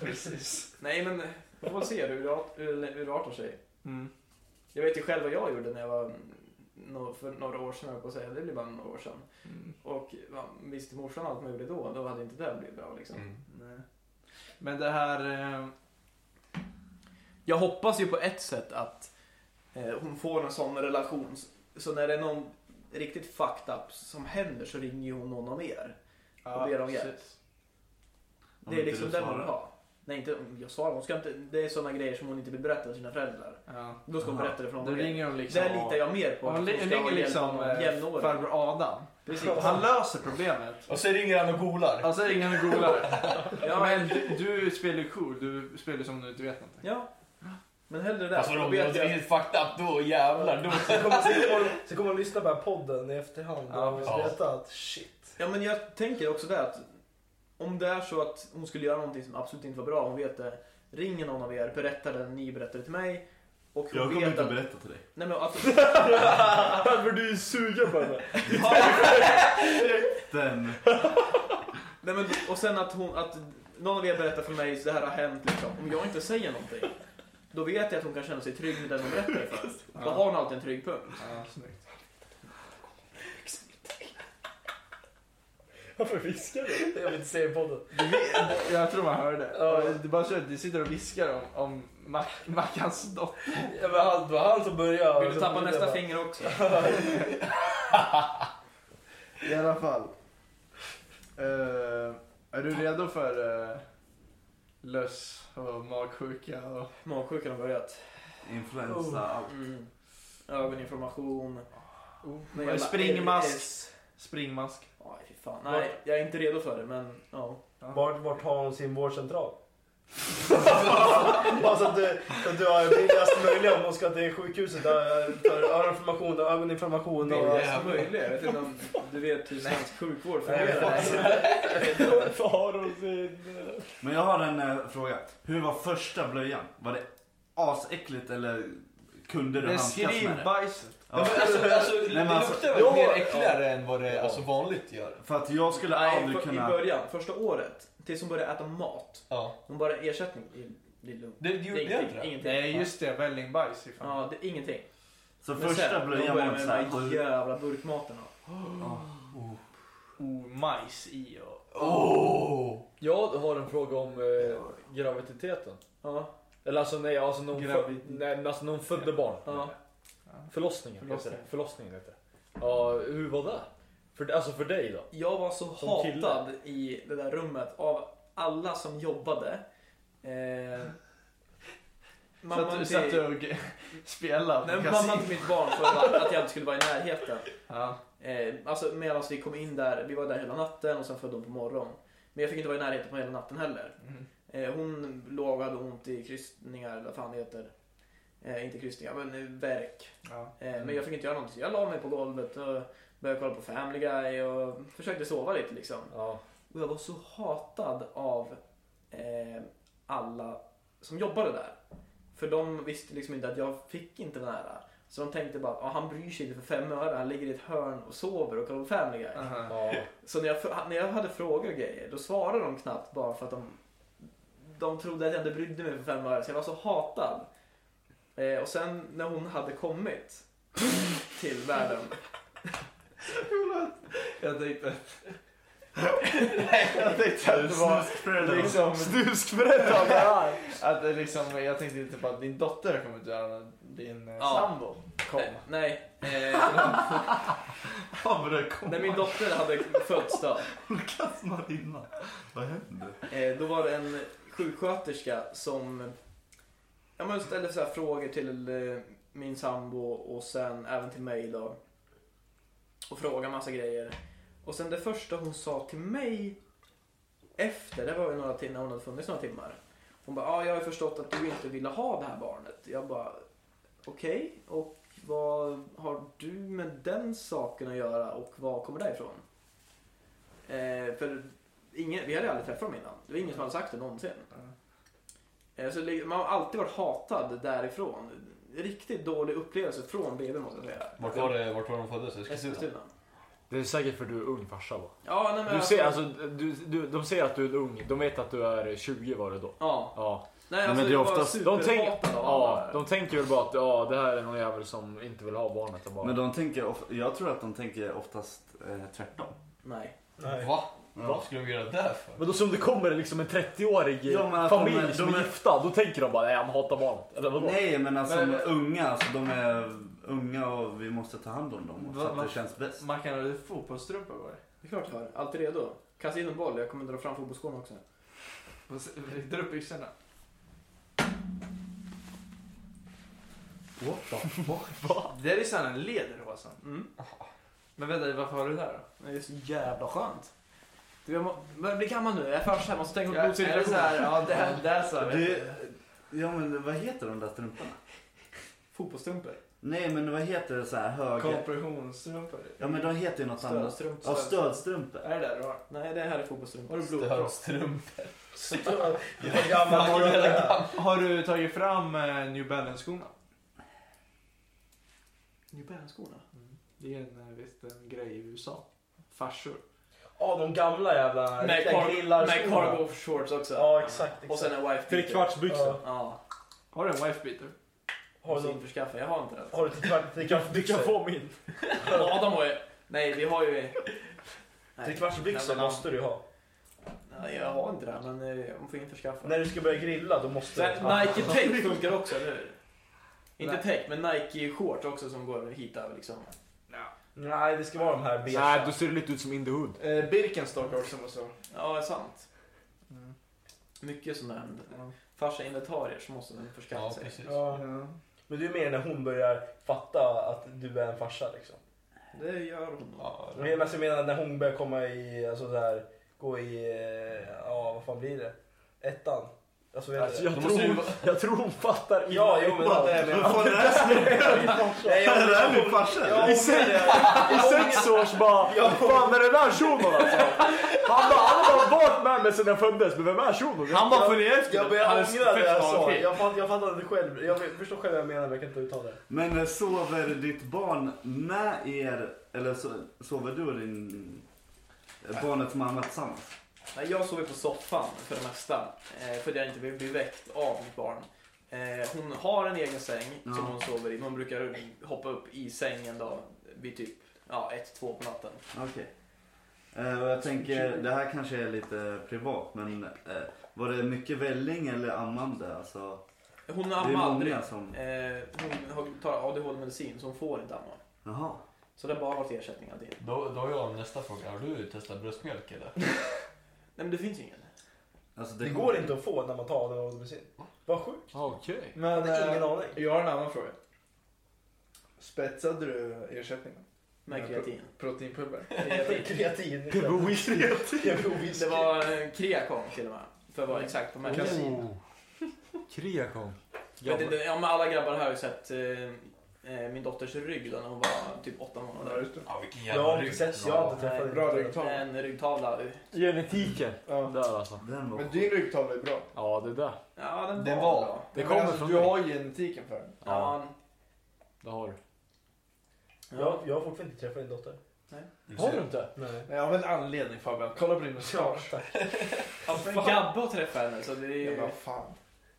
Speaker 4: Precis.
Speaker 2: Nej men vi får se hur det art- hur det urartar sig.
Speaker 4: Mm.
Speaker 2: Jag vet ju själv vad jag gjorde när jag var mm, nå- för några år sedan, höll jag på att säga. Det blir bara några år sedan.
Speaker 4: Mm.
Speaker 2: Och ja, visste morsan allt man gjorde då, då hade inte det här blivit bra liksom.
Speaker 6: Mm.
Speaker 4: Nej. Men det här... eh,
Speaker 2: Jag hoppas ju på ett sätt att eh, hon får en sån relation. s- Så när det är någon riktigt fucked up som händer så ringer ju hon någon av er.
Speaker 4: ja,
Speaker 2: ber om hjälp.
Speaker 4: precis.
Speaker 5: Om
Speaker 2: Det är
Speaker 5: inte
Speaker 2: liksom
Speaker 5: du
Speaker 2: den hon
Speaker 5: svarar.
Speaker 2: vill ha. Nej, inte jag svarar. Hon ska inte, det är sådana grejer som hon inte vill berätta för sina föräldrar.
Speaker 4: Ja.
Speaker 2: Då ska hon
Speaker 5: Aha.
Speaker 2: berätta det för någon
Speaker 4: Då
Speaker 2: annan.
Speaker 4: ringer de liksom...
Speaker 2: Där litar jag mer på
Speaker 4: Och han
Speaker 2: hon
Speaker 4: li-
Speaker 2: ska
Speaker 4: ringer
Speaker 2: ha hjälp
Speaker 4: liksom
Speaker 2: av någon
Speaker 4: eh,
Speaker 2: jämnårig.
Speaker 4: farbror Adam.
Speaker 2: Precis.
Speaker 4: Han löser problemet.
Speaker 6: Och så ringer han och golar.
Speaker 4: Alltså ringer han och googlar.
Speaker 2: Ja,
Speaker 4: Men du, du spelar ju cool. Du spelar ju som du inte vet någonting.
Speaker 2: ja. Men hellre det.
Speaker 6: Alltså
Speaker 2: Då
Speaker 6: de
Speaker 2: vet
Speaker 6: är
Speaker 2: jag-
Speaker 6: helt fucked up då, jävlar. Då.
Speaker 1: Så kommer, så, kommer, så kommer de lyssna på den här podden i efterhand och
Speaker 4: Ja.
Speaker 1: ja. veta att shit.
Speaker 2: Ja, men jag tänker också det att om det är så att hon skulle göra någonting som absolut inte var bra, hon vet det. Ringer någon av er, berättar det ni berättade till mig. Och hon
Speaker 5: Jag kommer
Speaker 2: vet
Speaker 5: inte
Speaker 2: att...
Speaker 5: berätta till dig.
Speaker 2: Nej, men att...
Speaker 3: För du är sugen på henne.
Speaker 5: Den.
Speaker 2: Nej, men, och sen att, hon, att någon av er berättar för mig, så det här har hänt liksom. Om jag inte säger någonting, då vet jag att hon kan känna sig trygg med den hon berättar för. Då har hon alltid en trygg punkt.
Speaker 4: Ja, snyggt.
Speaker 3: Varför viskar du?
Speaker 1: Jag vill inte säga i podden.
Speaker 4: Du vet, jag tror man hörde
Speaker 1: Ja.
Speaker 4: det. Du bara kör, du sitter och viskar om, om Mac- Mackans dotter.
Speaker 1: Ja, men han, det var han som började.
Speaker 2: Vill du tappa nästa finger också?
Speaker 4: I alla fall. Eh, är du redo för eh, löss och magsjuka? Och...
Speaker 2: Magsjukan har börjat.
Speaker 5: Influensa, allt.
Speaker 2: Mm. Ögoninflammation.
Speaker 4: Men
Speaker 2: jävla
Speaker 4: springmask.
Speaker 2: RS.
Speaker 4: Springmask.
Speaker 2: Aj, fy fan. Nej, jag är inte redo för det, men ja.
Speaker 1: Vart, vart har hon sin vårdcentral? Bara så att Alltså, du, så att du har billigast möjliga om hon ska till sjukhuset. Där, för öroninflammation och ögoninflammation.
Speaker 2: Det är
Speaker 1: Och,
Speaker 2: det som möjligt. Jag vet inte om du vet hur svensk sjukvård fungerar.
Speaker 1: Nej.
Speaker 3: Så har hon sin... eh,
Speaker 5: Men jag har en eh, fråga. Hur var första blöjan? Var det asäckligt eller kunde du handskas med
Speaker 4: Beskriv
Speaker 5: det?
Speaker 4: bajset.
Speaker 5: Ja.
Speaker 6: Ja, men alltså, alltså, det
Speaker 5: men alltså-
Speaker 6: luktar väl
Speaker 5: Ja.
Speaker 6: mer äckligare än vad det
Speaker 5: Ja.
Speaker 6: alltså, vanligt gör?
Speaker 5: För att jag skulle
Speaker 2: Nej,
Speaker 5: aldrig
Speaker 2: för, i
Speaker 5: kunna...
Speaker 2: början, första året, tills hon började äta mat.
Speaker 6: Ja.
Speaker 2: Hon bara ersättning. Det- Det är lugnt.
Speaker 6: Det, det gjorde jag inte det?
Speaker 2: ingenting.
Speaker 4: Nej just det, vällingbajs. fy fan.
Speaker 2: Ja, det är ingenting.
Speaker 5: Så
Speaker 2: Men
Speaker 5: första
Speaker 2: sen,
Speaker 5: blöjan var
Speaker 2: började
Speaker 5: inte
Speaker 2: med
Speaker 5: så här...
Speaker 2: de här jävla burkmaten.
Speaker 5: Ja.
Speaker 4: Oh, majs i och...
Speaker 6: Oh.
Speaker 3: Jag har en fråga om eh, graviditeten.
Speaker 2: Ja,
Speaker 3: Eller alltså nej, alltså när hon, fö-
Speaker 4: Gravid-
Speaker 3: nej, alltså när hon födde barn.
Speaker 2: ja.
Speaker 3: Förlossningen heter
Speaker 2: Förlossningen.
Speaker 3: det. Förlossningen heter det. Ja, hur var det? För, alltså för dig då?
Speaker 2: Jag var så
Speaker 3: Som kille.
Speaker 2: hatad i det där rummet av alla som jobbade. Eh,
Speaker 4: Satt du, satt du och spelade? på
Speaker 2: Nej,
Speaker 4: kasin?
Speaker 2: mamma till mitt barn för att jag inte skulle vara i närheten.
Speaker 4: Ja.
Speaker 2: Eh, alltså medan vi kom in där, vi var där hela natten och sen födde hon på morgonen. Men jag fick inte vara i närheten på hela natten heller.
Speaker 4: Mm.
Speaker 2: Eh, hon låg och hade ont i krystningar, eller vad fan det heter. Eh, inte krystningar, men eh, värk.
Speaker 4: Ja.
Speaker 2: Eh,
Speaker 3: Mm.
Speaker 2: Men jag fick inte göra någonting så jag la mig på golvet och började kolla på Family Guy och försökte sova lite liksom.
Speaker 3: Ja.
Speaker 2: Och jag var så hatad av eh, alla som jobbade där. För de visste liksom inte att jag fick inte vara nära. Så de tänkte bara att ah, han bryr sig inte för fem öre. Han ligger i ett hörn och sover och kollar på Family Guy.
Speaker 4: Aha.
Speaker 3: ja.
Speaker 2: Så när jag, när jag hade frågor och grejer då svarade de knappt bara för att de, de trodde att jag inte brydde mig för fem öre. Så jag var så hatad. Eh, och sen när hon hade kommit till världen.
Speaker 4: Jag tänkte... jag tänkte att det var liksom... Snuskföräldrarna där. Att det liksom, jag tänkte inte på att din dotter har kommit utan din eh,
Speaker 2: Ja.
Speaker 4: sambo kom.
Speaker 2: Eh, nej. Eh,
Speaker 5: Fan vad det kom.
Speaker 2: när min dotter hade fötts då.
Speaker 5: Orgasmar innan. Vad hände?
Speaker 2: Eh, då var det en sjuksköterska som ja, men ställde så här frågor till eh, min sambo och sen även till mig då. Och frågade massa grejer. Och sen det första hon sa till mig efter, det var ju några timmar, hon hade funnits några timmar. Hon bara, ah, jag har ju förstått att du inte ville ha det här barnet. Jag bara, okej, och vad har du med den saken att göra och var kommer det ifrån? Eh, för ingen, vi hade aldrig träffat dem innan. Det var ingen som hade sagt det någonsin. Eh, så liksom, man har alltid varit hatad därifrån. Riktigt dålig upplevelse från BB måste jag säga.
Speaker 6: Vart var, det, vart var de föddes?
Speaker 3: Alltså-
Speaker 6: Eskilstuna?
Speaker 2: Eskilstuna.
Speaker 7: Det är säkert för att du är ung farsa va?
Speaker 2: Ja, nej, men
Speaker 7: Du ser, alltså, du, du, de ser att du är ung, de vet att du är 20 var det då.
Speaker 2: Ja.
Speaker 7: Ja,
Speaker 2: Nej,
Speaker 5: men det är oftast-
Speaker 2: var
Speaker 7: de, tänk,
Speaker 2: superhatad av alla.
Speaker 7: ja, de tänker väl bara att ja, det här är någon jävel som inte vill ha barnet. och Bara.
Speaker 5: Men de tänker, of- jag tror att de tänker oftast eh, tvärtom.
Speaker 2: Nej.
Speaker 1: Nej.
Speaker 6: Va?
Speaker 5: Ja.
Speaker 6: Vad skulle de göra där för?
Speaker 7: Men då som det kommer liksom en 30-årig
Speaker 5: Ja, men att
Speaker 7: familj
Speaker 5: de är-
Speaker 7: som
Speaker 5: de
Speaker 7: är,
Speaker 5: är-
Speaker 7: gifta, då tänker de bara nej, han hatar barnet. Eller vadå?
Speaker 5: Nej men alltså
Speaker 4: Men-
Speaker 5: de är unga, alltså, de är unga och vi måste ta hand om dem. Så
Speaker 4: Va-
Speaker 5: att
Speaker 4: va-
Speaker 5: det känns bäst.
Speaker 4: Mackan, har du fotbollstrumpor på dig?
Speaker 2: Det är klart jag har. Alltid redo. Kasta in en boll, jag kommer dra fram fotbollsskorna också.
Speaker 4: Vad s- Vrider upp byxorna?
Speaker 5: What the
Speaker 4: Det är ju sån här lederhosen.
Speaker 2: Mm.
Speaker 4: Men vänta, varför har du det där då?
Speaker 2: Men Det är så jävla skönt. Du, jag må, börjar bli gammal nu, jag är farsa, jag måste tänka på
Speaker 4: Ja, är det så
Speaker 2: blodcirkulation.
Speaker 4: här? Ja, det här, det här så här.
Speaker 5: Du, ja men vad heter de där strumporna?
Speaker 2: Fotbollsstrumpor.
Speaker 5: Nej men vad heter det så här höga?
Speaker 4: Kompressionsstrumpor.
Speaker 5: Ja men de heter ju något annat.
Speaker 2: Stödstrumpor.
Speaker 5: Ja stödstrumpor.
Speaker 4: Är det där du har?
Speaker 2: Nej, det här är fotbollsstrumpor.
Speaker 4: Har du blodpropp?
Speaker 6: Stödstrumpor.
Speaker 1: Så hur gammal
Speaker 6: Fan,
Speaker 1: var
Speaker 6: jag
Speaker 1: du?
Speaker 6: är
Speaker 1: där?
Speaker 6: gammal.
Speaker 4: Har du tagit fram eh, New Balance-skorna?
Speaker 2: New Balance-skorna.
Speaker 4: Det är en, eh, visst en grej i USA. Farsor.
Speaker 1: Ja, de gamla jävla
Speaker 2: Med,
Speaker 1: riktiga
Speaker 2: car- med
Speaker 1: grillarskorna.
Speaker 2: cargo shorts också.
Speaker 1: Ja, exakt. exakt.
Speaker 2: Och sen en wife
Speaker 3: Trekvartsbyxor.
Speaker 1: Ja.
Speaker 2: Ja,
Speaker 4: Har du en wifebeater?
Speaker 1: Har
Speaker 2: måste
Speaker 1: du,
Speaker 2: införskaffa. Jag har inte det.
Speaker 1: har du trekvart-
Speaker 3: Du kan
Speaker 1: trekvartsbyxor?
Speaker 3: få min.
Speaker 2: Adam har ju... Nej, vi har ju... Nej.
Speaker 1: Trekvartsbyxor
Speaker 2: Nej, men-
Speaker 1: måste du ju ha.
Speaker 2: Nej, jag har inte det, men eh, jag får införskaffa.
Speaker 1: När du ska börja grilla, då måste
Speaker 2: Så
Speaker 1: du.
Speaker 2: här, Nike Tech funkar också, eller hur? Inte
Speaker 4: Nej.
Speaker 2: Tech, men Nike shorts också som går hit över liksom.
Speaker 1: Nej, det ska vara de här
Speaker 7: Nej, då
Speaker 1: beiga.
Speaker 7: ser du lite ut som in the hood.
Speaker 4: Eh, Birkenstock också måste jag ha.
Speaker 2: Ja, det är sant.
Speaker 4: Mm.
Speaker 2: Mycket sådana här farsa inventarier som måste den förskaffa
Speaker 3: Alltså-
Speaker 6: Ja,
Speaker 2: sig.
Speaker 6: precis.
Speaker 1: Ja.
Speaker 4: Ja.
Speaker 1: Men du är mer när hon börjar fatta att du är en farsa liksom.
Speaker 2: Det gör hon nog.
Speaker 6: Ja,
Speaker 1: Men jag menar när hon börjar komma i, alltså så här, gå i, eh, ja vad fan blir det? Ettan? Alltså vet
Speaker 7: Alltså,
Speaker 1: du?
Speaker 7: jag,
Speaker 6: Då
Speaker 7: tror,
Speaker 6: måste du
Speaker 7: hon-
Speaker 6: vara-
Speaker 7: jag tror hon fattar
Speaker 1: Ja, jo men det är
Speaker 5: Vad fan är det här?
Speaker 1: Nej, jag,
Speaker 5: Är det här min farsa?
Speaker 1: jag,
Speaker 7: I sex, i sex års bara,
Speaker 1: Ja.
Speaker 7: fan är det där shunon alltså? Han bara, han har bara varit med mig sedan jag föddes, men vem är shunon?
Speaker 4: Han bara följer efter.
Speaker 1: jag börjar
Speaker 4: Han är
Speaker 1: ångra det jag
Speaker 4: fett
Speaker 1: sa.
Speaker 4: avskild.
Speaker 1: Jag, fatt, jag fattar inte själv, jag förstår själv vad jag menar men jag kan inte uttala det.
Speaker 5: Men eh, sover ditt barn med er, eller so- sover du och din eh, barnets mamma tillsammans?
Speaker 2: Nej, jag sover på soffan för det mesta. eh, För att jag inte vill bli väckt av mitt barn. Eh, Hon har en egen säng
Speaker 5: Ja.
Speaker 2: som hon sover i. men Hon brukar hoppa upp i sängen då vid typ ja, 1-2 på natten.
Speaker 5: Okej. Eh, och jag tänker, det här kanske är lite privat men eh, var det mycket välling eller ammande? Alltså,
Speaker 2: Hon
Speaker 5: det är
Speaker 2: ammar aldrig.
Speaker 5: många som...
Speaker 2: Eh, Hon har- tar ADHD-medicin så hon får inte amma.
Speaker 5: Jaha.
Speaker 2: Så det har bara varit ersättning alltid.
Speaker 6: Då, då har jag nästa fråga. Har du testat bröstmjölk eller?
Speaker 2: Nej men det finns ingen.
Speaker 5: Alltså,
Speaker 1: Det går inte att få när man tar den medicin. Vad sjukt.
Speaker 7: Okej.
Speaker 1: Jag
Speaker 4: Men
Speaker 1: hade ingen
Speaker 4: eh,
Speaker 1: aning.
Speaker 4: jag har en annan fråga. Spetsade du ersättningen?
Speaker 2: Med
Speaker 4: Ja,
Speaker 2: kreatin.
Speaker 4: Proteinpulver?
Speaker 2: kreatin.
Speaker 1: Kreatin.
Speaker 2: Det
Speaker 1: Kreatin.
Speaker 2: var eh, kreakon till och med. För att vara exakt på märket.
Speaker 5: Mm.
Speaker 7: Oh. Kreakon.
Speaker 2: Jag vet inte, ja, men alla grabbar här har ju sett eh, eh, min dotters rygg då när hon var typ åtta månader.
Speaker 6: Ja, vilken
Speaker 1: Jag har
Speaker 6: jävla
Speaker 1: inte
Speaker 6: rygg.
Speaker 1: sett, jag har inte träffat
Speaker 2: Nej,
Speaker 1: den.
Speaker 4: Bra ryggtavla.
Speaker 2: En ryggtavla.
Speaker 7: Genetiken.
Speaker 4: Ja.
Speaker 7: Där alltså.
Speaker 5: Den var
Speaker 4: Men din ryggtavla är bra.
Speaker 7: Ja, det där.
Speaker 2: Ja, den,
Speaker 6: Den
Speaker 2: var
Speaker 6: var.
Speaker 2: bra.
Speaker 7: Det
Speaker 4: Men
Speaker 7: kommer
Speaker 4: alltså,
Speaker 7: från
Speaker 4: Du
Speaker 7: dig.
Speaker 4: har ju genetiken för den.
Speaker 7: Ja,
Speaker 2: Ja.
Speaker 7: det har du.
Speaker 1: Jag, jag har fortfarande inte träffat din dotter.
Speaker 6: Du
Speaker 7: Har
Speaker 6: ser.
Speaker 7: du inte?
Speaker 1: Nej.
Speaker 4: Men jag har väl en anledning Fabian. Kolla på din
Speaker 1: Ja,
Speaker 4: mustasch.
Speaker 1: tack.
Speaker 2: Alltså, Gabbe har träffat henne så det är
Speaker 4: Ja,
Speaker 2: ju...
Speaker 4: vad fan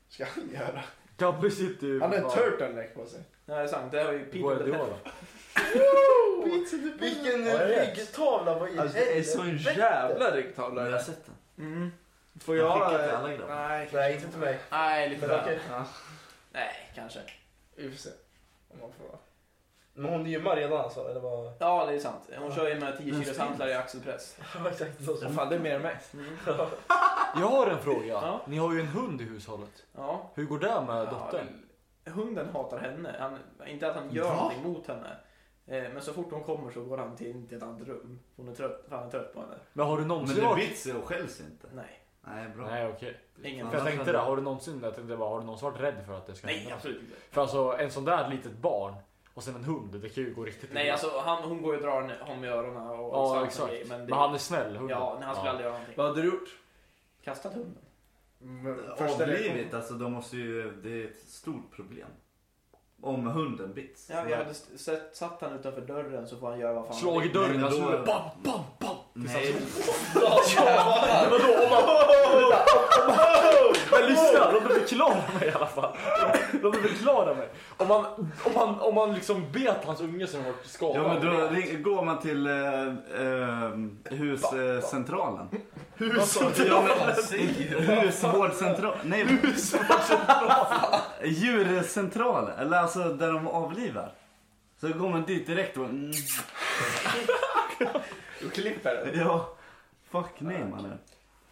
Speaker 4: ska han göra?
Speaker 7: Gabbe sitter ju...
Speaker 4: Han har en
Speaker 7: fan-
Speaker 4: turtleneck på sig.
Speaker 2: Nej, det är sant. Det har ju Peter
Speaker 7: Guardiola.
Speaker 2: berättat.
Speaker 1: Vilken
Speaker 7: Ja, jag vet.
Speaker 1: ryggtavla! Vad i
Speaker 4: Alltså, det är så en
Speaker 1: helvete?
Speaker 4: jävla
Speaker 5: Men jag har
Speaker 4: ryggtavla.
Speaker 5: sett den.
Speaker 2: Mm.
Speaker 4: Får
Speaker 5: Jag
Speaker 4: jag...
Speaker 5: skickar
Speaker 4: eh,
Speaker 5: till alla grabbar.
Speaker 4: Nej,
Speaker 1: Nej, inte till mig.
Speaker 2: Nej, lite
Speaker 1: Men,
Speaker 2: väl.
Speaker 1: okej.
Speaker 4: Ja,
Speaker 2: Nej, kanske.
Speaker 4: vi får se. Om man får vara.
Speaker 1: men hon gymmar redan alltså? Eller vad?
Speaker 2: Ja, det är sant. Hon kör ju med 10
Speaker 5: Men
Speaker 2: kilos
Speaker 5: fint.
Speaker 2: hantlar i axelpress.
Speaker 1: Ja, Exakt så.
Speaker 4: Fan, det är mer än mig.
Speaker 2: Mm.
Speaker 7: Jag har en fråga.
Speaker 2: Ja.
Speaker 7: Ni har ju en hund i hushållet.
Speaker 2: Ja.
Speaker 7: Hur går det med
Speaker 2: Ja,
Speaker 7: dottern?
Speaker 2: men Hunden hatar henne. Han, inte att han gör
Speaker 5: Va?
Speaker 2: någonting mot henne. Eh, Men så fort hon kommer så går han till, till ett annat rum. Hon är trött, för han är trött på henne.
Speaker 7: Men har du
Speaker 5: Men
Speaker 7: någonsin
Speaker 5: du
Speaker 7: varit...
Speaker 5: bits och skälls inte.
Speaker 2: Nej,
Speaker 5: Nej, bra.
Speaker 7: Nej, okej.
Speaker 2: ingen
Speaker 7: För jag
Speaker 5: Annars
Speaker 7: tänkte
Speaker 5: hade-
Speaker 7: det, har du någonsin, jag tänkte bara, har du någonsin varit rädd för att det ska
Speaker 2: Nej,
Speaker 7: hända?
Speaker 2: absolut inte.
Speaker 7: För alltså en sån där litet barn Och sen en hund, det kan ju gå riktigt
Speaker 2: Nej,
Speaker 7: illa.
Speaker 2: alltså han, hon går ju och drar henne- honom i öronen och
Speaker 7: Ja,
Speaker 2: och sånt
Speaker 7: exakt.
Speaker 2: grejer, Men, det,
Speaker 7: Men han är snäll, hunden.
Speaker 2: Ja, nej, han skulle aldrig göra någonting.
Speaker 4: Vad hade du gjort?
Speaker 2: Kastat hunden.
Speaker 4: Mm, första
Speaker 5: Avlivet,
Speaker 4: reaktion.
Speaker 5: alltså de måste ju, det är ett stort problem. Om hunden bits.
Speaker 2: Ja, jag hade s- sett, satt han utanför dörren så får han göra vad fan han
Speaker 7: Slag i
Speaker 2: vill.
Speaker 5: Nej,
Speaker 7: dörren,
Speaker 5: men
Speaker 7: alltså
Speaker 5: då-
Speaker 7: bam, bam, bam.
Speaker 5: Nej,
Speaker 7: Men vadå? Om man... Men lyssna, låt mig förklara mig i alla fall. Låt mig förklara mig. Om man, om man, om man liksom bet hans unge som varit skadad.
Speaker 5: ja men då ring, går man till eh, eh, huscentralen. Huscentralen? Husvårdscentral? Nej, djurcentral. Eller alltså där de avlivar. Så går man dit direkt och... Mm,
Speaker 4: Du klipper den.
Speaker 5: ja, fuck nej mannen.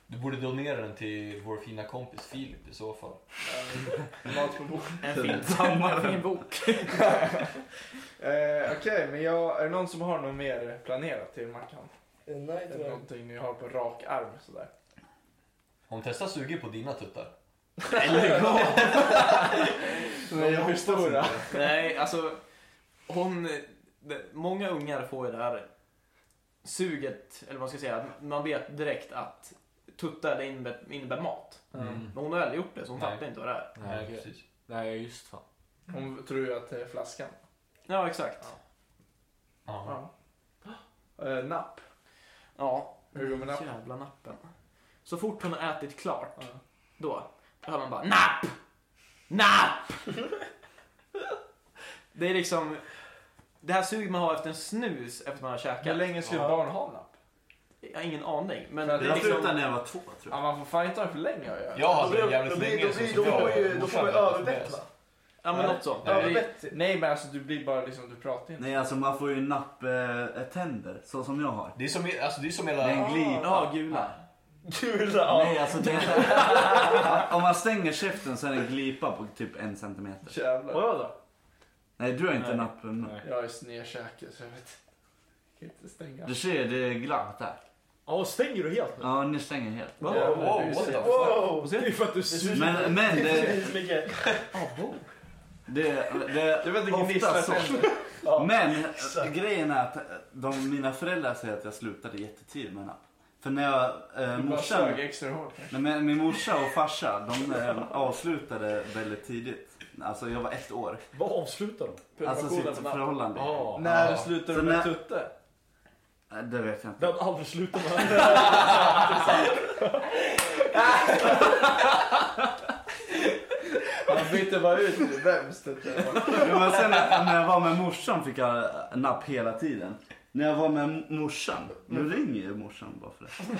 Speaker 6: Du borde donera den till vår fina kompis Filip i så fall.
Speaker 4: Mat på bordet.
Speaker 2: En fin, en fin bok.
Speaker 4: Eh, Okej, men jag, är det någon som har något mer planerat till Mackan?
Speaker 1: Eh, Nej,
Speaker 4: Är det
Speaker 1: tyvärr.
Speaker 4: någonting ni har på rak arm sådär?
Speaker 6: Om Tessa suger på dina tuttar.
Speaker 5: Eller gå!
Speaker 4: Nej, jag förstår det.
Speaker 2: Nej, alltså hon... det- Många ungar får ju det här suget, eller vad man ska säga, att man vet direkt att tuttar det innebär, innebär mat.
Speaker 6: Mm.
Speaker 2: Men hon har aldrig gjort det, så hon
Speaker 6: Nej.
Speaker 2: fattar inte vad det är.
Speaker 6: Nej,
Speaker 7: okej.
Speaker 6: precis.
Speaker 7: Nej, just fan.
Speaker 4: Hon tror ju att det är flaskan.
Speaker 2: Ja, exakt.
Speaker 6: Ja.
Speaker 4: Eh, napp.
Speaker 2: Ja.
Speaker 4: Hur går man nappen?
Speaker 2: Jävla nappen. Så fort hon har ätit klart,
Speaker 4: Ja.
Speaker 2: då, då hör man bara NAPP! NAPP! det är liksom, det här suget man har efter en snus efter man har käkat.
Speaker 4: Hur länge skulle barn ha napp?
Speaker 2: Jag har ingen aning. Men det
Speaker 4: För att
Speaker 2: är
Speaker 5: Jag slutade
Speaker 2: liksom,
Speaker 5: när jag var två tror
Speaker 4: Ja, man får fan inte ha det för länge har jag.
Speaker 6: Jag har
Speaker 1: Då
Speaker 6: haft
Speaker 1: blir-
Speaker 6: det jävligt
Speaker 1: då blir-
Speaker 6: länge
Speaker 1: då
Speaker 6: sen
Speaker 1: blir- då får man ju- Då får man ju överbett va?
Speaker 2: ja men något sånt.
Speaker 6: Nej.
Speaker 2: Vi-
Speaker 1: Överbett.
Speaker 4: Nej men alltså du blir bara liksom, du pratar
Speaker 5: jag.
Speaker 4: inte.
Speaker 5: Nej alltså man får ju napp eh, tänder, så som jag har.
Speaker 6: Det är som, alltså, det är som hela...
Speaker 5: Det är en glid.
Speaker 2: Ja, gula.
Speaker 1: Gula. ja.
Speaker 5: Nej alltså det Om man stänger käften så är det en glipa på typ en centimeter.
Speaker 4: Jävlar.
Speaker 7: jag då?
Speaker 5: Nej du har inte
Speaker 7: Nej.
Speaker 5: nappen.
Speaker 7: Nej.
Speaker 4: Jag är snedkäke så jag vet jag kan inte stänga.
Speaker 5: Du ser det är glatt där.
Speaker 7: Ja, stänger du helt nu?
Speaker 5: Ja ni stänger helt.
Speaker 6: Wow,
Speaker 4: Ja, men
Speaker 6: wow,
Speaker 4: du
Speaker 6: what the
Speaker 4: ser-
Speaker 6: fuck?
Speaker 1: Wow!
Speaker 7: Det är ju för att du suger.
Speaker 5: Men, men det,
Speaker 1: Precis, Micke.
Speaker 5: det, det,
Speaker 4: Jag vet inte, gnisslar
Speaker 5: ofta så.
Speaker 4: tänder.
Speaker 5: Men eh, grejen är att eh, de, mina föräldrar säger att jag slutade jättetidigt med napp. För när jag, eh,
Speaker 4: Du bara
Speaker 5: morsan,
Speaker 4: sög extra hårt. kanske.
Speaker 5: nej, men min morsa och farsa de eh, avslutade väldigt tidigt. Alltså jag var ett år.
Speaker 7: Vad avslutar de?
Speaker 5: Alltså sitt förhållande.
Speaker 7: Ja.
Speaker 4: När slutar du
Speaker 5: Så
Speaker 4: med
Speaker 5: när-
Speaker 4: tutte?
Speaker 5: Eh, Det vet jag inte.
Speaker 7: Den aldrig slutar med
Speaker 4: Han byter bara ut nu. vems tutte var.
Speaker 5: Jo, men sen när jag var med morsan fick jag napp hela tiden. När jag var med morsan,
Speaker 4: Mm.
Speaker 5: nu ringer ju morsan bara för det.
Speaker 1: Hon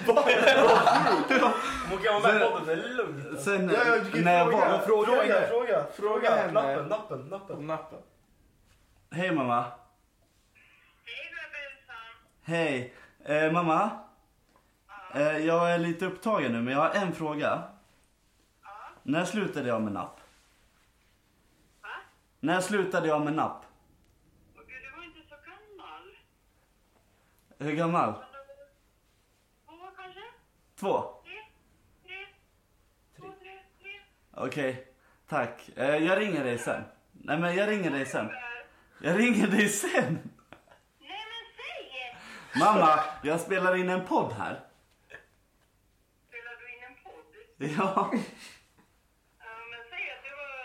Speaker 1: kan vara med i podden, det är lugnt.
Speaker 5: Sen
Speaker 4: Ja, ja, du kan
Speaker 5: när jag
Speaker 4: fråga.
Speaker 5: var,
Speaker 1: Fråga,
Speaker 4: Fråga.
Speaker 1: fråga, fråga.
Speaker 4: Fråga henne.
Speaker 1: Nappen, nappen, nappen.
Speaker 4: Om nappen.
Speaker 5: hej mamma. Hej eh, mamma. Eh, jag är lite upptagen nu men jag har en fråga. När slutade jag med napp? När slutade jag med napp?
Speaker 8: Du var inte så gammal.
Speaker 5: Hur gammal?
Speaker 8: Två kanske?
Speaker 5: Två?
Speaker 8: Tre? Två, tre, tre?
Speaker 5: Okej, tack. Eh, jag ringer dig sen. Nej men jag ringer dig sen. Jag ringer dig sen.
Speaker 8: Nej men säg!
Speaker 5: Mamma, jag spelar in en podd här.
Speaker 8: Spelar du in en podd?
Speaker 5: Ja.
Speaker 8: Ja, men säg att du var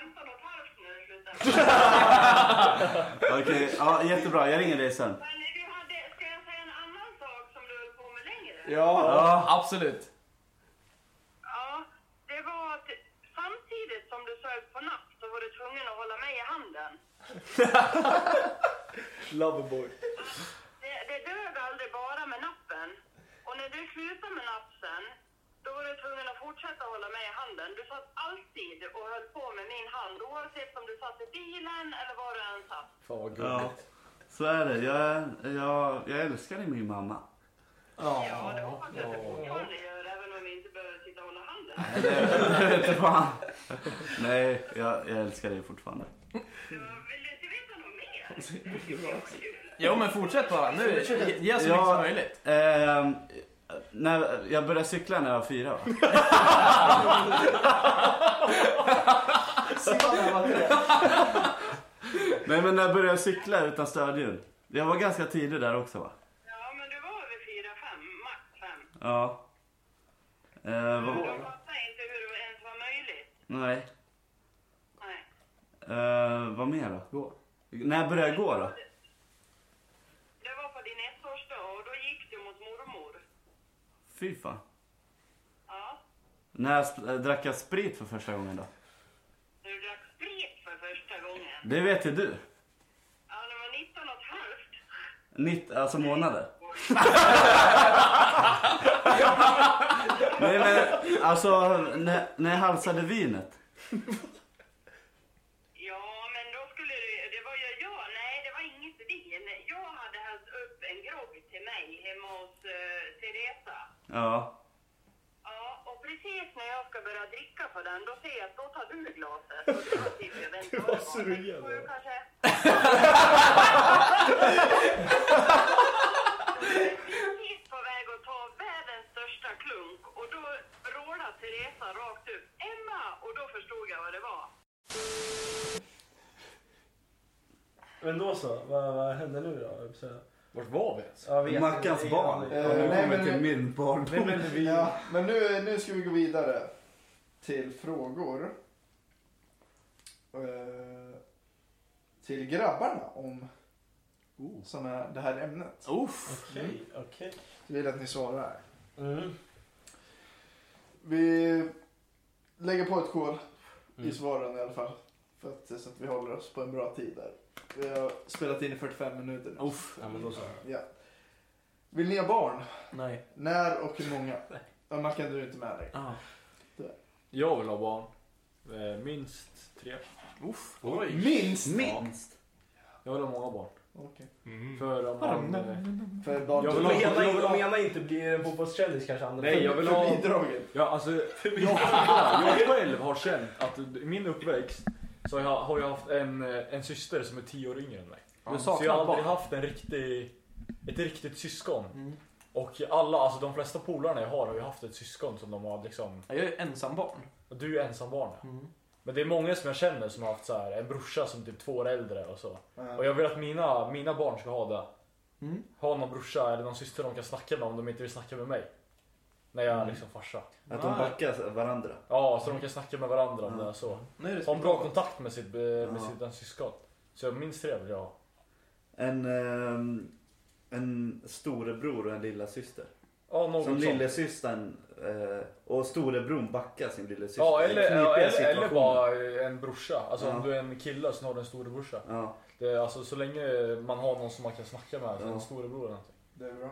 Speaker 8: 15 och ett halvt när du slutade.
Speaker 5: Okej, ja, jättebra. Jag ringer dig sen.
Speaker 8: Men du hade, ska jag säga en annan sak som du höll på med längre?
Speaker 4: Ja.
Speaker 5: Ja,
Speaker 2: Absolut.
Speaker 8: Ja, det var att samtidigt som du sög på napp så var du tvungen att hålla mig i handen.
Speaker 4: Loverboy.
Speaker 8: Det, det dög aldrig bara med nappen. Och när du slutade med nappen, då var du tvungen att fortsätta hålla mig i handen. Du satt alltid och höll på med min hand, oavsett om du satt i bilen eller var du än satt.
Speaker 7: Fan vad
Speaker 5: ja.
Speaker 7: gulligt.
Speaker 5: Så är det. Jag, jag, jag älskar dig min mamma.
Speaker 8: Ja, det hoppas jag att du fortfarande gör, även om vi inte behöver sitta och hålla handen.
Speaker 5: Nej, det vete fan. Nej, jag, jag älskar dig fortfarande.
Speaker 8: Jag vill du inte veta något mer?
Speaker 2: Jo men fortsätt bara. Nu, ge- ge så mycket
Speaker 5: Ja.
Speaker 2: som möjligt.
Speaker 5: Ehm, när, jag började cykla när jag var fyra va? Nej men när jag började cykla utan stödhjul. Jag var ganska tidig där också va?
Speaker 8: Ja, men du var över fyra, fem, max fem.
Speaker 5: Ja. Eh,
Speaker 8: Men
Speaker 5: vad,
Speaker 8: de fattar inte hur det ens var möjligt.
Speaker 5: nej.
Speaker 8: Nej.
Speaker 5: Eh, vad mer då?
Speaker 2: Gå.
Speaker 5: När jag började gå då?
Speaker 8: Det var på din ettårsdag och då gick du mot mormor.
Speaker 5: Fy fan.
Speaker 8: Ja.
Speaker 5: När jag sp- eh, drack jag sprit för första gången då?
Speaker 8: Du drack sprit för första gången.
Speaker 5: Det vet ju du.
Speaker 8: Ja, det var 19 och ett halvt.
Speaker 5: Nitt, alltså månader. Nej men alltså när, när jag halsade vinet.
Speaker 8: Ja, men då skulle det... Det var ju jag. Nej, det var inget vin. Jag hade hällt upp en grogg till mig hemma hos eh, Teresa.
Speaker 5: Ja.
Speaker 8: Ja, och precis när jag ska börja dricka på den, då ser jag att då tar du glaset. Och då tycker jag, vänta, vad var det? Sju kanske? Då är jag precis på väg att ta världens största klunk och då rålar Teresa rakt upp, Emma! Och då förstod jag vad det var.
Speaker 1: Men då så, vad, vad händer nu då? Så,
Speaker 7: Vart var vi ens?
Speaker 1: jag vet
Speaker 5: Mackans
Speaker 1: inte.
Speaker 5: barn.
Speaker 1: Ja,
Speaker 5: Har
Speaker 4: Eh,
Speaker 5: du
Speaker 4: nej, men
Speaker 5: kommit till
Speaker 4: nu-
Speaker 5: min barndom?
Speaker 4: Men, ja, men nu, nu ska vi gå vidare till frågor. Eh, till grabbarna om
Speaker 7: Oh.
Speaker 4: såna, det här ämnet.
Speaker 5: Uff.
Speaker 1: Okej, okej.
Speaker 4: Jag vill att ni svarar.
Speaker 1: Mm.
Speaker 4: Vi lägger på ett kol i
Speaker 1: Mm.
Speaker 4: svaren i alla fall. För att, så att vi håller oss på en bra tid där. Vi har spelat in i 45 minuter nu.
Speaker 5: Uff.
Speaker 1: Ja, men då så.
Speaker 4: Ja. Vill ni ha barn?
Speaker 2: Nej.
Speaker 4: När och hur många? Ja, Mackan, du är inte med dig.
Speaker 2: Ah.
Speaker 7: Jag vill ha barn. Eh, Minst tre.
Speaker 5: Uff.
Speaker 7: Oj.
Speaker 4: Minst!
Speaker 5: Minst.
Speaker 7: Jag vill ha många barn.
Speaker 4: Okej.
Speaker 7: För om man... eh,
Speaker 4: För barn
Speaker 7: Jag vill
Speaker 1: De
Speaker 7: ha-
Speaker 1: menar,
Speaker 7: jag vill
Speaker 1: de
Speaker 7: ha-
Speaker 1: menar inte blir en fotbollskändis kanske Anders?
Speaker 7: Nej, jag vill ha...
Speaker 4: För bidraget.
Speaker 7: Ja, alltså, jag, jag själv har känt att i min uppväxt så har jag, har jag haft en, eh, en syster som är tio år yngre än mig.
Speaker 2: Du
Speaker 7: Så jag har
Speaker 2: saknar
Speaker 7: aldrig
Speaker 2: barn.
Speaker 7: haft en riktig, ett riktigt syskon.
Speaker 2: Mm.
Speaker 7: Och alla, alltså de flesta polarna jag har har ju haft ett syskon som de har liksom...
Speaker 2: Jag är ju ensam barn.
Speaker 7: Och Du är ju ensam barn. ja.
Speaker 2: Mm.
Speaker 7: Men det är många som jag känner som har haft så här, en brorsa som typ två år äldre och så.
Speaker 4: Ja.
Speaker 7: Och jag vill att mina, mina barn ska ha det.
Speaker 2: Mm.
Speaker 7: Ha någon brorsa eller någon syster de kan snacka med om de inte vill snacka med mig. När jag är
Speaker 5: Mm.
Speaker 7: liksom farsa.
Speaker 5: Att de backar varandra.
Speaker 7: Ja, så de kan snacka med varandra om
Speaker 5: Mm.
Speaker 7: det är så.
Speaker 2: Nu är det
Speaker 7: Ha en bra
Speaker 2: spontant.
Speaker 7: kontakt med sitt, eh, med
Speaker 5: Ja.
Speaker 7: sitt den syskon. Så jag minns det vill jag ha.
Speaker 5: En, ehm, en storebror och en lilla syster.
Speaker 7: Ja, något sånt.
Speaker 5: Som lillasystern eh, och storebror backar sin lillasyster.
Speaker 7: Ja,
Speaker 5: Det är
Speaker 7: eller,
Speaker 5: knipiga
Speaker 7: ja, eller, eller
Speaker 5: situationer.
Speaker 7: bara en brorsa. Alltså
Speaker 5: Ja.
Speaker 7: om du är en kille så har du en storebrorsa.
Speaker 5: Ja.
Speaker 7: Det är, alltså, så länge man har någon som man kan snacka med, så
Speaker 5: Ja.
Speaker 7: en storebror eller någonting.
Speaker 4: Det är bra.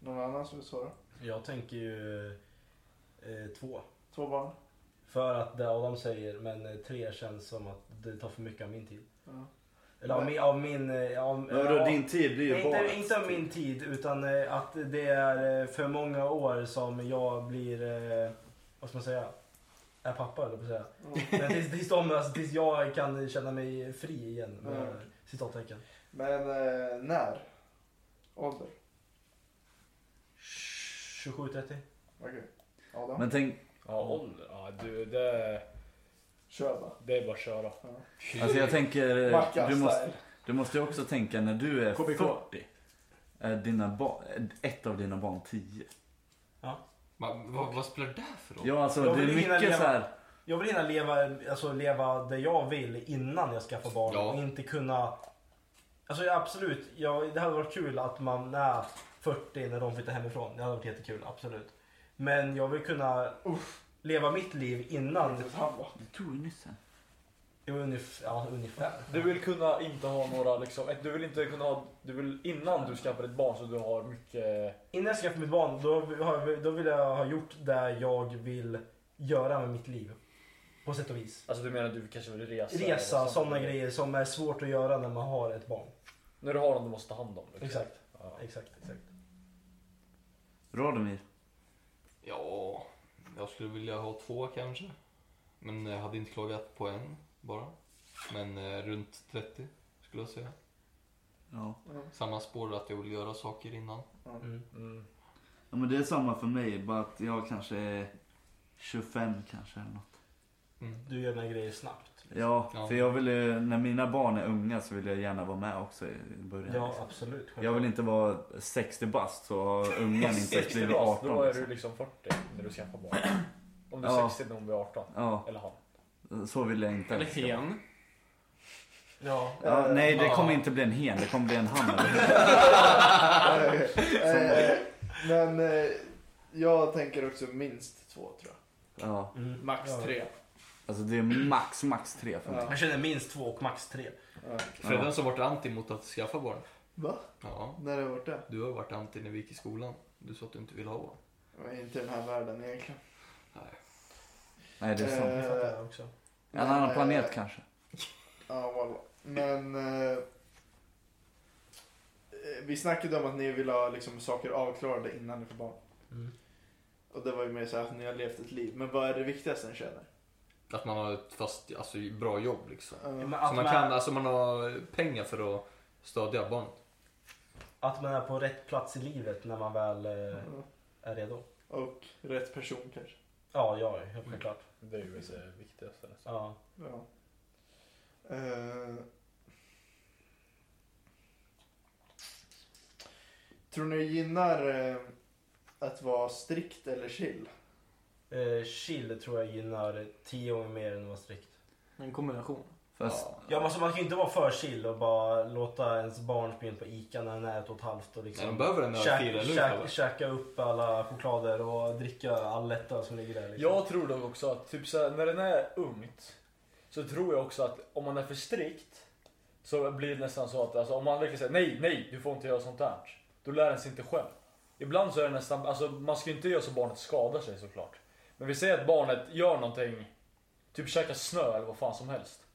Speaker 4: Någon annan som vill svara?
Speaker 1: Jag tänker ju eh, två.
Speaker 4: Två barn?
Speaker 1: För att det Adam säger, men eh, tre känns som att det tar för mycket av min tid.
Speaker 4: Ja.
Speaker 1: Eller av min... Av min eh, av,
Speaker 5: Vadå,
Speaker 1: ja,
Speaker 5: din tid blir ju
Speaker 1: nej,
Speaker 5: barnets
Speaker 1: inte, inte av min tid, utan eh, att det är eh, för många år som jag blir... eh, Vad ska man säga? Är pappa, eller på att säga. Men tills, tills, de, alltså, tills jag kan känna mig fri igen. Med
Speaker 4: Mm.
Speaker 1: citattecken.
Speaker 4: Men eh, när? Ålder?
Speaker 1: 27-30.
Speaker 4: Okej. Adam?
Speaker 5: Men tänk,
Speaker 7: Ja, ålder. Ja, du, det,
Speaker 4: Kör bara.
Speaker 7: det är bara att köra.
Speaker 5: alltså jag tänker, eh,
Speaker 4: Mackan
Speaker 5: du måste,
Speaker 4: style.
Speaker 5: du måste ju också tänka när du är
Speaker 7: KBK.
Speaker 5: 40. Är dina barn, eh, ett av dina barn 10.
Speaker 6: Man, vad, vad spelar det här för roll?
Speaker 5: Ja alltså
Speaker 1: Jag
Speaker 5: det är
Speaker 1: vill hinna
Speaker 5: mycket
Speaker 1: leva-
Speaker 5: så här.
Speaker 1: Jag vill hinna leva, alltså, leva det jag vill innan jag skaffar barn
Speaker 6: Ja.
Speaker 1: och inte kunna... Alltså ja, absolut, ja, det hade varit kul att man är 40 när de flyttar hemifrån. Det hade varit jättekul, absolut. Men jag vill kunna leva mitt liv innan,
Speaker 4: Han bara.
Speaker 5: Du tog ju nyss en.
Speaker 1: ungefär. Ja, ungefär.
Speaker 7: Du vill kunna inte ha några liksom, ett- du vill inte kunna ha, du vill innan du skaffar ett barn så du har mycket,
Speaker 1: Innan jag skaffar mitt barn, då, har- då vill jag ha gjort det jag vill göra med mitt liv. På sätt och vis.
Speaker 7: alltså du menar du kanske vill resa?
Speaker 1: Resa,
Speaker 7: eller
Speaker 1: sådana grejer som är svårt att göra när man har ett barn.
Speaker 7: När du har någon du måste ta hand om. liksom.
Speaker 1: Exakt,
Speaker 7: Ja.
Speaker 1: exakt, exakt.
Speaker 5: Radomir.
Speaker 6: Ja, jag skulle vilja ha två kanske. Men jag hade inte klagat på en bara. Men eh, runt 30 skulle jag säga.
Speaker 5: Ja.
Speaker 6: Samma spår att jag vill göra saker innan.
Speaker 1: Mm.
Speaker 7: Mm.
Speaker 5: ja men det är samma för mig bara att jag kanske är 25 kanske eller något.
Speaker 6: Mm.
Speaker 1: Du gör dina grejer snabbt.
Speaker 5: Ja,
Speaker 6: Ja.
Speaker 5: för jag vill ju, när mina barn är unga så vill jag gärna vara med också i början. liksom.
Speaker 1: Ja, absolut.
Speaker 5: Jag vill inte vara 60 bast så har ungen inte
Speaker 3: 60
Speaker 5: blivit
Speaker 3: bast,
Speaker 5: 18.
Speaker 3: då är
Speaker 5: Liksom.
Speaker 3: du liksom 40 när du skaffar barn. Om du är
Speaker 5: Ja.
Speaker 3: 60 när hon blir 18.
Speaker 5: Ja,
Speaker 3: Eller han.
Speaker 5: så vill jag
Speaker 2: Eller
Speaker 5: inte.
Speaker 2: hen.
Speaker 4: Ja.
Speaker 5: Ja,
Speaker 4: eh,
Speaker 5: nej, det
Speaker 6: ja.
Speaker 5: kommer inte bli en hen, det kommer bli en han.
Speaker 4: eh, eh, men eh, jag tänker också minst två tror jag.
Speaker 5: Ja,
Speaker 3: Mm.
Speaker 4: Max tre.
Speaker 5: alltså det är max, max tre för mig.
Speaker 4: Ja.
Speaker 1: Jag känner minst två och max tre.
Speaker 4: Ja.
Speaker 6: Freddan som varit anti mot att skaffa barn.
Speaker 4: Va?
Speaker 6: Ja,
Speaker 4: När har jag varit det?
Speaker 6: du har varit anti när vi gick i skolan. Du sa att du inte ville ha barn.
Speaker 4: Men Inte i den här världen egentligen.
Speaker 6: Nej.
Speaker 5: Nej, det är sant.
Speaker 4: Eh,
Speaker 1: också.
Speaker 5: En annan
Speaker 4: eh,
Speaker 5: planet kanske.
Speaker 4: Ja, walla. Men... Eh, eh, vi snackade om att ni vill ha liksom, saker avklarade innan ni får barn.
Speaker 1: Mm.
Speaker 4: Och det var ju mer så här att ni har levt ett liv. Men vad är det viktigaste ni känner?
Speaker 6: Att man har ett fast, alltså bra jobb liksom.
Speaker 4: Eh,
Speaker 6: Så man kan, alltså man har pengar för att stödja barn.
Speaker 1: Att man är på rätt plats i livet när man väl eh,
Speaker 4: ja.
Speaker 1: är redo.
Speaker 4: och rätt person kanske.
Speaker 1: Ja, ja, helt klart.
Speaker 3: Det är ju det viktigaste nästan.
Speaker 1: Ja.
Speaker 4: Ja. Eh, tror ni gynnar eh, att vara strikt eller chill?
Speaker 1: Eh, chill tror jag gynnar tio gånger mer än att vara strikt.
Speaker 2: En kombination.
Speaker 5: Fast,
Speaker 1: Ja, men alltså, man kan ju inte vara för chill och bara låta ens barn springa in på ICA när den är ett och ett halvt och
Speaker 6: Nej,
Speaker 1: liksom
Speaker 6: de behöver en ölfil
Speaker 1: käka,
Speaker 6: nu
Speaker 1: käka,
Speaker 6: grabbar.
Speaker 1: käka upp alla choklader och dricka all lättöl som ligger där. Liksom.
Speaker 3: Jag tror dock också att typ så här, när den är ungt så tror jag också att om man är för strikt så blir det nästan så att alltså, om man verkligen säger nej, nej, du får inte göra sånt där. Då lär den sig inte själv. Ibland så är det nästan, alltså man ska ju inte göra så barnet skadar sig såklart. Men vi säger att barnet gör någonting, typ käkar snö eller vad fan som helst.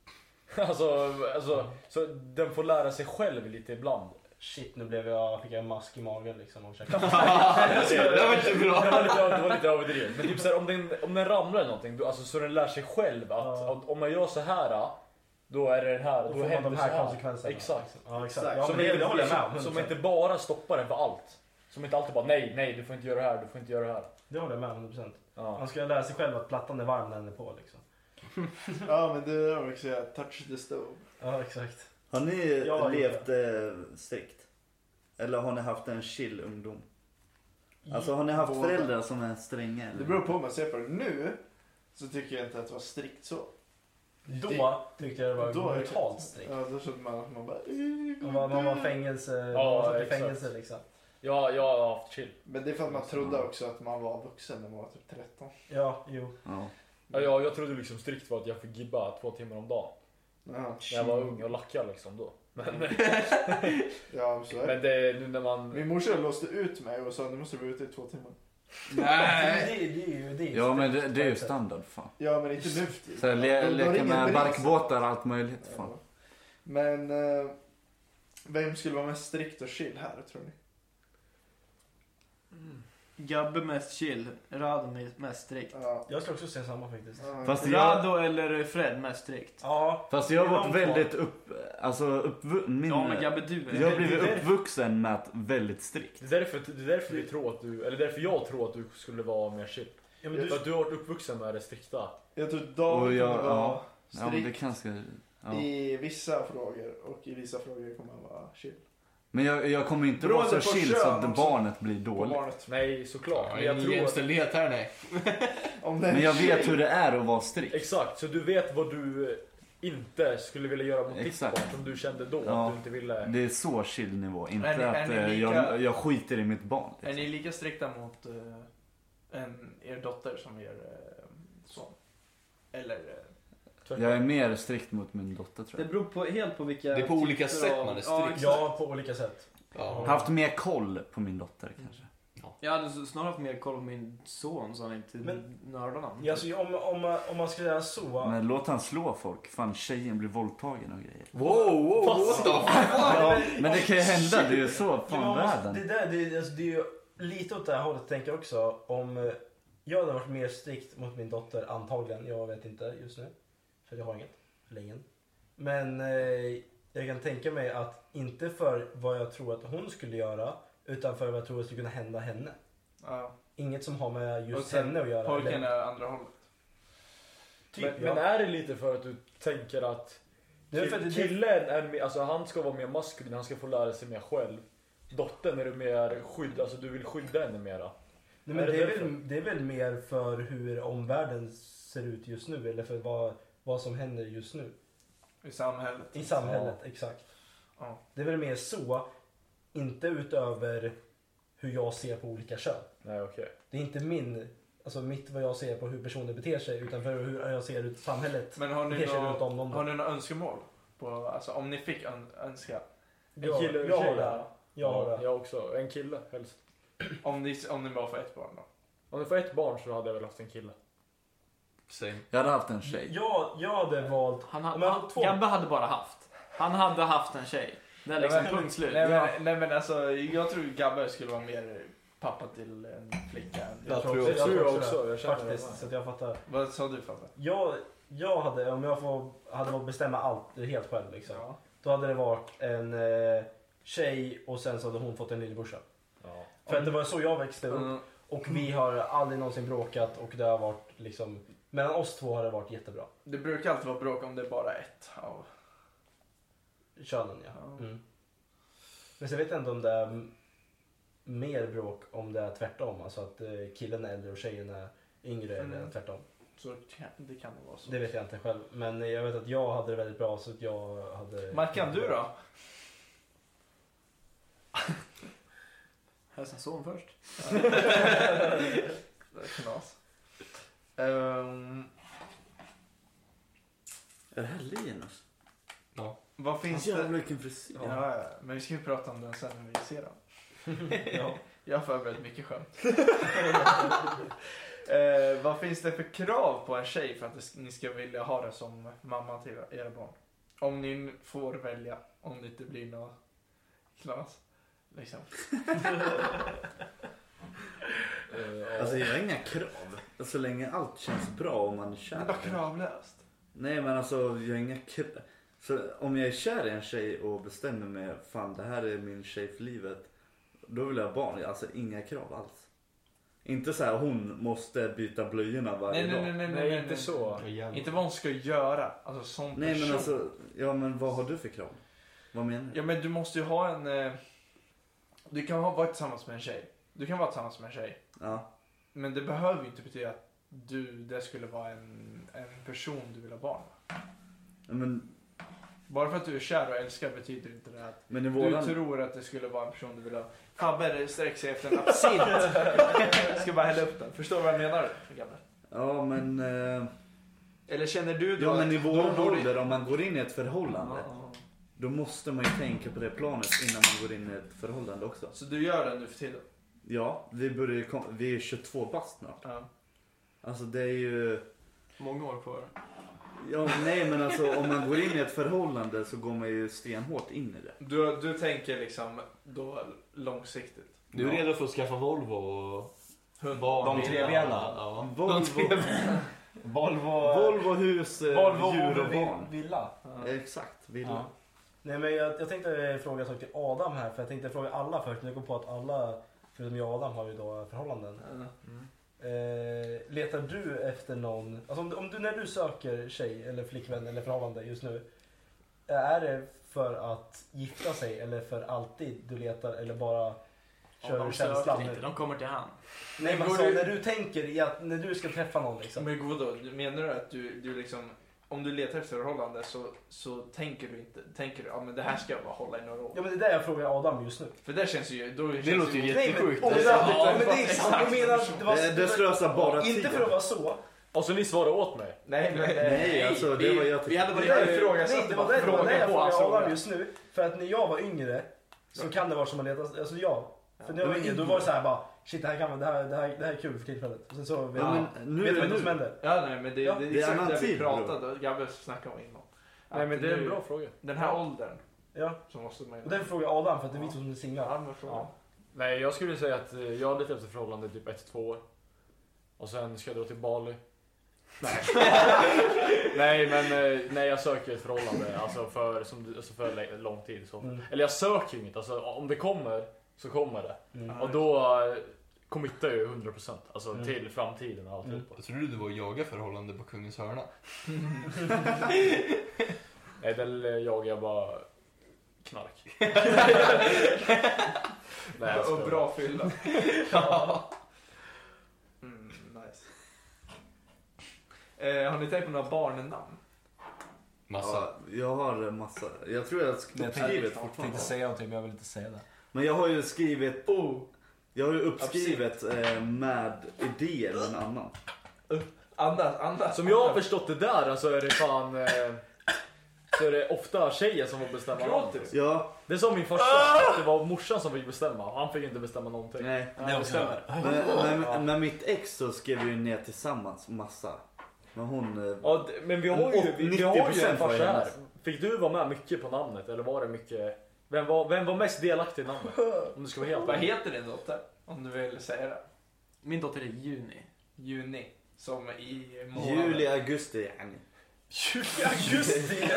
Speaker 3: Alltså, alltså så den får lära sig själv lite ibland.
Speaker 1: Shit, nu blev jag, fick jag en mask i magen liksom och käkade.
Speaker 6: Det var inte bra.
Speaker 3: Det var lite, det var lite överdrivet. Men typ såhär, om, den, om den ramlar eller någonting, då, alltså, så den lär sig själv att
Speaker 1: Ja.
Speaker 3: att om man gör så här då är det den här,
Speaker 1: Då
Speaker 3: då,
Speaker 1: får man
Speaker 3: händer
Speaker 1: de här
Speaker 3: så här.
Speaker 1: konsekvenserna.
Speaker 3: Exakt.
Speaker 1: Ja, exakt.
Speaker 4: Exakt.
Speaker 1: Ja,
Speaker 3: som,
Speaker 1: men det, det håller jag med om.
Speaker 3: som,
Speaker 1: 100%.
Speaker 3: som inte bara stoppar den för allt. Som inte alltid bara nej, nej, du får inte göra det här, du får inte göra det här.
Speaker 1: Det håller jag med om 100%.
Speaker 3: Ja.
Speaker 1: Man ska lära sig själv att plattan är varm när den är på liksom.
Speaker 4: ja, men det är det jag brukar säga. Touch the stove.
Speaker 1: Ja, exakt.
Speaker 5: har ni
Speaker 1: Ja,
Speaker 5: levt eh, strikt? Eller har ni haft en chill ungdom? Alltså har ni haft
Speaker 4: Båda.
Speaker 5: föräldrar som är stränga? Eller?
Speaker 4: Det beror på hur man ser på det. Nu så tycker jag inte att vara strikt så.
Speaker 1: Då tyckte jag det var
Speaker 4: Då är det-
Speaker 1: brutalt strikt.
Speaker 4: Ja, då känner man att man bara...
Speaker 1: Man var, man var fängelse,
Speaker 3: Ja,
Speaker 1: man satt i
Speaker 3: exakt.
Speaker 1: fängelse liksom.
Speaker 3: Ja, jag har haft chill.
Speaker 4: Men det är för att man trodde också att man var vuxen när man var typ 13.
Speaker 1: Ja, jo.
Speaker 5: Ja.
Speaker 3: Ja, jag, jag trodde liksom strikt var att jag fick gibba två timmar om dagen.
Speaker 4: Ja,
Speaker 3: När jag var
Speaker 1: Mm.
Speaker 3: ung och lackade liksom då. Men,
Speaker 4: ja så är det.
Speaker 3: men det, nu när man...
Speaker 4: Min morsa låste ut mig och sa nu måste du vara ute i två timmar.
Speaker 1: Det,
Speaker 6: Nej.
Speaker 1: det, det, är ju- det är ju
Speaker 5: Ja men
Speaker 1: strikt
Speaker 5: det, det är ju
Speaker 1: på ett sätt.
Speaker 5: standard fan.
Speaker 4: Ja men inte nu för
Speaker 5: Så här,
Speaker 4: tiden.
Speaker 5: le,
Speaker 4: De- de har
Speaker 5: leka
Speaker 4: ingen
Speaker 5: med
Speaker 4: bevis.
Speaker 5: barkbåtar och allt möjligt fan.
Speaker 4: Ja. Men eh, vem skulle vara mest strikt och chill här tror ni?
Speaker 2: Gabbe mest chill, Rado mest strikt.
Speaker 4: Ja.
Speaker 1: Jag skulle också säga samma faktiskt.
Speaker 4: ja.
Speaker 2: Alltså,
Speaker 5: Fast jag,
Speaker 2: Rado eller Fred mest strikt.
Speaker 1: Ja,
Speaker 5: fast jag har
Speaker 1: de
Speaker 5: varit
Speaker 1: två.
Speaker 5: väldigt upp, alltså uppvu, min,
Speaker 2: Ja men Gabbe du
Speaker 5: Jag har
Speaker 2: är...
Speaker 5: blivit
Speaker 3: det är-
Speaker 5: uppvuxen med att väldigt strikt.
Speaker 3: Det är därför, det är därför vi tror att du, eller därför jag tror att du skulle vara mer chill.
Speaker 1: ja men
Speaker 3: För
Speaker 1: du,
Speaker 3: att du har varit uppvuxen med det strikta.
Speaker 4: Jag tror David
Speaker 5: Och jag-
Speaker 4: kommer vara
Speaker 5: ja. Ja men det
Speaker 4: strikt
Speaker 5: kanske, ja.
Speaker 4: i vissa frågor och i vissa frågor kommer han vara chill.
Speaker 5: Men jag, jag kommer inte vara
Speaker 4: Beroende
Speaker 5: så
Speaker 4: på
Speaker 5: chill
Speaker 4: kön
Speaker 5: så att
Speaker 4: också.
Speaker 5: barnet blir
Speaker 4: På
Speaker 5: dåligt.
Speaker 4: barnet.
Speaker 3: Nej, såklart.
Speaker 6: Ja,
Speaker 3: men jag
Speaker 6: ingen
Speaker 3: tror att,
Speaker 6: jämställdhet här nej.
Speaker 4: Om det är
Speaker 5: Men jag
Speaker 4: chill,
Speaker 5: vet hur det är att vara strikt.
Speaker 3: Exakt, så du vet vad du eh, inte skulle vilja göra mot ditt
Speaker 5: Exakt.
Speaker 3: barn som du kände då
Speaker 5: Ja. Mm.
Speaker 3: att du inte ville.
Speaker 5: Det är så chill nivå, inte
Speaker 2: Är ni- är
Speaker 5: att
Speaker 2: ni
Speaker 5: eh,
Speaker 2: lika-
Speaker 5: jag, jag skiter i mitt barn.
Speaker 2: Är
Speaker 5: Liksom.
Speaker 2: ni lika strikta mot eh, en, er dotter som er eh, son? Eller? eh,
Speaker 3: Tvärtom.
Speaker 5: liksom. Jag är mer strikt mot min dotter tror
Speaker 2: Det
Speaker 5: jag.
Speaker 2: beror på, helt på vilka...
Speaker 6: Det är på
Speaker 2: typer
Speaker 6: olika sätt
Speaker 2: av-
Speaker 6: man är
Speaker 2: Ja,
Speaker 6: strikt.
Speaker 2: exakt.
Speaker 1: ja, på olika sätt.
Speaker 6: Ja.
Speaker 5: Haft mer koll på min dotter kanske.
Speaker 2: Jag hade s- snarare haft mer koll på min son så han inte
Speaker 1: Men-
Speaker 2: nördade honom.
Speaker 1: Ja, alltså, om, om, om man ska säga så.
Speaker 5: Men låt han slå folk, fan tjejen blir våldtagen och grejer.
Speaker 6: Wow, wow, what the fuck?
Speaker 5: Ja, men det kan ju hända, det är ju så fan
Speaker 1: Ja,
Speaker 5: världen.
Speaker 1: Det, där, det, är- alltså, det är ju lite åt det här hållet tänker jag också. Om eh, jag hade varit mer strikt mot min dotter antagligen. Jag vet inte just nu. För jag har inget. Eller ingen. Men eh, jag kan tänka mig att inte för vad jag tror att hon skulle göra. Utan för vad jag tror skulle kunna hända henne.
Speaker 4: Ja.
Speaker 1: Inget som har med
Speaker 4: Och
Speaker 1: just
Speaker 4: sen
Speaker 1: henne att göra.
Speaker 4: Pojken
Speaker 1: eller-
Speaker 4: är andra hållet.
Speaker 1: Typ,
Speaker 3: men,
Speaker 1: ja.
Speaker 3: men är det lite för att du tänker att
Speaker 1: Det är för att det-
Speaker 3: kill- killen är mer, alltså han ska vara mer maskulin, han ska få lära sig mer själv. Dottern är du mer skydd, alltså du vill skydda henne mera.
Speaker 1: Nej, men
Speaker 3: Är det
Speaker 1: det, är
Speaker 3: därför?
Speaker 1: väl, det är väl mer för hur omvärlden ser ut just nu eller för vad, vad som händer just nu.
Speaker 4: I samhället.
Speaker 1: I samhället, exakt.
Speaker 4: Ja.
Speaker 1: Det är väl mer så, inte utöver hur jag ser på olika kön.
Speaker 3: Nej okej.
Speaker 1: Det är inte min, alltså mitt vad jag ser på hur personer beter sig utan för hur jag ser ut samhället.
Speaker 4: Men har ni
Speaker 1: beter sig runt
Speaker 4: några
Speaker 1: om dem.
Speaker 4: har ni några önskemål? På, alltså om ni fick ön, önska.
Speaker 3: En
Speaker 1: Jag,
Speaker 3: kille och
Speaker 1: jag
Speaker 3: en
Speaker 1: har
Speaker 3: tjej?
Speaker 1: det. Jag har
Speaker 3: Ja,
Speaker 1: det.
Speaker 3: jag också. En kille helst.
Speaker 4: Om ni, om ni bara får ett barn då.
Speaker 3: Om du får ett barn så hade jag väl haft en kille.
Speaker 6: Same.
Speaker 5: Jag hade haft en tjej.
Speaker 1: Jag, jag hade valt...
Speaker 2: Han, ha-
Speaker 1: Men
Speaker 2: han,
Speaker 1: två-
Speaker 2: Gabbe hade bara haft. Han hade haft en tjej. Det är liksom
Speaker 4: Nej, men-
Speaker 2: punkt slut.
Speaker 4: Nej men, nej, men alltså jag tror Gabbe skulle vara mer pappa till en flicka. än-
Speaker 6: Jag tror
Speaker 3: Det
Speaker 6: också.
Speaker 3: tror jag
Speaker 1: det,
Speaker 3: också. Jag känner det.
Speaker 1: Faktiskt, så att jag fattar.
Speaker 4: Vad sa du Fabbe?
Speaker 1: Jag, jag hade, om jag får, hade fått bestämma allt helt själv liksom.
Speaker 4: Ja.
Speaker 1: Då hade det varit en eh, tjej och sen så hade hon fått en lillebrorsa.
Speaker 3: Ja.
Speaker 1: För att det var så jag växte upp
Speaker 4: Mm.
Speaker 1: och vi har aldrig någonsin bråkat och det har varit liksom mellan oss två har det varit jättebra.
Speaker 4: Det brukar alltid vara bråk om det är bara ett av...
Speaker 1: Könen ja.
Speaker 4: Ja.
Speaker 1: Mm. Men sen vet jag inte om det är m- mer bråk om det är tvärtom. Alltså att eh, killen är äldre och tjejen är yngre eller
Speaker 4: Mm.
Speaker 1: tvärtom.
Speaker 4: Så kan- det kan nog vara så.
Speaker 1: Det vet jag inte själv. Men jag vet att jag hade det väldigt bra så att jag hade...
Speaker 4: Mackan, du då?
Speaker 2: Hälsa son först.
Speaker 4: Det är Knas. Ehm,
Speaker 5: Är det här Linus?
Speaker 4: vad
Speaker 2: Alltså,
Speaker 4: finns det?
Speaker 5: Jävlar vilken frisyr.
Speaker 4: Ja, ja, ja. men vi ska ju prata om den sen när vi ser den.
Speaker 1: Ja.
Speaker 4: Jag har förberett mycket skämt. eh, vad finns det för krav på en tjej för att det sk- ni ska vilja ha det som mamma till era barn? Om ni får välja, om det inte blir något knas. Liksom.
Speaker 3: Eh, ja.
Speaker 5: Alltså jag har inga krav. Alltså, Så länge allt känns bra och man är
Speaker 4: Det är
Speaker 5: kär.
Speaker 4: bara kravlöst.
Speaker 5: Nej men alltså jag har inga krav. Så om jag är kär i en tjej och bestämmer mig, fan det här är min tjej för livet. Då vill jag ha barn. Alltså inga krav alls. Inte så här hon måste byta blöjorna varje
Speaker 4: Nej, nej,
Speaker 5: dag.
Speaker 4: nej, nej, nej,
Speaker 3: Nej,
Speaker 4: nej,
Speaker 3: inte så.
Speaker 4: Inte vad hon ska göra, alltså som
Speaker 5: Nej
Speaker 4: person.
Speaker 5: men alltså, ja men vad har du för krav? Vad menar du?
Speaker 4: Ja men du måste ju ha en... Eh, du kan ha, vara tillsammans med en tjej. Du kan vara tillsammans med en tjej.
Speaker 5: Ja.
Speaker 4: Men det behöver ju inte betyda att du, det skulle vara en, en person du vill ha barn med.
Speaker 5: Ja, Men,
Speaker 4: Bara för att du är kär och älskar betyder inte det att
Speaker 5: men i
Speaker 4: du
Speaker 5: våran...
Speaker 4: tror att det skulle vara en person du vill ha. Fabbe sträcker sig efter en absint. Jag ska bara hälla upp den. Förstår du vad jag menar grabbar?
Speaker 5: Ja men, eh,
Speaker 4: Eller känner du då
Speaker 5: ja men i
Speaker 4: att- då
Speaker 5: våran
Speaker 4: borde-
Speaker 5: ålder om man går in i ett
Speaker 4: Ja,
Speaker 5: förhållande.
Speaker 4: ja.
Speaker 5: Då måste man ju tänka på det planet innan man går in i ett förhållande också.
Speaker 4: Så du gör det nu för tiden?
Speaker 5: Ja, vi börjar ju kom- vi är 22 bast snart.
Speaker 4: Ja.
Speaker 5: Alltså det är ju...
Speaker 6: Många år kvar.
Speaker 5: Ja, nej men alltså om man går in i ett förhållande så går man ju stenhårt in i det.
Speaker 4: Du, du tänker liksom då långsiktigt?
Speaker 6: Du är
Speaker 5: Ja.
Speaker 6: redo för att skaffa Volvo och...
Speaker 4: Hund.
Speaker 6: barn.
Speaker 4: bil.
Speaker 1: trebena.
Speaker 6: Ja.
Speaker 5: Volvo,
Speaker 1: Volvo...
Speaker 5: Volvo hus, eh, djur och barn.
Speaker 1: villa.
Speaker 4: Ja.
Speaker 5: Exakt, villa.
Speaker 1: Nej men jag, jag tänkte fråga en sak till Adam här för jag tänkte fråga alla först men jag kom på att alla förutom jag och Adam har ju då förhållanden.
Speaker 4: Ja.
Speaker 1: Eh, letar du efter någon, alltså om, du- om du, när du söker tjej eller flickvän eller förhållande just nu. eh, Är det för att gifta sig eller för alltid du letar eller bara
Speaker 2: Om
Speaker 1: kör
Speaker 2: de
Speaker 1: du
Speaker 2: söker
Speaker 1: känslan?
Speaker 2: inte, de kommer till han.
Speaker 1: Nej men
Speaker 4: Går Mm.
Speaker 1: alltså,
Speaker 4: du-
Speaker 1: när du tänker i att när du ska träffa någon liksom.
Speaker 4: Men godå, du- menar du att du, du liksom, om du letar efter förhållande så, så tänker du inte, tänker du ja men det här ska jag bara hålla i några år.
Speaker 1: Ja men det är där jag frågar Adam just nu.
Speaker 4: För där känns det ju, då känns
Speaker 6: låter ju
Speaker 1: Nej men,
Speaker 6: jättesjukt.
Speaker 1: om det,
Speaker 4: Ja,
Speaker 1: ja, men det är
Speaker 4: exakt.
Speaker 1: sant. Jag menar att det var...
Speaker 5: Det, det slösar bara tid.
Speaker 1: inte för att vara så.
Speaker 3: Och så ni svarade åt mig.
Speaker 4: Nej men, eh,
Speaker 5: Nej, alltså det
Speaker 2: vi,
Speaker 5: var jag
Speaker 2: vi hade
Speaker 4: Det
Speaker 2: varit...
Speaker 4: där är
Speaker 1: Nej,
Speaker 4: ifrågasatte
Speaker 1: Nej, det var
Speaker 4: bara
Speaker 1: det, det var
Speaker 4: frågan
Speaker 1: det jag
Speaker 4: på
Speaker 1: frågade
Speaker 4: hans
Speaker 1: Adam
Speaker 4: fråga. alltså.
Speaker 1: just nu. För att när jag var yngre så kan det vara som att leta, alltså jag. För när jag var
Speaker 5: Men
Speaker 1: yngre då
Speaker 5: yngre.
Speaker 1: var det så här bara shit det här, kan, vara- det här, det här, det här är kul för tillfället. Och sen så vet,
Speaker 5: Ja, men nu
Speaker 1: vet
Speaker 5: är
Speaker 1: man
Speaker 5: det
Speaker 1: inte vad som
Speaker 5: nu.
Speaker 1: händer.
Speaker 4: Ja nej men det,
Speaker 1: Ja.
Speaker 4: det,
Speaker 5: Det är
Speaker 4: är
Speaker 5: annan
Speaker 4: exakt det vi
Speaker 5: tid, bror.
Speaker 4: pratade och Gabbe snackade om innan.
Speaker 3: Nej
Speaker 4: Att
Speaker 3: men det är en
Speaker 4: nu-
Speaker 3: bra fråga.
Speaker 4: Den här åldern
Speaker 1: Ja.
Speaker 4: så måste man ju...
Speaker 1: Och därför frågar jag Adam för att det är vi två som är singlar.
Speaker 4: Ja, men frågan.
Speaker 3: Ja. Nej jag skulle säga att eh, jag letar efter förhållande typ 1-2 år. Och sen ska jag dra till Bali. Nej. nej men eh, nej, jag söker ett förhållande alltså för, som, du- alltså för lä- lång tid. Så.
Speaker 1: Mm.
Speaker 3: Eller jag söker inget, alltså, om det kommer så kommer det.
Speaker 1: Mm.
Speaker 3: Och då eh,
Speaker 7: committar ju 100% alltså till framtiden och alltihopa.
Speaker 6: Jag trodde det var att jaga förhållande på kungens hörna.
Speaker 7: Nej, där jagar jag bara knark. Nej, jag
Speaker 4: och
Speaker 7: skojar.
Speaker 4: bra fylla. mm, nice. Eh, har ni tänkt på några barnnamn?
Speaker 6: Massa.
Speaker 5: Ja, jag har massa. Jag tror jag har sk- skrivit fortfarande.
Speaker 1: säga någonting men jag vill inte säga det.
Speaker 5: Men jag har ju skrivit,
Speaker 4: Oh,
Speaker 5: jag har ju uppskrivet eh, med idéer med en annan.
Speaker 4: andas, andas.
Speaker 7: Som jag har förstått det där så är det fan... Eh, så är det ofta tjejer som får bestämma
Speaker 4: Gråter
Speaker 7: namn.
Speaker 5: Ja,
Speaker 7: Det sa min farsa, att det var morsan som fick bestämma. Han fick inte bestämma någonting.
Speaker 5: nej.
Speaker 7: Nej, det stämmer.
Speaker 5: Men, men, men mitt ex så skrev ju ner tillsammans massa. Men hon... eh,
Speaker 7: Ja, d- men vi har ju, vi, vi har ju
Speaker 5: 90%
Speaker 7: en
Speaker 5: var
Speaker 7: farsa här.
Speaker 5: hennes.
Speaker 7: Fick du vara med mycket på namnet eller var det mycket... Vem var, vem var mest delaktig i namnet? Om du ska vara helt
Speaker 4: Vad
Speaker 7: ärlig.
Speaker 4: heter din dotter? Om du vill säga det.
Speaker 2: Min dotter är Juni.
Speaker 4: Juni. Som i månaden.
Speaker 5: Juli, augusti, yani.
Speaker 4: Augusti.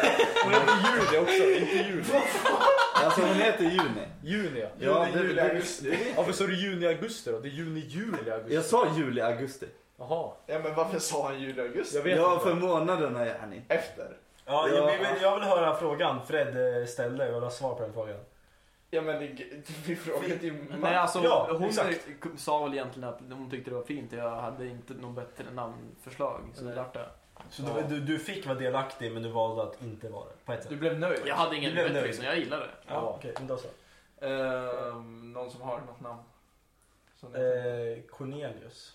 Speaker 7: Hon heter Juni också, inte Juni.
Speaker 5: Alltså hon heter Juni.
Speaker 7: Juni ja.
Speaker 5: Ja, det,
Speaker 4: juli,
Speaker 5: det,
Speaker 4: augusti.
Speaker 7: Varför sa du juni augusti då? Det är juni, juli,
Speaker 5: jag
Speaker 7: augusti.
Speaker 5: sa juli, augusti.
Speaker 7: Jaha,
Speaker 4: Ja men varför sa han juli, augusti?
Speaker 7: jag vet
Speaker 5: Ja,
Speaker 7: inte.
Speaker 5: för månaderna, yani.
Speaker 4: Efter?
Speaker 1: Ja,
Speaker 5: Ja.
Speaker 1: Jag, vill, jag vill höra frågan Fred eh, ställde. Jag vill ha svar på den frågan.
Speaker 4: Ja men det, det, vi frågade ju
Speaker 2: Nej, alltså,
Speaker 1: Mm. Ja,
Speaker 2: hon
Speaker 1: exakt.
Speaker 2: sa väl egentligen att hon tyckte det var fint och jag hade inte något bättre namnförslag. Så det vart det.
Speaker 1: Så du, du, du fick vara delaktig men du valde att inte vara det på ett sätt.
Speaker 4: Du blev nöjd?
Speaker 2: Jag hade ingen
Speaker 1: Du blev
Speaker 2: bättre
Speaker 1: nöjd.
Speaker 2: liksom, jag gillade det.
Speaker 1: ja, okej, men då så.
Speaker 4: Ehm, någon som har något namn? Som ni har tänkt
Speaker 1: Eh, Cornelius.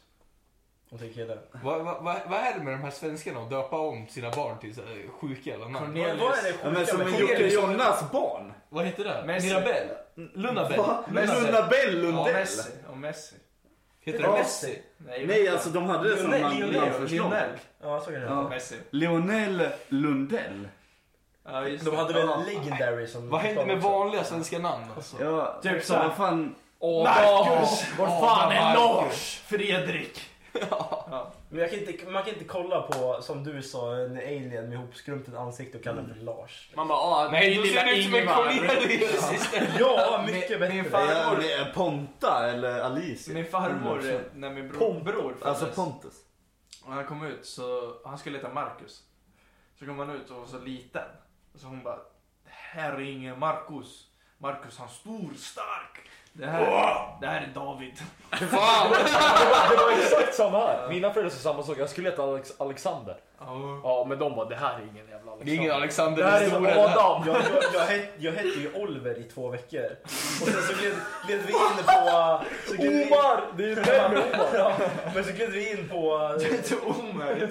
Speaker 1: Om det är killen.
Speaker 6: Vad vad- vad- vad är det med de här svenskarna att döpa om sina barn till så här sjuka jävla
Speaker 4: på?
Speaker 6: namn?
Speaker 1: Vad- Vad är det
Speaker 5: Ja, men
Speaker 1: sjuka
Speaker 5: som
Speaker 1: med
Speaker 5: en Jocke
Speaker 1: Cornelius?
Speaker 5: Jonas barn.
Speaker 2: Vad heter det?
Speaker 4: Messi.
Speaker 2: Mirabelle? Lunabelle?
Speaker 5: Va?
Speaker 4: Messi.
Speaker 5: Lundabell,
Speaker 4: Ja,
Speaker 5: Lundell.
Speaker 4: Messi. Och Messi.
Speaker 6: Heter
Speaker 5: Ja.
Speaker 6: det
Speaker 1: Messi?
Speaker 5: Nej, alltså de hade det som
Speaker 1: Lionel,
Speaker 5: namn-
Speaker 1: Lionel,
Speaker 5: namnförslag.
Speaker 4: Lionel.
Speaker 1: Ja, så kan det
Speaker 5: Ja.
Speaker 1: heta.
Speaker 4: Messi.
Speaker 5: Lionel Lundell.
Speaker 4: Ja, just
Speaker 1: De
Speaker 4: det.
Speaker 1: hade väl
Speaker 6: Ja.
Speaker 1: Legendary som...
Speaker 6: Vad händer med
Speaker 1: också?
Speaker 6: vanliga svenska namn? Alltså?
Speaker 5: Ja,
Speaker 4: Typ så här.
Speaker 5: vad fan.
Speaker 2: Åh,
Speaker 4: Marcus!
Speaker 2: Vart fan är Lars? Fredrik?
Speaker 1: Men jag kan inte, man kan inte kolla på, som du sa, en alien med hopskrumpet ansikte och kalla den för Lars.
Speaker 2: Man bara, ah,
Speaker 6: Nej,
Speaker 2: det är
Speaker 6: då ser
Speaker 2: lilla
Speaker 6: det ut som en
Speaker 2: Ingvar.
Speaker 6: Cornelius istället.
Speaker 1: Ja, mycket
Speaker 4: min-
Speaker 1: bättre.
Speaker 4: min fan-
Speaker 5: Ja, det är Ponta eller Alicia.
Speaker 4: Min farmor,
Speaker 5: Mm.
Speaker 4: när min bror, bror
Speaker 5: Alltså
Speaker 4: föddes,
Speaker 5: Pontus.
Speaker 4: och han kom ut så, han skulle heta Marcus. Så kom han ut och var så liten. Så hon bara, det här är ingen Marcus. Marcus han är stor, stark. Det här, det här är David.
Speaker 7: Det var exakt samma här. Mina föräldrar sa samma sak. Jag skulle heta Alex- Alexander.
Speaker 4: Ja.
Speaker 7: Ja, men de bara det här är ingen jävla
Speaker 6: Det är ingen
Speaker 7: Alexander.
Speaker 6: Alexander
Speaker 7: Det här
Speaker 6: den
Speaker 7: är
Speaker 6: store. där.
Speaker 7: Adam.
Speaker 1: Jag, jag, jag, het, jag hette ju Oliver i två veckor. Och sen så gled, gled vi in på... Så gled vi in,
Speaker 7: Omar! Det är ju den med Omar.
Speaker 1: ja, men så gled vi in på...
Speaker 4: Det är inte omöjligt.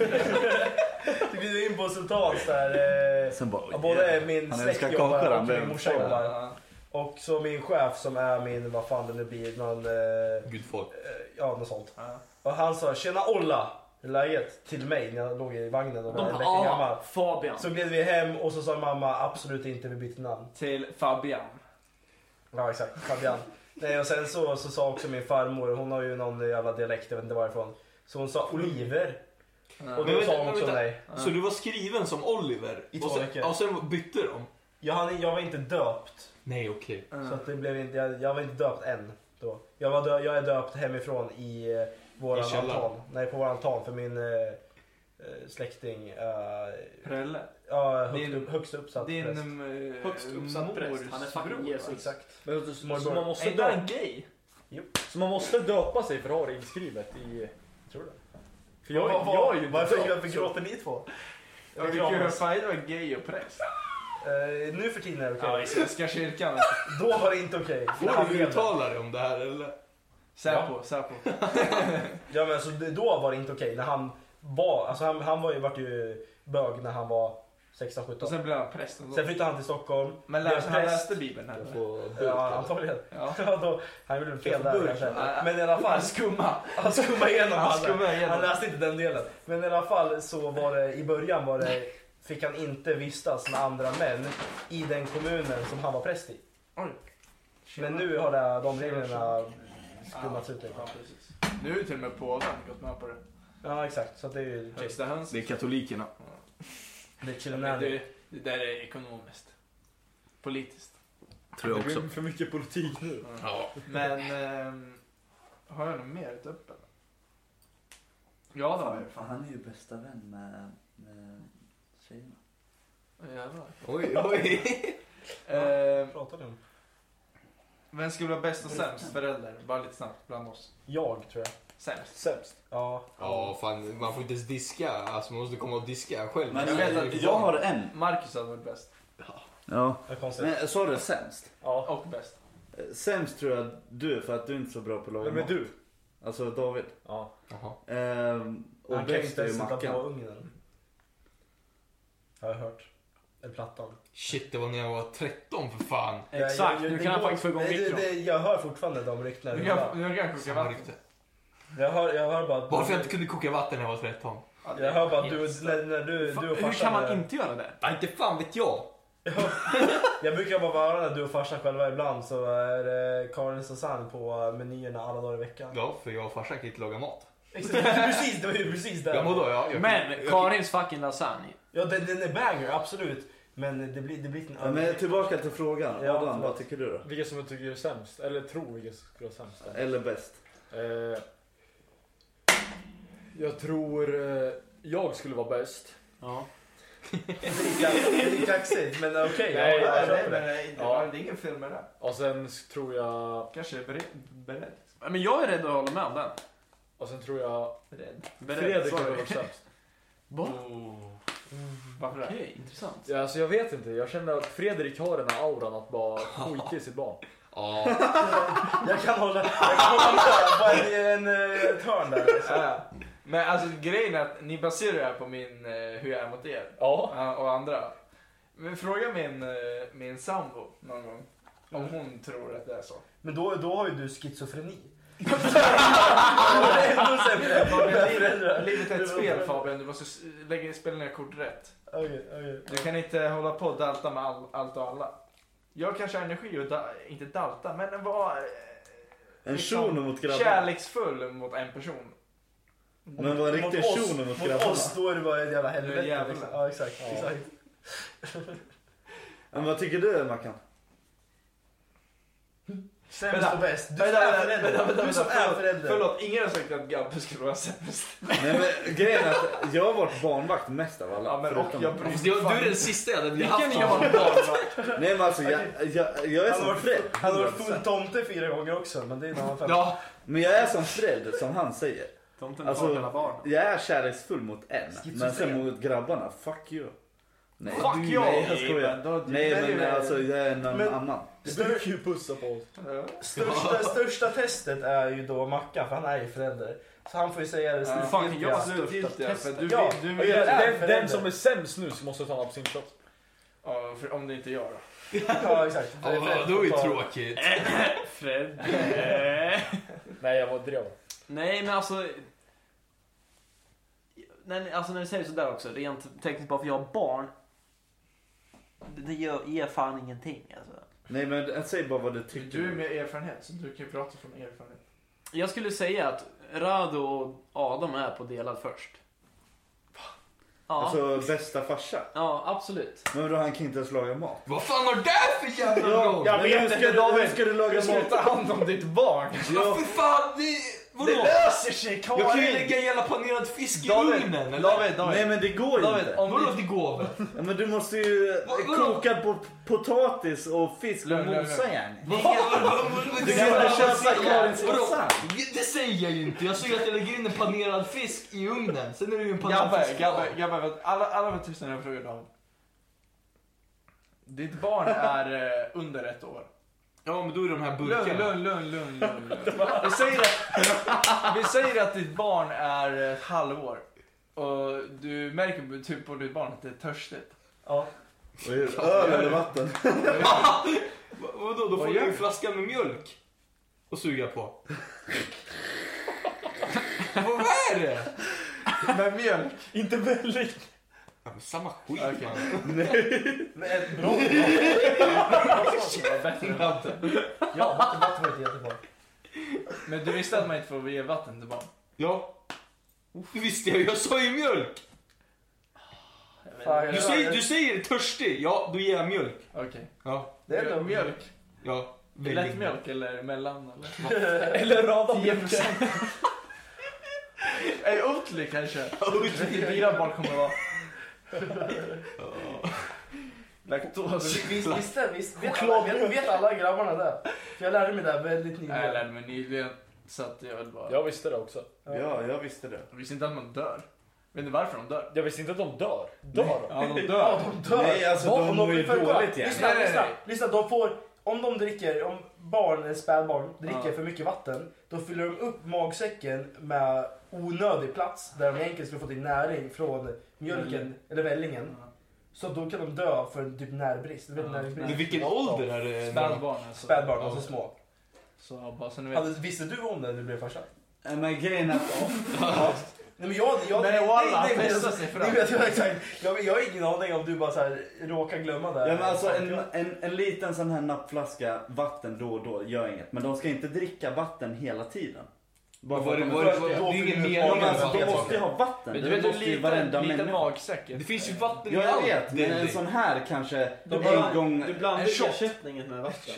Speaker 1: Så gled vi in på Sultans där... Eh,
Speaker 5: Sen bara,
Speaker 1: ja,
Speaker 5: oj,
Speaker 1: både
Speaker 5: jävlar.
Speaker 1: min
Speaker 5: Han
Speaker 1: släkt
Speaker 5: älskar
Speaker 1: jobbar och
Speaker 5: kakan,
Speaker 1: min
Speaker 5: vem?
Speaker 1: morsa jobbar.
Speaker 4: Ja.
Speaker 1: Och så min chef som är min, vad fan det nu blir, någon... Eh,
Speaker 6: Gud folk.
Speaker 1: Eh, Ja, något sånt. Och han sa “Tjena Olla!” hur är läget till mig när jag låg i vagnen och
Speaker 2: De
Speaker 1: var en
Speaker 2: bara,
Speaker 1: vecka gammal.
Speaker 2: ah, Fabian.
Speaker 1: Så gled vi hem och så sa mamma absolut inte vi byter namn.
Speaker 4: Till Fabian.
Speaker 1: Ja exakt, Fabian. Nej och sen så, så sa också min farmor, hon har ju någon jävla dialekt, jag vet inte varifrån. Så hon sa Oliver. Och
Speaker 6: Men
Speaker 1: då
Speaker 6: vänta,
Speaker 1: sa hon också
Speaker 6: vänta.
Speaker 1: nej.
Speaker 6: Så du var skriven som Oliver?
Speaker 1: I
Speaker 6: och
Speaker 1: två
Speaker 6: sen-
Speaker 1: veckor.
Speaker 6: ja, Och sen bytte de?
Speaker 1: Jag, hann- jag var inte döpt.
Speaker 6: Nej, okej.
Speaker 4: Mm.
Speaker 1: Så att det blev inte, jag, jag var inte döpt än. Då. Jag, var dö, jag är döpt hemifrån i eh, våran
Speaker 6: I källaren.
Speaker 1: altan. Nej på våran altan för min eh, eh, släkting eh,
Speaker 4: Prelle.
Speaker 1: Ja, högt,
Speaker 4: Din-
Speaker 1: upp, högst uppsatt
Speaker 4: Din alltså.
Speaker 1: präst.
Speaker 4: eh,
Speaker 2: Högst uppsatt
Speaker 4: mors
Speaker 2: präst. Han är fucking
Speaker 4: bror,
Speaker 2: Jesus.
Speaker 4: va?
Speaker 1: Exakt.
Speaker 7: Men vet du, Så
Speaker 1: Morbror.
Speaker 7: man
Speaker 4: Är
Speaker 7: måste
Speaker 4: inte han
Speaker 7: döpa,
Speaker 4: gay?
Speaker 7: så man måste döpa sig för att ha det inskrivet i... Jag tror det. För jag,
Speaker 1: Vad- vad-
Speaker 7: jag är ju inte
Speaker 1: varför,
Speaker 7: döpt,
Speaker 1: varför
Speaker 7: så-
Speaker 1: gråter ni två?
Speaker 4: Jag tycker
Speaker 1: Begrav
Speaker 4: att
Speaker 1: oss.
Speaker 4: Farid var gay och präst.
Speaker 1: Eh, nu för tiden är det okej.
Speaker 4: Ja, i Svenska kyrkan.
Speaker 1: Då var det inte okej.
Speaker 6: Får du uttala dig om det här eller?
Speaker 4: Säpo, Säpo.
Speaker 1: Ja, men alltså, det- då var det inte okej. När han var, alltså, han, han var ju, vart ju bög när han var 16,
Speaker 4: Och
Speaker 1: 17.
Speaker 4: sen blev han präst. ändå.
Speaker 1: Sen flyttade han till Stockholm.
Speaker 4: Men
Speaker 1: blev
Speaker 4: läste, han
Speaker 1: präst.
Speaker 4: läste Bibeln här.
Speaker 5: Jag får burk,
Speaker 1: Ja,
Speaker 5: eller?
Speaker 1: antagligen.
Speaker 4: Ja.
Speaker 1: Ja, då, han gjorde fel där kanske.
Speaker 4: Ja.
Speaker 1: Men i alla fall.
Speaker 4: Han skumma.
Speaker 1: Han skummade igenom
Speaker 4: Han
Speaker 1: alla.
Speaker 4: skummade igenom.
Speaker 1: Han läste inte den delen. Men i alla fall så var det i början var det, fick han inte vistas med andra män i den kommunen som han var präst i.
Speaker 4: Oj.
Speaker 1: Men nu har det, de reglerna skummats ut lite.
Speaker 4: Ja, precis. Nu är ju till och med påven gått med på det.
Speaker 1: Ja exakt, så det är ju
Speaker 4: Högsta höns.
Speaker 5: Det är katolikerna.
Speaker 1: det är
Speaker 4: Men
Speaker 1: chillinanny.
Speaker 4: Det, det där är ekonomiskt. Politiskt.
Speaker 5: Tror jag
Speaker 7: Det
Speaker 5: också.
Speaker 7: blir för mycket politik nu.
Speaker 4: Men ehm, Har jag något mer ett öppet? Ja, det har jag ju fan.
Speaker 5: Han är ju bästa vän med, med tjejerna.
Speaker 4: Åh, Jävlar.
Speaker 6: Oj, oj.
Speaker 4: Eh,
Speaker 1: Pratar vi om?
Speaker 4: vem skulle vara bäst och sämst förälder? Bara lite snabbt bland oss.
Speaker 1: Jag tror jag.
Speaker 4: Sämst.
Speaker 1: Sämst. Ja.
Speaker 6: Ja, fan. Man får inte ens diska. Alltså, man måste komma och diska själv.
Speaker 5: Men jag,
Speaker 4: vet att-
Speaker 5: jag har en.
Speaker 4: Marcus hade varit bäst.
Speaker 5: Ja.
Speaker 1: Det är konstigt.
Speaker 5: Men sa du sämst?
Speaker 4: Och bäst.
Speaker 5: Eh, Sämst tror jag du är för att du är inte är så bra på att laga
Speaker 3: Vem är
Speaker 5: mat.
Speaker 3: du?
Speaker 5: Alltså David.
Speaker 3: Ja.
Speaker 6: Jaha.
Speaker 5: Ehm, och
Speaker 1: Han kan ju
Speaker 5: bäst
Speaker 1: inte
Speaker 5: är
Speaker 1: ens
Speaker 5: ju
Speaker 1: sätta på
Speaker 5: Mackan.
Speaker 1: ugnen. Har jag hört. Eller plattan.
Speaker 6: Shit, det var när jag var 13 för fan.
Speaker 2: Exakt,
Speaker 1: Jag- jag-
Speaker 2: nu
Speaker 1: det
Speaker 2: kan han
Speaker 1: går-
Speaker 2: faktiskt få igång
Speaker 1: Nej, det-
Speaker 2: mikron.
Speaker 1: det- Jag hör fortfarande de ryktena.
Speaker 4: Du
Speaker 1: Jag,
Speaker 4: kan,
Speaker 1: jag,
Speaker 4: du kan koka
Speaker 6: Samma
Speaker 4: vatten.
Speaker 6: rykte.
Speaker 1: hör- jag hör bara...
Speaker 6: Varför jag inte kunde koka vatten när jag var 13?
Speaker 4: Ja, det-
Speaker 1: Jag hör bara att du, när, när du, du och
Speaker 2: Hur kan
Speaker 1: farsan...
Speaker 2: man
Speaker 1: är-
Speaker 2: inte göra det?
Speaker 6: Ja, inte fan vet jag.
Speaker 1: Jag brukar bara vara när du och farsan själva ibland så är det Karin Susanne på menyerna alla dagar i veckan.
Speaker 6: Ja, för jag och farsan kan inte laga mat.
Speaker 1: Exakt, precis, det var ju precis
Speaker 6: Ja, men
Speaker 1: där.
Speaker 6: då, jag, jag,
Speaker 2: Men
Speaker 6: jag,
Speaker 2: Karins fucking lasagne.
Speaker 1: Ja, den, den är banger, absolut. Men det blir, det blir inte
Speaker 5: Ja, men tillbaka till frågan.
Speaker 1: Ja,
Speaker 5: Adam,
Speaker 1: förlåt.
Speaker 5: vad tycker du då?
Speaker 3: Vilka som jag tycker är sämst, eller tror vilka som skulle vara sämst.
Speaker 5: Eller bäst?
Speaker 3: Eh, jag tror eh, jag skulle vara bäst.
Speaker 2: Ja.
Speaker 1: Det är kaxigt, men okej.
Speaker 3: Nej,
Speaker 1: ja,
Speaker 4: Nej,
Speaker 1: jag
Speaker 4: nej,
Speaker 1: köper
Speaker 4: men
Speaker 1: det.
Speaker 4: nej, det,
Speaker 3: Ja.
Speaker 4: det är ingen fel med det.
Speaker 3: Och sen tror jag...
Speaker 4: Kanske är beredd. beredd.
Speaker 2: Men jag är rädd att hålla med om den.
Speaker 3: Och sen tror jag...
Speaker 4: beredd.
Speaker 2: Beredd,
Speaker 3: Fredrik
Speaker 2: Eh, sorry.
Speaker 3: skulle vara sämst.
Speaker 2: Va?
Speaker 4: Varför det?
Speaker 2: Okej, intressant.
Speaker 3: Ja, alltså jag vet inte, jag känner att Fredrik har den här auran att bara skita i sitt barn.
Speaker 6: ja,
Speaker 1: Jag kan hålla, jag kan hålla med. Bara en, en, eh, törn där.
Speaker 4: Ja. Men alltså grejen är att ni baserar det här på min, eh, hur jag är mot er.
Speaker 3: Ja.
Speaker 4: Ja, och andra. Men fråga min, eh, min sambo någon gång. Om hon tror att det är så.
Speaker 1: Men då, då har ju du schizofreni. Det är ändå sämre.
Speaker 4: Fabian, livet är ett spel Fabian. Du måste s- lägga, spela dina kort rätt.
Speaker 1: Okej, okej.
Speaker 4: Du kan inte hålla på och dalta med all, allt och alla. Jag kanske har energi och da, inte dalta, men var eh,
Speaker 5: En
Speaker 4: Liksom,
Speaker 5: shuno mot grabbarna.
Speaker 4: kärleksfull mot en person.
Speaker 5: Men vad en
Speaker 1: Mot
Speaker 5: riktig
Speaker 1: oss-
Speaker 5: shuno mot
Speaker 1: Mot oss
Speaker 5: grabbarna.
Speaker 1: då är det bara ett jävla helvete. Liksom.
Speaker 4: Jävlar.
Speaker 1: Ja, exakt. exakt.
Speaker 5: Men vad tycker du Mackan?
Speaker 1: Sämst
Speaker 4: Vänta.
Speaker 1: och bäst. Du som
Speaker 4: Vänta,
Speaker 1: är
Speaker 4: vänta, vänta, vänta,
Speaker 1: förälder. Du som
Speaker 4: vänta,
Speaker 1: är
Speaker 4: förlåt,
Speaker 1: förälder.
Speaker 4: Förlåt, ingen har sagt att Gabbe skulle vara sämst.
Speaker 5: Nej men grejen är att jag har varit barnvakt mest av alla.
Speaker 4: Ja, men, och
Speaker 5: förutom-
Speaker 4: jag bryr
Speaker 6: fast jag, du är den sista jag hade velat haft.
Speaker 2: Vilken jävla barnvakt?
Speaker 5: Nej men alltså jag, jag, jag är
Speaker 1: Han har
Speaker 5: som
Speaker 1: varit-
Speaker 5: Fred.
Speaker 1: Han har varit full tomte fyra gånger också, men det är en annan femma.
Speaker 2: Ja.
Speaker 5: Men jag är som Fred som han säger.
Speaker 2: Tomten
Speaker 5: Alltså-
Speaker 2: tar alla barn.
Speaker 5: Jag är kärleksfull mot en, men sen
Speaker 1: Schizofren.
Speaker 5: mot grabbarna, fuck you. Nej,
Speaker 4: Fuck
Speaker 5: du,
Speaker 4: you!
Speaker 5: nej jag skojar.
Speaker 4: Men då-
Speaker 5: Nej
Speaker 4: väljer
Speaker 5: men
Speaker 4: du-
Speaker 5: alltså jag är någon
Speaker 1: Men-
Speaker 5: annan.
Speaker 1: Stör-
Speaker 3: ju pussa på oss.
Speaker 4: Ja.
Speaker 1: Största, största testet är ju då Mackan, för han är ju förälder. Så han får ju säga det
Speaker 4: Ja,
Speaker 1: slutgiltiga.
Speaker 2: fan, jag var så-
Speaker 4: Slutgiltiga, för du
Speaker 1: Ja,
Speaker 4: vill... Du
Speaker 1: och
Speaker 4: vill
Speaker 1: jag-
Speaker 4: ja,
Speaker 1: är
Speaker 3: Den,
Speaker 1: förälder.
Speaker 3: den som är sämst nu så måste ta en absintshot.
Speaker 4: för, om det inte är jag då.
Speaker 1: Ja, exakt.
Speaker 6: Ja, det var ju tråkigt.
Speaker 2: Fred. Eh.
Speaker 3: Nej jag var drev.
Speaker 2: Nej men alltså. Nej, alltså när du säger sådär också, rent tekniskt bara för jag har barn. Det, det gör, ger fan ingenting alltså.
Speaker 5: Nej men säg bara vad du tycker.
Speaker 4: Du är med erfarenhet, så du kan ju prata från erfarenhet.
Speaker 2: Jag skulle säga att Rado och Adam är på delad först. Ja,
Speaker 5: Alltså bästa farsa.
Speaker 2: ja absolut.
Speaker 5: Men då han kan inte ens laga mat.
Speaker 6: Vad fan har det här för jävla roll?
Speaker 5: men hur ska, du, hur ska du laga
Speaker 4: Du ska ju
Speaker 5: mat?
Speaker 4: ta hand om ditt barn.
Speaker 6: Vad för fan? Det, vadå?
Speaker 1: löser sig
Speaker 6: jag kan ju lägga en jävla panerad fisk i
Speaker 4: David,
Speaker 6: ugnen. eller?
Speaker 4: David, David.
Speaker 5: Nej men det går
Speaker 4: David,
Speaker 5: inte.
Speaker 4: om
Speaker 6: Vadå
Speaker 4: du...
Speaker 6: det går väl?
Speaker 5: Ja, Men du måste ju
Speaker 6: Vad- vadå?
Speaker 5: koka på potatis och fisk och
Speaker 4: Lugn, lugn,
Speaker 5: mosa gärna.
Speaker 6: Det är jävla- vadå,
Speaker 5: Du
Speaker 6: det
Speaker 5: kan
Speaker 6: går
Speaker 5: inte
Speaker 6: väl?
Speaker 5: köpa Karins
Speaker 6: Vadå?
Speaker 5: lasagne.
Speaker 6: Det säger jag ju inte. Jag säger att jag lägger in en panerad fisk i ugnen. Sen är det ju en panerad
Speaker 4: Gabbe,
Speaker 6: fisk kvar.
Speaker 4: Gabbe, Gabbe. vet- Alla, alla vet tusen jag frågar David. Ditt barn är eh, under ett år.
Speaker 6: Ja, men då är det de här
Speaker 4: Lugn,
Speaker 6: burkarna.
Speaker 4: lugn, lugn, lugn, lugn. lugn. Vi, säger att, vi säger att ditt barn är ett halvår. Och du märker typ på ditt barn att det är törstigt.
Speaker 1: Ja.
Speaker 5: Och hur- Öl eller vatten?
Speaker 6: Va- Vadå, då
Speaker 4: Vad
Speaker 6: får
Speaker 4: gör
Speaker 6: du en
Speaker 4: du?
Speaker 6: flaska med mjölk och suga på. Vad vad är det?
Speaker 4: Med mjölk.
Speaker 1: Inte väldigt.
Speaker 6: Ja, men samma skit
Speaker 4: Okej.
Speaker 6: man.
Speaker 1: Men ett bra Ja, vatten vatten var inte jättebra.
Speaker 4: Men du visste att man inte får ge vatten till barn?
Speaker 6: Ja. Det visste jag, jag sa ju mjölk.
Speaker 1: Fan,
Speaker 6: Du
Speaker 1: jag-
Speaker 6: säger, du säger törstig, ja då ger jag mjölk.
Speaker 4: Okej.
Speaker 6: Ja,
Speaker 1: Det är ändå
Speaker 4: Mjölk.
Speaker 6: ja.
Speaker 2: Lättmjölk eller mellan eller?
Speaker 3: Eller rada
Speaker 2: 10%. Nej, Oatly kanske. 34 barn kommer det vara. Laktos.
Speaker 1: Visst, visst, det, visst. Vet alla, vet, vet alla grabbarna det? För jag lärde mig det här väldigt
Speaker 4: Nej, jag
Speaker 1: nyligen.
Speaker 4: lärde mig nyligen. Så att jag vill bara...
Speaker 3: Jag visste det också.
Speaker 5: Ja, jag visste det.
Speaker 4: Jag visste inte att man dör. Vet ni varför de dör?
Speaker 3: Jag visste inte att de dör. Dör de?
Speaker 4: Ja, de
Speaker 1: Ja,
Speaker 4: dör.
Speaker 1: de dör.
Speaker 5: Nej, alltså,
Speaker 1: Vad
Speaker 5: de
Speaker 1: om
Speaker 5: mår ju
Speaker 1: för- kolla,
Speaker 5: dåligt igen.
Speaker 1: Lyssna,
Speaker 4: Nej, nej,
Speaker 1: lyssna,
Speaker 4: nej.
Speaker 1: lyssna. De får, om de dricker, om barn eller spädbarn dricker för mycket vatten, då fyller de upp magsäcken med onödig plats där de egentligen skulle fått in näring från mjölken
Speaker 4: Mm.
Speaker 1: eller vällingen. Så då kan de dö för en typ närbrist. Du vet,
Speaker 4: Ja.
Speaker 1: närbrist.
Speaker 6: Men vilken ålder är det?
Speaker 4: Spädbarn alltså.
Speaker 1: Spädbarn, alltså små.
Speaker 4: Så bara så ni vet.
Speaker 1: Hade, visste du om det när du blev farsa?
Speaker 5: Nej, Men grejen är att...
Speaker 1: Nej men jag... jag
Speaker 4: Nej, walla,
Speaker 1: nej, nej,
Speaker 4: testa
Speaker 1: alltså,
Speaker 4: sig fram.
Speaker 1: nej, men jag, exakt. jag, jag har ingen aning om du bara så här, råkar glömma det.
Speaker 5: Ja, men alltså, en, en, en liten sån här nappflaska vatten då och då gör inget. Men de ska inte dricka vatten hela tiden. Bara
Speaker 6: Var
Speaker 5: för
Speaker 6: det,
Speaker 5: att de
Speaker 6: var
Speaker 5: är
Speaker 6: det, var det, det är ingen mening
Speaker 5: Ja, men
Speaker 6: med
Speaker 5: alltså, de
Speaker 6: vatten.
Speaker 5: måste ju ha vatten.
Speaker 4: Men du
Speaker 5: Det
Speaker 4: vet hur
Speaker 5: måste ju
Speaker 4: liten,
Speaker 5: varenda
Speaker 4: liten
Speaker 5: människa.
Speaker 4: magsäck är?
Speaker 6: Det finns ju vatten i
Speaker 5: Ja, jag
Speaker 6: allt.
Speaker 5: vet.
Speaker 6: Det är
Speaker 5: Men en
Speaker 6: det.
Speaker 5: sån här kanske
Speaker 7: Du
Speaker 5: en gång...
Speaker 7: Du blandar
Speaker 4: En shot.
Speaker 7: ersättningen med vatten.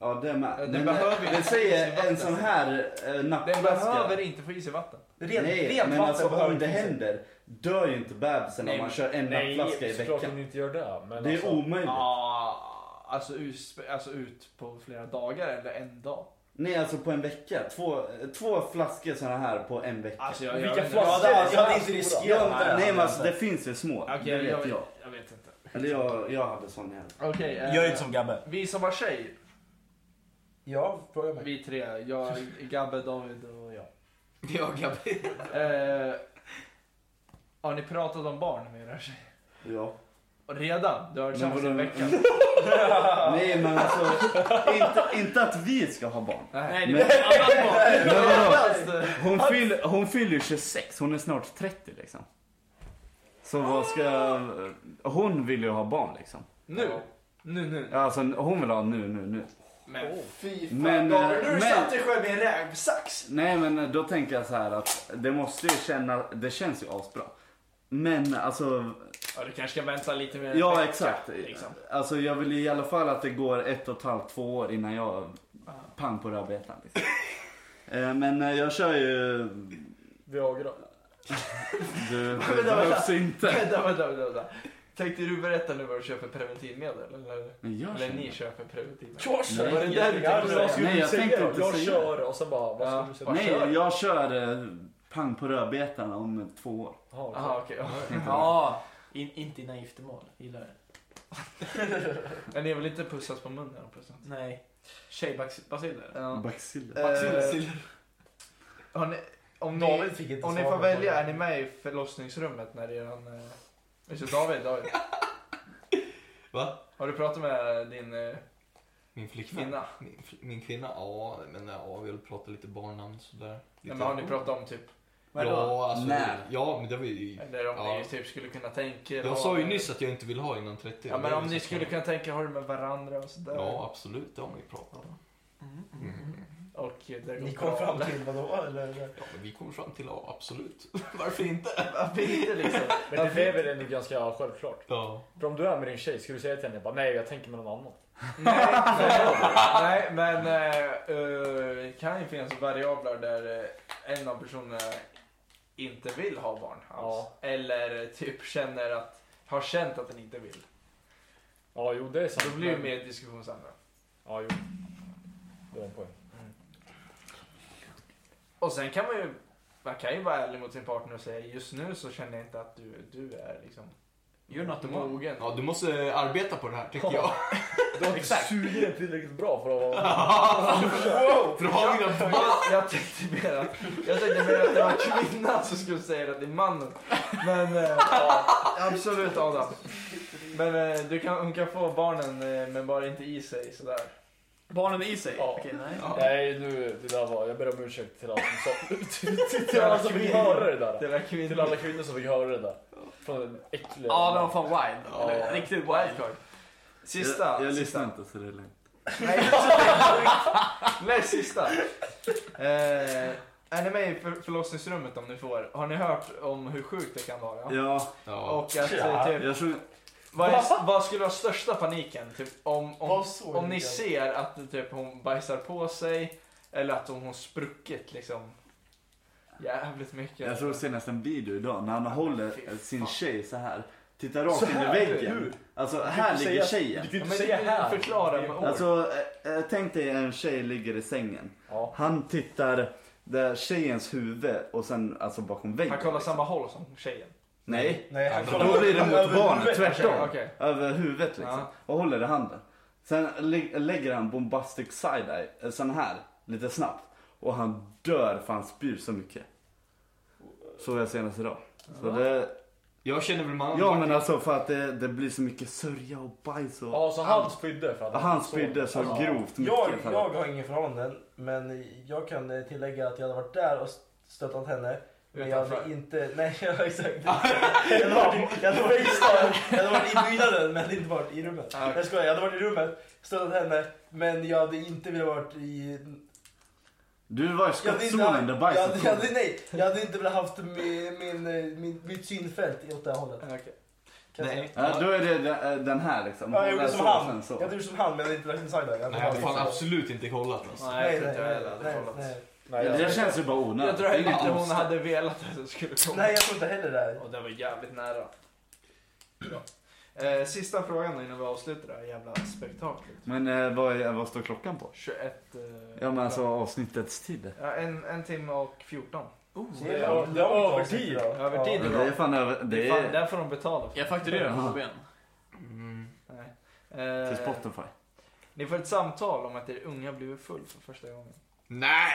Speaker 5: Ja, det med.
Speaker 4: Den
Speaker 5: Men,
Speaker 4: behöver
Speaker 5: eh,
Speaker 4: inte
Speaker 5: jag
Speaker 4: få i
Speaker 5: säger
Speaker 4: sig
Speaker 5: en sån här eh,
Speaker 4: Den
Speaker 5: nappflaska.
Speaker 4: behöver inte få i sig vatten.
Speaker 1: Ren,
Speaker 5: Nej,
Speaker 1: rent
Speaker 5: men
Speaker 1: vatten
Speaker 5: alltså
Speaker 1: behöver
Speaker 5: om det
Speaker 1: inte finnas.
Speaker 5: händer dör ju inte bebisen
Speaker 4: Nej,
Speaker 5: om man kör en nappflaska i
Speaker 3: Nej, såklart att
Speaker 5: veckan.
Speaker 3: ni inte gör det. Men
Speaker 5: Det är
Speaker 3: alltså,
Speaker 5: omöjligt.
Speaker 4: Ah, alltså, ut, alltså ut på flera dagar eller en dag.
Speaker 5: Nej, alltså på en vecka. Två, två flaskor såna här på en vecka.
Speaker 4: Alltså, jag,
Speaker 3: Vilka
Speaker 4: jag, vet
Speaker 1: Jag
Speaker 3: flaskor?
Speaker 4: inte.
Speaker 1: hade, jag hade inte
Speaker 3: Stora.
Speaker 1: riskerat det.
Speaker 5: Nej, men alltså det finns ju små.
Speaker 4: Okej,
Speaker 5: det vet
Speaker 4: jag
Speaker 5: jag.
Speaker 4: vet- jag vet inte.
Speaker 5: Eller jag, jag hade sån här.
Speaker 4: Okej, eh,
Speaker 1: Gabbe.
Speaker 4: vi som var tjejer,
Speaker 1: Ja, fråga mig.
Speaker 4: vi tre, jag, Gabbe, David och jag.
Speaker 6: Ja, Gabi.
Speaker 4: Eh, har ni pratat om barn med era tjejer?
Speaker 5: Ja.
Speaker 4: Och Redan? Du har hört
Speaker 5: Men
Speaker 4: tjafs i
Speaker 5: vadå?
Speaker 4: veckan? Ah.
Speaker 5: Nej, men alltså inte, inte att vi ska ha barn.
Speaker 4: Nej,
Speaker 5: Men,
Speaker 4: det var annat barn.
Speaker 5: men vadå?
Speaker 4: Alltså,
Speaker 5: Hon, fyll, hon fyller ju 26, hon är snart 30 liksom. Så vad ska... Hon vill ju ha barn liksom.
Speaker 4: Nu. Nu, nu.
Speaker 5: Alltså hon vill ha nu, nu, nu.
Speaker 4: Men
Speaker 1: Fy fan
Speaker 5: Men,
Speaker 1: Gabriel,
Speaker 5: eh,
Speaker 1: du
Speaker 5: men-
Speaker 1: satte dig själv i en rävsax.
Speaker 5: Nej men då tänker jag så här att det måste ju känna, det känns ju asbra. Men alltså,
Speaker 4: ja, du kanske ska vänta lite mer.
Speaker 5: ja exakt.
Speaker 4: liksom.
Speaker 5: Alltså jag vill ju i alla fall att det går ett och ett halvt, två år innan jag pang på rödbetan. Liksom. Eh, men eh, jag kör ju,
Speaker 3: Viagra.
Speaker 5: du det behövs inte.
Speaker 4: Vänta, vänta, vänta, vänta. Tänkte du berätta nu vad du köper preventivmedel? Eller,
Speaker 5: Men jag
Speaker 4: eller ni
Speaker 5: känner.
Speaker 4: köper preventivmedel?
Speaker 3: Jag
Speaker 5: Nej.
Speaker 3: Var det där du
Speaker 5: Nej,
Speaker 3: tänkte säga? skulle
Speaker 5: jag
Speaker 3: du säga?
Speaker 5: tänkte inte
Speaker 3: jag
Speaker 5: säga.
Speaker 3: kör och sen bara, vad
Speaker 4: Ja.
Speaker 3: ska du säga?
Speaker 4: Vad kör
Speaker 5: Nej,
Speaker 4: du?
Speaker 5: jag kör eh, pang på rödbetan om två år.
Speaker 3: Jaha, okej.
Speaker 4: Jaha, okej.
Speaker 2: Ja, in, inte innan giftermål. Gillar det.
Speaker 4: Men ni vill inte pussas på munnen och present?
Speaker 2: Nej. Tjejbaciller.
Speaker 4: Ja.
Speaker 5: Baciller.
Speaker 4: Eh, har ni, om ni,
Speaker 1: David fick inte
Speaker 4: om ni
Speaker 1: svar
Speaker 4: får
Speaker 1: på
Speaker 4: välja,
Speaker 1: frågan.
Speaker 4: är ni med i förlossningsrummet när eran... eh, Visst är David, David?
Speaker 6: Va?
Speaker 4: Har du pratat med din eh,
Speaker 6: Min flickvän?
Speaker 4: kvinna?
Speaker 6: Min, fl- min kvinna? Ja, men ja, vi vill prata lite barnnamn sådär.
Speaker 4: Nej,
Speaker 6: Lite...
Speaker 4: men har ni pratat om typ,
Speaker 6: Ja, alltså,
Speaker 5: När?
Speaker 6: ja, men det var ju...
Speaker 4: eller om
Speaker 6: Ja.
Speaker 4: ni typ skulle kunna tänka er
Speaker 6: Jag
Speaker 4: att-
Speaker 6: sa ju nyss att jag inte vill ha innan 30.
Speaker 4: Ja men
Speaker 6: Det är
Speaker 4: om
Speaker 6: ju
Speaker 4: ni
Speaker 6: så
Speaker 4: skulle
Speaker 6: klart.
Speaker 4: kunna tänka har det med varandra och sådär.
Speaker 6: Ja, absolut. Det har vi pratat om. Mm.
Speaker 4: Och eh, det går
Speaker 1: Ni kom
Speaker 4: bra.
Speaker 1: fram till vadå? Eller? eller?
Speaker 6: Ja, men vi kommer fram till ja, absolut. Varför inte?
Speaker 4: Varför inte liksom?
Speaker 3: Men det är väl ändå ganska självklart.
Speaker 6: Ja.
Speaker 3: För om du är med din tjej, skulle du säga till henne bara, nej jag tänker med någon annan?
Speaker 4: Nej, nej men eh, eh, det kan ju finnas variabler där eh, en av personerna inte vill ha barn alls. Eller typ känner att, har känt att den inte vill.
Speaker 3: Ja, jo det är sant.
Speaker 4: Då blir det
Speaker 3: men-
Speaker 4: mer diskussion sen. då.
Speaker 3: Ja, jo. Det är en poäng.
Speaker 4: Och sen kan man ju, man kan ju vara ärlig mot sin partner och säga just nu så känner jag inte att du, du är liksom
Speaker 2: You're not the one.
Speaker 4: mogen.
Speaker 6: ja, du måste eh, arbeta på det här, tycker jag.
Speaker 3: Du har inte sugit dig tillräckligt bra för att vara...
Speaker 6: För att ha mina barn.
Speaker 4: Jag, jag tänkte mer att, jag tänkte mer att det var kvinnan som skulle säga det till mannen. Men eh, ja, absolut Adam. Men eh, du kan, hon kan få barnen eh, men bara inte i sig sådär.
Speaker 2: Barnen i sig?
Speaker 3: Ja.
Speaker 2: Okej, nej.
Speaker 3: Nej, nu, det där var... Jag ber om ursäkt till alla som sa... till- Till alla som fick höra det där.
Speaker 4: Det var
Speaker 3: Till
Speaker 4: kvinnan.
Speaker 3: alla kvinnor som fick höra det där. Från en äcklig...
Speaker 2: Ja, de var fan wild. Eller,
Speaker 3: Ja.
Speaker 2: Riktigt wild.
Speaker 4: Sista.
Speaker 5: jag jag
Speaker 4: sista.
Speaker 5: lyssnar inte så det är lugnt.
Speaker 4: Nej, nej sista. Eh, är ni med i för, förlossningsrummet om ni får? Har ni hört om hur sjukt det kan vara?
Speaker 5: Ja,
Speaker 6: Ja.
Speaker 4: Och att eh, typ,
Speaker 5: jag tror...
Speaker 4: Vad, är, vad skulle vara största paniken? Typ om, om,
Speaker 1: Vad såg
Speaker 4: om ni
Speaker 1: jag?
Speaker 4: ser att typ, hon bajsar på sig eller att hon har spruckit liksom jävligt mycket.
Speaker 5: Jag såg senast en video idag när han håller sin tjej så här. Tittar
Speaker 3: Så
Speaker 5: rakt in i
Speaker 3: här,
Speaker 5: väggen.
Speaker 3: hur?
Speaker 5: Alltså
Speaker 3: Du kan
Speaker 5: här
Speaker 3: inte
Speaker 5: ligger
Speaker 3: säga-
Speaker 5: tjejen.
Speaker 3: Du kan
Speaker 4: Ja,
Speaker 3: inte
Speaker 4: men
Speaker 3: säga här.
Speaker 4: Förklara med ord.
Speaker 5: Alltså eh, eh, tänk dig en tjej ligger i sängen.
Speaker 3: Ja.
Speaker 5: Han tittar där tjejens huvud och sen alltså bakom väggen.
Speaker 4: han kollar samma håll som tjejen.
Speaker 5: Nej,
Speaker 1: Nej, han
Speaker 6: Då
Speaker 1: kollar
Speaker 5: då blir det mot
Speaker 1: över
Speaker 5: barnet.
Speaker 1: huvudet.
Speaker 5: Tvärtom.
Speaker 4: Okej.
Speaker 5: Över huvudet liksom.
Speaker 4: Ja.
Speaker 5: Och håller i handen. Sen lä- lägger han bombastic side-eye, eh, sån här, lite snabbt. Och han dör för han spyr så mycket. Såg jag senast idag. Så det,
Speaker 6: Jag känner väl man
Speaker 5: ja men alltså för att det, det blir så mycket sörja och bajs och...
Speaker 3: Ja, så han spydde för att
Speaker 5: Han spydde så grovt mycket.
Speaker 1: Jag,
Speaker 5: för att-
Speaker 1: jag har ingen förhållanden, men jag kan eh, tillägga att jag hade varit där och stöttat henne. Men jag hade
Speaker 4: Utanför.
Speaker 1: inte, nej ja, exakt. Jag hade varit, jag hade varit, i stan, jag hade varit i byggnaden men inte varit i rummet.
Speaker 4: Ja, okej.
Speaker 1: Jag skojar, jag hade varit i rummet, stöttat henne, men jag hade inte velat varit i...
Speaker 5: Du var i
Speaker 1: Jag hade inte,
Speaker 5: skottzonen
Speaker 1: jag hade,
Speaker 5: där bajset
Speaker 1: jag
Speaker 5: kom.
Speaker 1: hade, nej, jag hade inte velat haft min, min, eh, min, mitt synfält åt det här hållet.
Speaker 4: Okej.
Speaker 1: Kan jag säga.
Speaker 5: Ja, då är det de- den här liksom.
Speaker 1: Ja, jag
Speaker 5: Hålla
Speaker 1: gjorde som
Speaker 5: så,
Speaker 1: han.
Speaker 5: sen så.
Speaker 1: Jag hade gjort som han men jag hade inte lagt en side-eye. Jag hade
Speaker 6: Nej, jag
Speaker 1: bara-
Speaker 6: har fan absolut inte kollat alltså.
Speaker 1: Nej,
Speaker 4: Nej,
Speaker 1: nej,
Speaker 4: jag tror inte jag heller
Speaker 1: nej, nej,
Speaker 4: hade kollat.
Speaker 1: nej.
Speaker 3: Nej,
Speaker 5: Det där
Speaker 3: jag-
Speaker 5: känns ju bara onödigt.
Speaker 4: Jag tror
Speaker 5: Det är
Speaker 4: inte
Speaker 5: inget
Speaker 4: hon
Speaker 5: konstigt.
Speaker 4: hade velat att det skulle komma.
Speaker 1: Nej, jag tror inte heller det. Här.
Speaker 4: Och det var jävligt nära. Bra. Eh, sista frågan innan vi avslutar det här jävla spektaklet.
Speaker 5: Men eh, vad, är, vad står klockan på?
Speaker 4: 21... Eh,
Speaker 5: Ja men alltså avsnittets tid.
Speaker 4: Ja, en, en timme och 14.
Speaker 1: Det är
Speaker 3: Ja,
Speaker 1: långt-
Speaker 3: det är
Speaker 1: långt
Speaker 3: övertid.
Speaker 1: avsnitt idag.
Speaker 4: Övertid.
Speaker 1: Ja.
Speaker 5: Det är fan över...
Speaker 4: Det
Speaker 5: Det
Speaker 4: är... Fan,
Speaker 5: är
Speaker 4: där får de betala för.
Speaker 2: Jag fakturerar
Speaker 5: Ja.
Speaker 2: på ben.
Speaker 6: Mm.
Speaker 4: Nej. Eh,
Speaker 5: till Spotify.
Speaker 4: Ni får ett samtal om att er unga blivit full för första gången.
Speaker 6: Nej!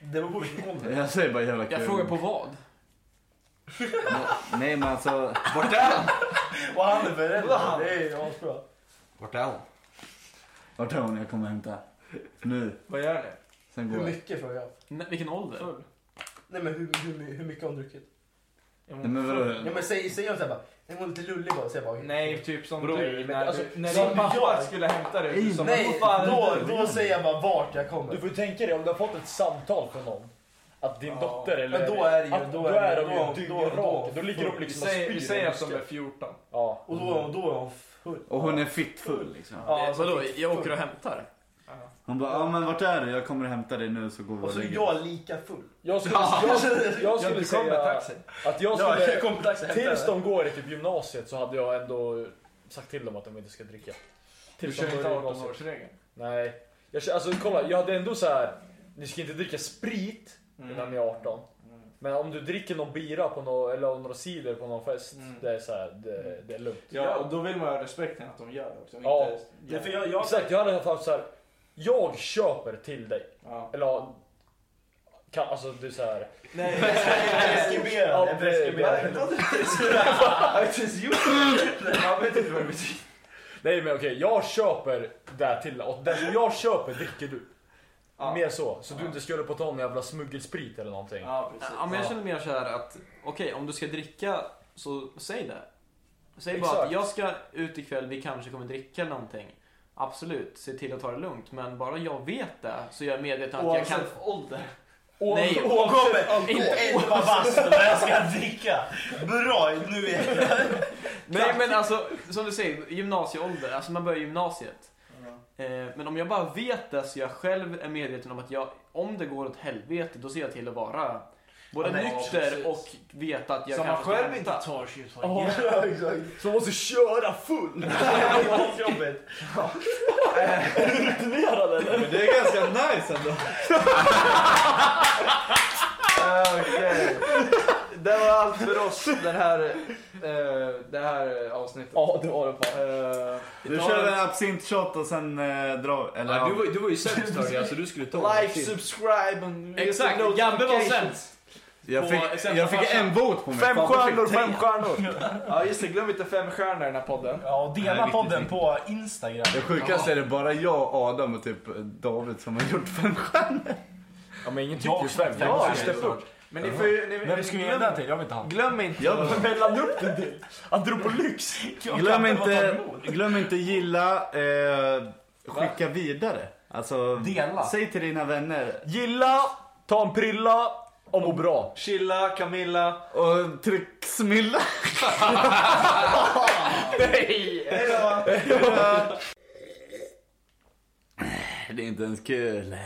Speaker 1: Det var på vilken ålder?
Speaker 5: Jag säger bara jävla kul.
Speaker 2: Jag frågar på vad?
Speaker 5: Nej, Nej men alltså.
Speaker 6: Vart är han?
Speaker 1: Och han är förälder. Det är ju asbra.
Speaker 6: Vart är han?
Speaker 5: Vart är hon? Jag kommer hämta. Nu.
Speaker 4: Vad gör ni?
Speaker 5: Sen
Speaker 1: Hur
Speaker 5: går jag.
Speaker 1: mycket frågar jag?
Speaker 2: N- vilken ålder?
Speaker 4: Full?
Speaker 1: Nej men hur, hur, hur mycket har hon druckit?
Speaker 4: Är
Speaker 5: Nej
Speaker 4: hon
Speaker 5: men vadå?
Speaker 4: full?
Speaker 1: Ja men säg, säg hon såhär bara, nej hon är lite lullig bara. Säger jag bara.
Speaker 4: Nej, typ som
Speaker 3: Bro,
Speaker 4: du.
Speaker 3: men
Speaker 4: När,
Speaker 3: alltså,
Speaker 4: du, när
Speaker 1: som
Speaker 4: din pappa
Speaker 1: jag-
Speaker 4: skulle hämta dig. du sa,
Speaker 1: Nej,
Speaker 4: "Vad fan är
Speaker 1: då,
Speaker 4: det du
Speaker 1: då
Speaker 4: gör?"
Speaker 1: säger jag bara vart jag
Speaker 3: Du
Speaker 1: kommer.
Speaker 3: får ju tänka dig om du har fått ett samtal från någon. Att din
Speaker 4: Ja.
Speaker 3: dotter eller...
Speaker 1: Men då är det ju-
Speaker 3: att-
Speaker 1: då
Speaker 3: Då
Speaker 1: är
Speaker 3: är
Speaker 1: det-
Speaker 3: de
Speaker 1: då-
Speaker 3: ju
Speaker 1: då- då-
Speaker 3: dyngraka. Då ligger de
Speaker 4: Vi
Speaker 3: liksom och
Speaker 4: säger,
Speaker 3: spyr.
Speaker 4: vi
Speaker 3: i
Speaker 4: säger att de
Speaker 3: busken.
Speaker 4: är 14.
Speaker 3: Ja.
Speaker 1: Och då, då är hon full.
Speaker 5: Och hon är fittfull liksom.
Speaker 1: Ja, alltså,
Speaker 2: Vadå,
Speaker 1: fick-
Speaker 2: jag åker
Speaker 1: full.
Speaker 2: och hämtar?
Speaker 5: Hon bara, ja men vart är du? Jag kommer hämta dig nu så går vi
Speaker 1: Och
Speaker 5: och
Speaker 1: så är
Speaker 5: lägger
Speaker 1: jag lika full.
Speaker 3: Jag skulle, jag, jag
Speaker 4: Ja,
Speaker 3: skulle
Speaker 4: du kom med
Speaker 3: säga
Speaker 4: taxi.
Speaker 3: att jag
Speaker 1: Ja,
Speaker 3: skulle...
Speaker 1: jag kommer på dags att hämta
Speaker 3: Tills
Speaker 1: henne.
Speaker 3: de går i typ gymnasiet så hade jag ändå sagt till dem att de inte ska dricka.
Speaker 4: Du
Speaker 3: Tills de
Speaker 4: kör inte
Speaker 3: börjar gymnasiet.
Speaker 4: 18-årsregeln.
Speaker 3: Nej. Jag, kö- alltså kolla, jag hade ändå så här. Ni ska inte dricka sprit
Speaker 4: Mm.
Speaker 3: innan ni är 18. Men om du dricker någon bira på någon, eller några cider på någon fest,
Speaker 4: Mm.
Speaker 3: det är så här, det, det är lugnt.
Speaker 4: Ja, och då vill man ha respekten att de gör det också.
Speaker 3: Ja.
Speaker 4: Inte,
Speaker 1: Nej, för jag, jag,
Speaker 3: Exakt, jag hade haft så här. Jag köper till dig.
Speaker 4: Ja.
Speaker 3: Eller ja, kan, alltså du så här.
Speaker 4: Nej,
Speaker 1: preskriberad. Jag är preskriberad.
Speaker 4: jag vet inte vad det betyder.
Speaker 3: Nej men okej, jag köper där till och den som jag köper dricker du.
Speaker 4: Ja.
Speaker 3: Mer så, så du
Speaker 4: Ja.
Speaker 3: inte skulle på ta någon jävla smuggelsprit eller någonting.
Speaker 4: Ja, precis.
Speaker 2: Ja, men jag känner mer så här att, okej om du ska dricka så säg det. Säg bara att
Speaker 3: Exakt.
Speaker 2: jag ska ut ikväll, vi kanske kommer dricka eller någonting. Absolut, se till att ta det lugnt. Men bara jag vet det så jag är medveten att jag kan...
Speaker 4: Oavsett ålder.
Speaker 3: Och,
Speaker 2: Nej.
Speaker 1: Hon kommer!
Speaker 2: Inte-
Speaker 1: En var vass och jag ska dricka. Bra, nu är jag...
Speaker 2: Nej men alltså, som du säger, gymnasieålder. Alltså man börjar gymnasiet. Eh, Men om jag bara vet det så jag själv är medveten om att jag, om det går åt helvete, då ser jag till att vara både
Speaker 1: Ja, men-
Speaker 2: nykter
Speaker 1: precis.
Speaker 2: och veta att jag
Speaker 4: Som man
Speaker 2: kanske ska
Speaker 4: själv
Speaker 2: hämta.
Speaker 4: inte tar sig oh.
Speaker 1: Ja, exakt.
Speaker 3: Som måste köra full!
Speaker 1: Jobbigt.
Speaker 5: Men det är ganska nice ändå.
Speaker 4: Okej. Det var allt för oss den här, eh, det här avsnittet.
Speaker 3: Ja det var det fan.
Speaker 4: Eh,
Speaker 5: Du kör en absint shot och sen eh, drar Eller
Speaker 7: Ja,
Speaker 5: ja.
Speaker 7: du, var, du var ju sämst hörde jag så du skulle ta
Speaker 4: like, subscribe and
Speaker 2: Exakt, Gabbe var sämst.
Speaker 5: jag,
Speaker 2: på
Speaker 5: fick,
Speaker 2: exempel
Speaker 5: jag fick
Speaker 2: farsan.
Speaker 5: en bot på mig.
Speaker 4: Fem
Speaker 5: Fan, vad
Speaker 4: stjärnor,
Speaker 5: fick jag?
Speaker 4: fem stjärnor. Ja just det, glöm inte fem stjärnor i den här podden.
Speaker 1: Ja, och
Speaker 5: Nej,
Speaker 1: dela
Speaker 5: viktigt,
Speaker 1: podden
Speaker 5: viktigt.
Speaker 1: på Instagram.
Speaker 5: Det sjukaste är det bara jag, Adam och typ David som har gjort fem stjärnor.
Speaker 3: Ja men ingen
Speaker 1: Jag
Speaker 3: tycker ju
Speaker 1: också.
Speaker 3: fem.
Speaker 1: Ja,
Speaker 3: Jag
Speaker 1: det är
Speaker 3: släpp upp.
Speaker 4: Men ni får ju... Ni,
Speaker 1: Vem ska vi ge den till? Jag vill inte han.
Speaker 4: glöm inte.
Speaker 3: Mellan upp den till. Han drog på lyx.
Speaker 5: Glöm inte, glöm inte gilla, eh, skicka vidare. Alltså,
Speaker 1: Dela.
Speaker 5: säg till dina vänner.
Speaker 3: Gilla, ta en prilla, och må bra.
Speaker 2: Chilla, Camilla.
Speaker 5: Och tryck smilla.
Speaker 2: Hejdå!
Speaker 5: Det är inte ens kul.